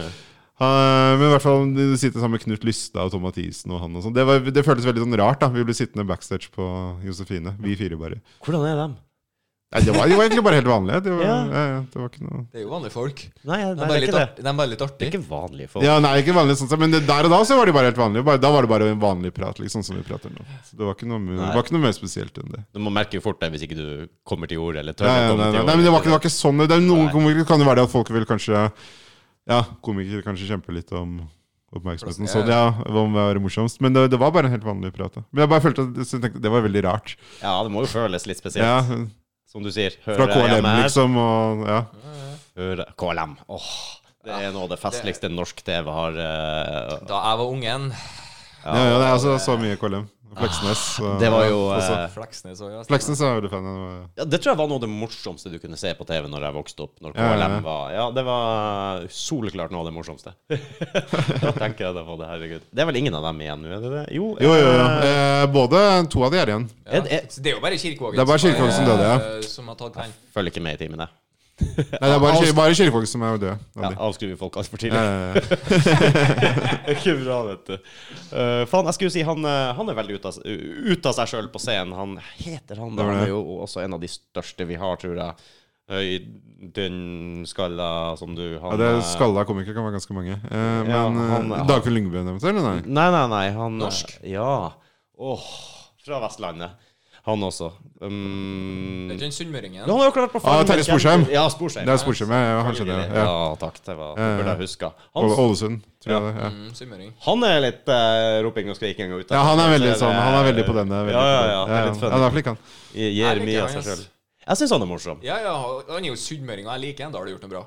C: han- men i hvert fall du sitter sammen med Knut Lystad og Tom Mathisen og han og sånn. Det, var- det føltes veldig sånn rart. da Vi ble sittende backstage på Josefine. Vi fire bare.
A: Hvordan er dem?
C: Nei, det, var, de var egentlig bare helt vanlige. Det var, ja.
A: Ja.
C: Ja, det var ikke noe
B: Det er jo vanlige folk.
A: Nei, nei,
B: De er
A: det
B: bare
A: er
B: litt,
A: ikke det.
B: art, de er bare litt
A: Det er
B: artige.
A: ikke vanlige folk.
C: Ja, nei, ikke vanlig sånn sett, Men det, der og da så var de bare helt vanlige. Bare, da var det bare en vanlig prat. liksom sånn som vi prater nå Så Det var ikke noe, mu- det var ikke noe mer spesielt enn det.
A: Du må merke jo fort det hvis ikke du kommer til ord eller tør å
C: Nei, nei,
A: komme
C: nei, nei,
A: til
C: nei,
A: ord.
C: men det var ikke, det var ikke sånn. Det er noen
A: Nei.
C: komikere kan det være det at folk vil kanskje Ja, komikere kanskje kjemper litt om oppmerksomheten. Så det ja, om å være morsomst. Men det, det var bare en helt vanlig prat. da Men jeg bare følte at så jeg tenkte, det var veldig rart.
A: Ja, det må jo føles litt spesielt.
C: Ja,
A: Som du sier.
C: Fra
A: Hører jeg
C: KLM,
A: hjemme her?
C: liksom. Og, ja.
A: Hører- KLM. Åh, det er noe av det festligste norsk TV har eh,
B: Da jeg var ungen
C: Ja, ja, det er altså så mye KLM. Fleksnes. og-
A: Ah, Det var jo
C: og så-
A: eh,
B: Fleksnes og ja,
C: Fleksnes er jeg veldig fan av.
A: ja,
C: ja.
A: Det tror jeg var noe av det morsomste du kunne se på TV når jeg vokste opp. Når
C: Ja, ja, ja.
A: KLM var Ja, det var soleklart noe av det morsomste. [LAUGHS] da tenker jeg da på det, herregud. Det er vel ingen av dem igjen nå, er det det? Jo.
C: Jo, jo, jo.
A: eh,
C: Eh, både to av de er igjen.
B: Ja.
A: Er det-
B: Så Det er jo bare Kirkevågen
C: Det er bare
B: har-
C: Kirkevågen som døde, ja.
B: eh, Som har tatt den.
A: Følger ikke med i timene.
C: Nei, det er bare, kyr- bare kirkefolk som er døde. av
A: Ja,
C: de.
A: avskriver folk altfor tidlig. [LAUGHS]
C: Eh,
A: Ikke bra, vet du. Eh, faen, jeg skulle si han, eh, han er veldig ute av, ut av seg sjøl på scenen. Han heter han, da.
C: Hvem er
A: Han
C: det?
A: er jo også en av de største vi har, tror jeg. Eh, I den skalla som du han,
C: ja, det er
A: eh,
C: Skalla komikere kan være ganske mange. Eh,
A: Ja,
C: men
A: han-
C: eh,
A: han-
C: Dagfjell Lyngbø nevnte, eller nei?
A: Nei, nei, nei. Han, eh,
B: Norsk?
A: Ja. Åh, fra Vestlandet. Han også. Um,
B: Det
A: han
B: er ikke den sunnmøringen?
A: har jo klart på
C: Ah, Terje Sporsheim.
A: Ja, Sporsheim.
C: Det er Sporsheim, ja, ja, han skjønner det.
A: ja.
C: Ja.
A: takk. Det var,
C: Ja, ja.
A: det burde jeg huska.
C: Ål-
A: Han,
C: Ålesund, tror jeg det. Ja.
B: Mm, sunnmøring.
A: han er litt eh, roping og skriking og ute.
C: Ja, han er
A: Så
C: veldig
A: det-
C: sånn, han er veldig på denne. Veldig
A: ja, ja,
C: på den.
A: ja.
C: ja,
A: Det er litt
C: ja.
A: funny.
C: ja det er flink, han.
A: gir
B: Jeg liker
A: mye av
B: han,
A: seg sjøl.
B: ass.
A: Jeg syns han er morsom.
B: Ja, ja, han er jo sunnmøring, og jeg liker han. Da har du gjort noe bra.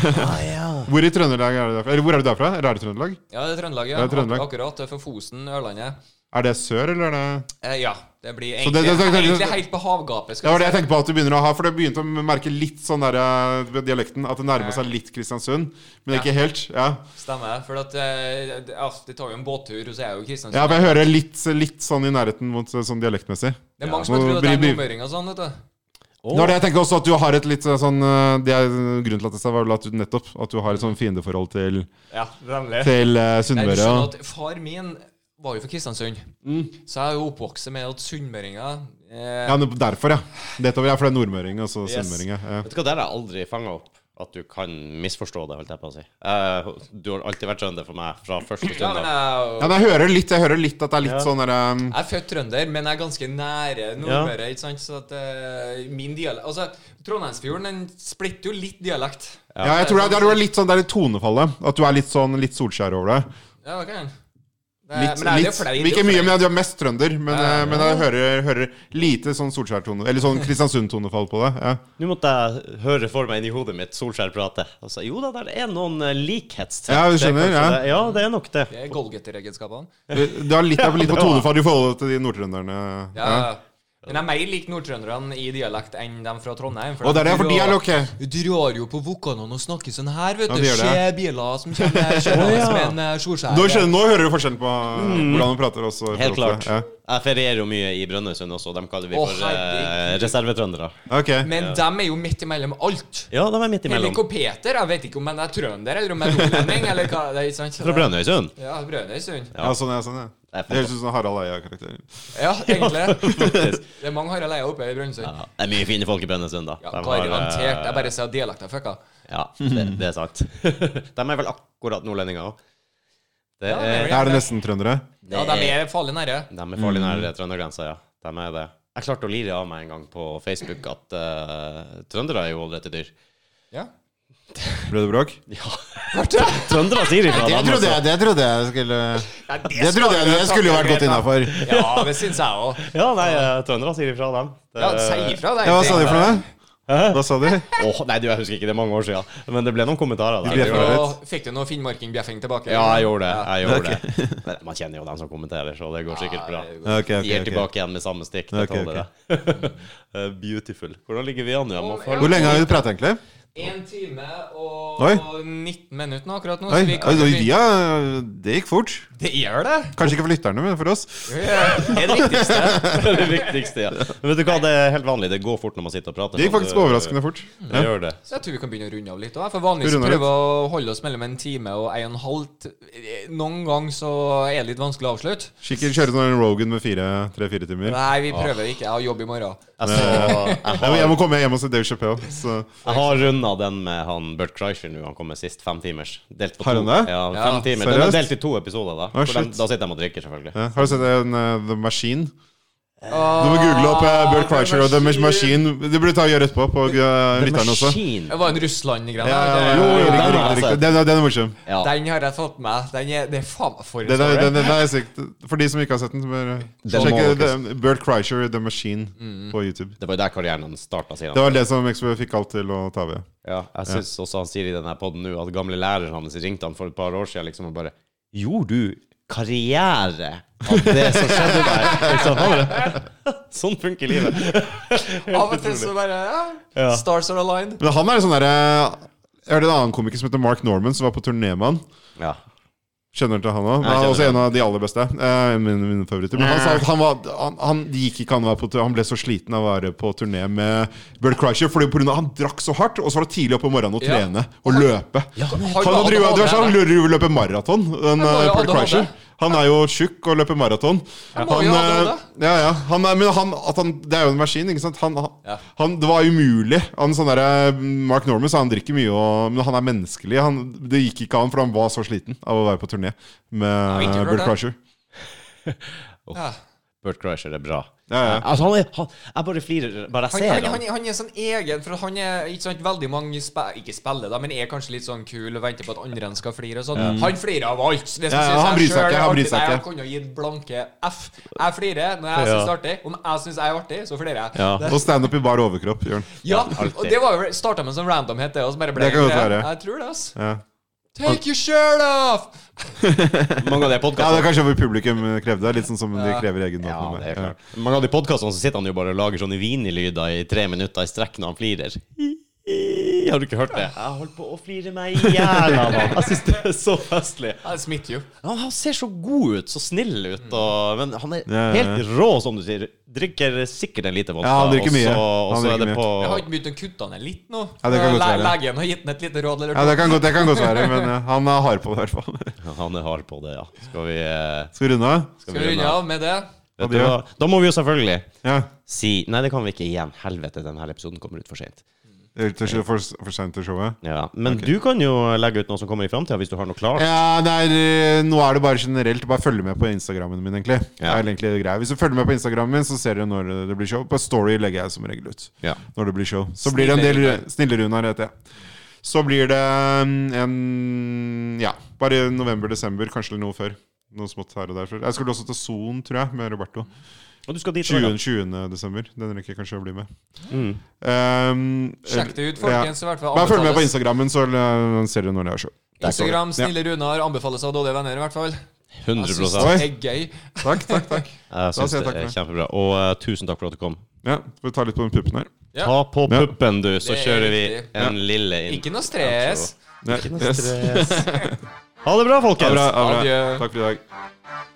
C: Hvor i Trøndelag er du derfra? Eller hvor er du derfra? Rare Trøndelag?
B: Ja, det er Trøndelag, ja.
C: Det er Trøndelag.
B: Ak- Akkurat. det er Fra Fosen, Ørlandet.
C: Er det sør, eller er det
B: Eh, ja. Det blir
C: Så
B: egentlig,
C: det- det- det- det-
B: egentlig helt på havgapet.
C: Det var
B: vi
C: det jeg
B: si.
C: tenkte på at du begynner å ha, for det begynte å merke litt sånn der eh, dialekten. At det nærmer seg litt Kristiansund, men ikke helt. Ja,
B: Stemmer. For at, eh, det- ja, det tar jo en båttur, og så er jeg jo i Kristiansund.
C: ja for jeg hører litt, litt sånn i nærheten mot eh, sånn dialektmessig.
B: Det er mange som har
C: Ja.
B: trodd at jeg er
C: Blir-
B: nordmøring og sånn, vet du.
A: Åh,
C: Det var det jeg tenker også at du har et litt sånn eh, det er Grunnen til at jeg sa, var vel at du nettopp At du har et sånn fiendeforhold til,
B: Ja, nemlig.
C: til
B: [LAUGHS] Nei,
C: eh,
B: du
C: Sunnmøre.
B: skjønner
C: og-
B: at Far min var jo fra Kristiansund,
C: Mm.
B: så jeg er jo oppvokst med at sunnmøringer eh,
C: Ja, men derfor, ja. Nettopp, ja, for det er nordmøring og så
A: Yes.
C: sunnmøring. ja. Ja.
A: Vet du hva, der har jeg aldri fanga opp at du kan misforstå det, holdt jeg på å si. Eh, du har alltid vært trønder for meg fra første stund
B: Ja, men
A: av.
B: jeg,
C: Ja, men jeg hører litt, jeg hører litt at det er litt sånn der, um,
B: jeg er født trønder, men jeg er ganske nære Nordmøre. ikke sant? Så at eh, min dialekt Altså, Trondheimsfjorden den splitter jo litt dialekt.
C: ja, jeg tror det, er- det er litt sånn, det er litt tonefallet. At du er litt sånn litt Solskjær over det.
B: Ja, det kan jeg. Det er-
C: Litt,
B: Eh, men det er jo
C: litt,
B: flere- det er jo
C: ikke
B: flere-
C: mye, men du er mest trønder. Men,
B: Ja,
C: eh, men jeg hører, hører lite sånn Solskjær-tone Eller sånn Kristiansund-tonefall på det. Ja.
A: Nå måtte jeg høre for meg inni hodet mitt Solskjær prate. Og så, jo da, der er noen eh, likhetstrekk.
C: Ja, du
A: Det er
C: skjønner,
A: kanskje
C: ja.
A: Det. ja, det er nok det.
B: Det er Golgeter-egenskapene.
C: Du, du har
B: [LAUGHS]
C: litt, litt på
A: det var-
C: tonefall i forhold til de nordtrønderne.
B: Ja. Men jeg er mer lik nordtrønderne i dialekt enn dem fra Trondheim.
C: Og det er derfor de er ok.
B: Du drar jo på vokalene og snakker sånn her, vet
C: Ja,
B: du.
C: de gjør
B: Se
C: det.
B: biler som
C: [LAUGHS]
B: kommer kjørende
A: ja.
B: som en eh, solskjær.
C: Nå, skjønner, nå hører du forskjellen på eh, hvordan du prater også. i
A: Helt
C: forhold
A: klart.
C: til- Ja.
A: Jeg ferierer jo mye i Brønnøysund også, dem kaller vi
B: Å,
A: for eh,
B: herregud.
A: reservetrøndere.
C: Ok.
B: Men dem er jo midt imellom alt.
A: Ja, de er midt
B: Henrik
A: imellom.
B: og Peter, jeg vet ikke om han er trønder eller om han er nordlending, eller hva det er. ikke sant?
A: Fra Brønnøysund.
B: Ja, Brønnøysund.
C: ja, sånn er sånn, ja.
A: Det er
C: Det høres ut som en Harald Eia-karakter.
B: Ja,
A: [LAUGHS]
B: egentlig.
A: fantastisk.
B: [LAUGHS] Det er mange Harald Eia oppe i Brønnøysund.
A: Ja, det er mye fine folk i Brønnøysund, da.
B: Ja,
A: De har, eh,
B: garantert. Jeg bare ser dialekten fucka.
A: Ja, det, det er sant. [LAUGHS] De er vel akkurat nordlendinger òg. Det
B: Ja,
A: er,
C: Er det nesten trøndere?
B: Ja, de er farlig nære.
A: de er farlig nær trøndergrensa, ja. De er det. Jeg klarte å lire av meg en gang på Facebook at eh, trøndere er jo ålrete dyr.
B: Ja.
C: Ble det bråk?
A: Trøndere sier ifra. dem, altså.
C: jeg, [LAUGHS] det trodde jeg skulle
B: Ja, det
C: innafor.
B: Ja, det syns jeg òg.
A: Ja, nei, eh, trøndere sier ifra, dem. Det-
B: Ja, si ifra, deg.
C: Ja, hva sa de for noe?
A: Hæ?
C: Hva sa de?
A: Åh, nei, du, jeg husker ikke, det er mange år siden. Men det ble noen kommentarer. da.
C: De ble
A: Jeg gjorde det.
B: Og fikk du noe finnmarking-bjeffing tilbake?
A: Ja, jeg gjorde det. Jeg gjorde det. Men Man kjenner jo dem som kommenterer, så det går sikkert bra.
C: Ok, ok,
A: De er
C: ok.
A: tilbake igjen med samme stikk. Det
C: Ok, ok.
A: tåler
C: [LAUGHS]
A: jeg. Eh, Beautiful. Hvordan ligger vi an? Ja? Man får-
C: Hvor lenge har vi pratet, egentlig?
B: En time og
C: Oi.
B: 19 minutter nå akkurat nå.
C: Oi,
B: så vi kan-
C: oi, vi har- det gikk fort.
B: Det gjør det!
C: Kanskje ikke for lytterne, men for oss.
B: Det er det viktigste.
A: Det er det viktigste, ja. Men vet du hva, det er helt vanlig. Det går fort når man sitter og prater.
C: Det gikk
A: sånn,
C: faktisk
A: du-
C: overraskende fort.
A: Det gjør det.
B: Så jeg tror vi kan begynne å runde av litt. Også, for vanligvis
C: Vi runder
B: prøver vi å holde oss mellom en time og en og en halv. t- Noen ganger så er det litt vanskelig å avslutte.
C: Skikkelig kjøre sånn en Rogan med fire- tre-fire timer.
B: Nei, vi prøver ikke. Jeg har jobb i morgen.
A: Jeg, så, jeg
C: Jeg må, jeg
A: har,
C: må komme hjem og se Dave Chappelle. Så.
A: jeg har runda den med han Burt Kreischer nå. Han kom med sist, fem timers. Delt på
C: Har
A: to.
C: han det?
A: Ja,
B: Ja.
A: fem timer. Den er
C: Seriøst?
A: delt i to episoder, da.
C: Å,
A: For den,
C: shit.
A: da sitter de og drikker, selvfølgelig.
C: Ja. Har du sett den, eh, The Machine?
B: Ah,
C: Du må google opp eh, Burt Kreischer og The
B: Machine.
C: Machine. Det burde du ta og gjøre etterpå på eh,
A: The
C: lytterne også.
A: Machine.
B: Det var en Russland-greie.
C: Ja,
B: det-
C: ja,
A: jo, den
C: ja, riktig,
A: har jeg
C: riktig, riktig.
A: sett.
C: Den, den er morsom.
A: Ja.
B: Den har jeg fått med meg. Den er, det er faen meg for en
C: Den er,
B: story.
C: den, den er sikkert, for de som ikke har sett den, så eh, bør
A: Den må Mm. dere
C: sjekke The- Burt Kreischer The Machine på YouTube.
A: Det var jo der karrieren hans starta, sier han.
C: Det var det som Expo fikk alt til å ta ved.
A: Ja, jeg synes også han sier i denne podden nå at gamle læreren hans ringte han for et par år siden liksom, og bare Gjorde du karriere av det som skjedde
C: [LAUGHS]
A: der? Liksom, han bare, sånn funker livet.
B: Av og til så bare ja,
A: Ja.
B: Stars are aligned.
C: Men han er sånn derre Jeg hørte en annen komiker som heter Mark Norman, som var på turné med han.
A: Ja.
C: Kjenner til han også. Men
A: Nei,
C: Han er
A: kjenner
C: også en av de aller beste. Eh, mine, mine favoritter. Men han sa at han var han, han, det gikk ikke an å være på turné. Han ble så sliten av å være på turné med Burt Kreischer fordi på grunn av, han drakk så hardt, og så var det tidlig opp om morgenen å
B: Ja.
C: trene og løpe.
B: han
C: han
B: er-
C: har drevet- det verste er at han driver og løper maraton, den
B: må
C: eh,
B: jo
C: Burt
B: ADHD.
C: Kreischer. Han er jo tjukk og løper maraton.
B: Han må jo
C: eh,
B: ADHD.
C: ja, ja. Han er, men han, at han, det er jo en maskin, ikke sant? Han, han,
B: Ja.
C: han, det var umulig. Han, sånn der, Mark Norman sa han drikker mye, og, men han er menneskelig. Han, det gikk ikke an, for han var så sliten av å være på turné med
B: ikke
C: Burt
B: rart,
C: Crusher.
B: Ja.
A: Burt Kreischer er bra.
C: Ja, ja.
A: Altså, han er, han, jeg bare flirer bare jeg
B: Han,
A: ser
B: han,
A: han.
B: han, han er sånn egen, for han er ikke sant, veldig mange spe, Ikke spiller, da, men er kanskje litt sånn kul og venter på at andre enn skal flire og sånn. Han flirer av alt. Det skal
C: Mm.
B: sies,
C: Ja, ja,
B: jeg
C: han bryr seg
B: selv
C: ikke,
B: er
C: han bryr
B: alltid-
C: seg
B: Nei,
C: ikke.
B: Han kunne ha gitt blanke F. Jeg flirer når jeg syns det er artig. Om jeg syns jeg er artig, så flirer jeg.
A: Ja.
B: Det,
C: Og standup i bar overkropp, Jørn.
B: ja,
A: Alltid.
B: og det var jo starta med en sånn randomhet, det, og så bare ble
C: Det kan
B: en
C: godt
B: greie.
C: være.
B: Jeg tror det, ass.
C: Ja.
B: Take your shirt off!
A: [LAUGHS] Mange av de
C: ja, det er
A: podcastene
C: kanskje hvor publikum krevde det. Litt sånn som de krever egen
A: ja,
C: dato.
A: det er klart. Mange av de podcastene så sitter han jo bare og lager sånne vinelyder i tre minutter i strekk når han flirer. Har du ikke hørt det? Jeg holdt på å flire meg i hjel av han. [LAUGHS] Jeg synes det er så festlig.
B: Det smitter jo.
A: Han, han ser så god ut, så snill
B: Mm.
A: ut, og, men han er
C: ja, ja.
A: helt rå, som du sier. Drikker sikkert en lite vodka,
C: Ja, han drikker mye.
A: og så, og
C: Han
A: så
C: drikker
A: er det
C: mye.
A: på
B: Jeg har ikke begynt å kutte han ned litt nå. Eh,
C: Ja, det kan godt
B: Le-
C: være.
B: Legen har gitt han et lite råd eller
C: Ja,
B: to.
C: det kan godt, det kan godt være, men eh, han er hard på det, i hvert fall. [LAUGHS]
A: Han er hard på det, ja. Skal vi, eh,
C: Skal vi runde av?
B: Skal vi runde av med det?
A: Vet du hva? Da må vi jo selvfølgelig
C: Ja.
A: si Nei, det kan vi ikke igjen. Helvete, denne episoden kommer ut for seint.
C: Det er ikke For, for sent til showet?
A: Ja. Men du kan jo legge ut noe som kommer i framtida, hvis du har noe klart.
C: Ja, det er, eh, nå er det bare generelt. Bare følg med på Instagrammen min, egentlig. Det
A: Ja.
C: er egentlig det greia. Hvis du følger med på Instagrammen min, så ser dere når det blir show. På Story legger jeg som regel ut
A: Ja.
C: når det blir show. Så blir det en
B: Snille
C: del Snille-Runar, heter jeg. Så blir det mm, en Ja, bare november-desember, kanskje noe før. Noe smått her og der. før. Jeg skulle også til Son, tror jeg, med Roberto.
A: Og du skal dit.
C: 20.
A: Norge.
C: 20. desember. Den rekker jeg kanskje å bli med.
A: Mm.
C: Um,
B: Sjekk det ut, folkens. i hvert fall
C: Bare følg med på
B: anbefales.
C: Instagrammen, så eh, ser dere når jeg har show.
B: Instagram. Snille Runar anbefales av dårlige venner, i hvert fall.
A: 100
B: Jeg syns
A: Jeg
B: det er gøy.
C: Takk, takk, takk. sier
A: syns
C: jeg
A: det
C: takk for
A: er
C: det.
A: kjempebra. Og eh, tusen takk for at du kom.
C: Ja, Får vi ta litt på den puppen her.
B: Ja.
A: Ta på
C: Ja.
A: puppen, du, så
B: Det er
A: kjører vi
B: riktig.
C: Ja.
A: en lille inn.
B: Ikke noe stress.
C: Ja, yes.
A: Ha det bra, folkens.
C: Ha det bra, ha det bra.
B: Adjø.
C: Takk for i dag.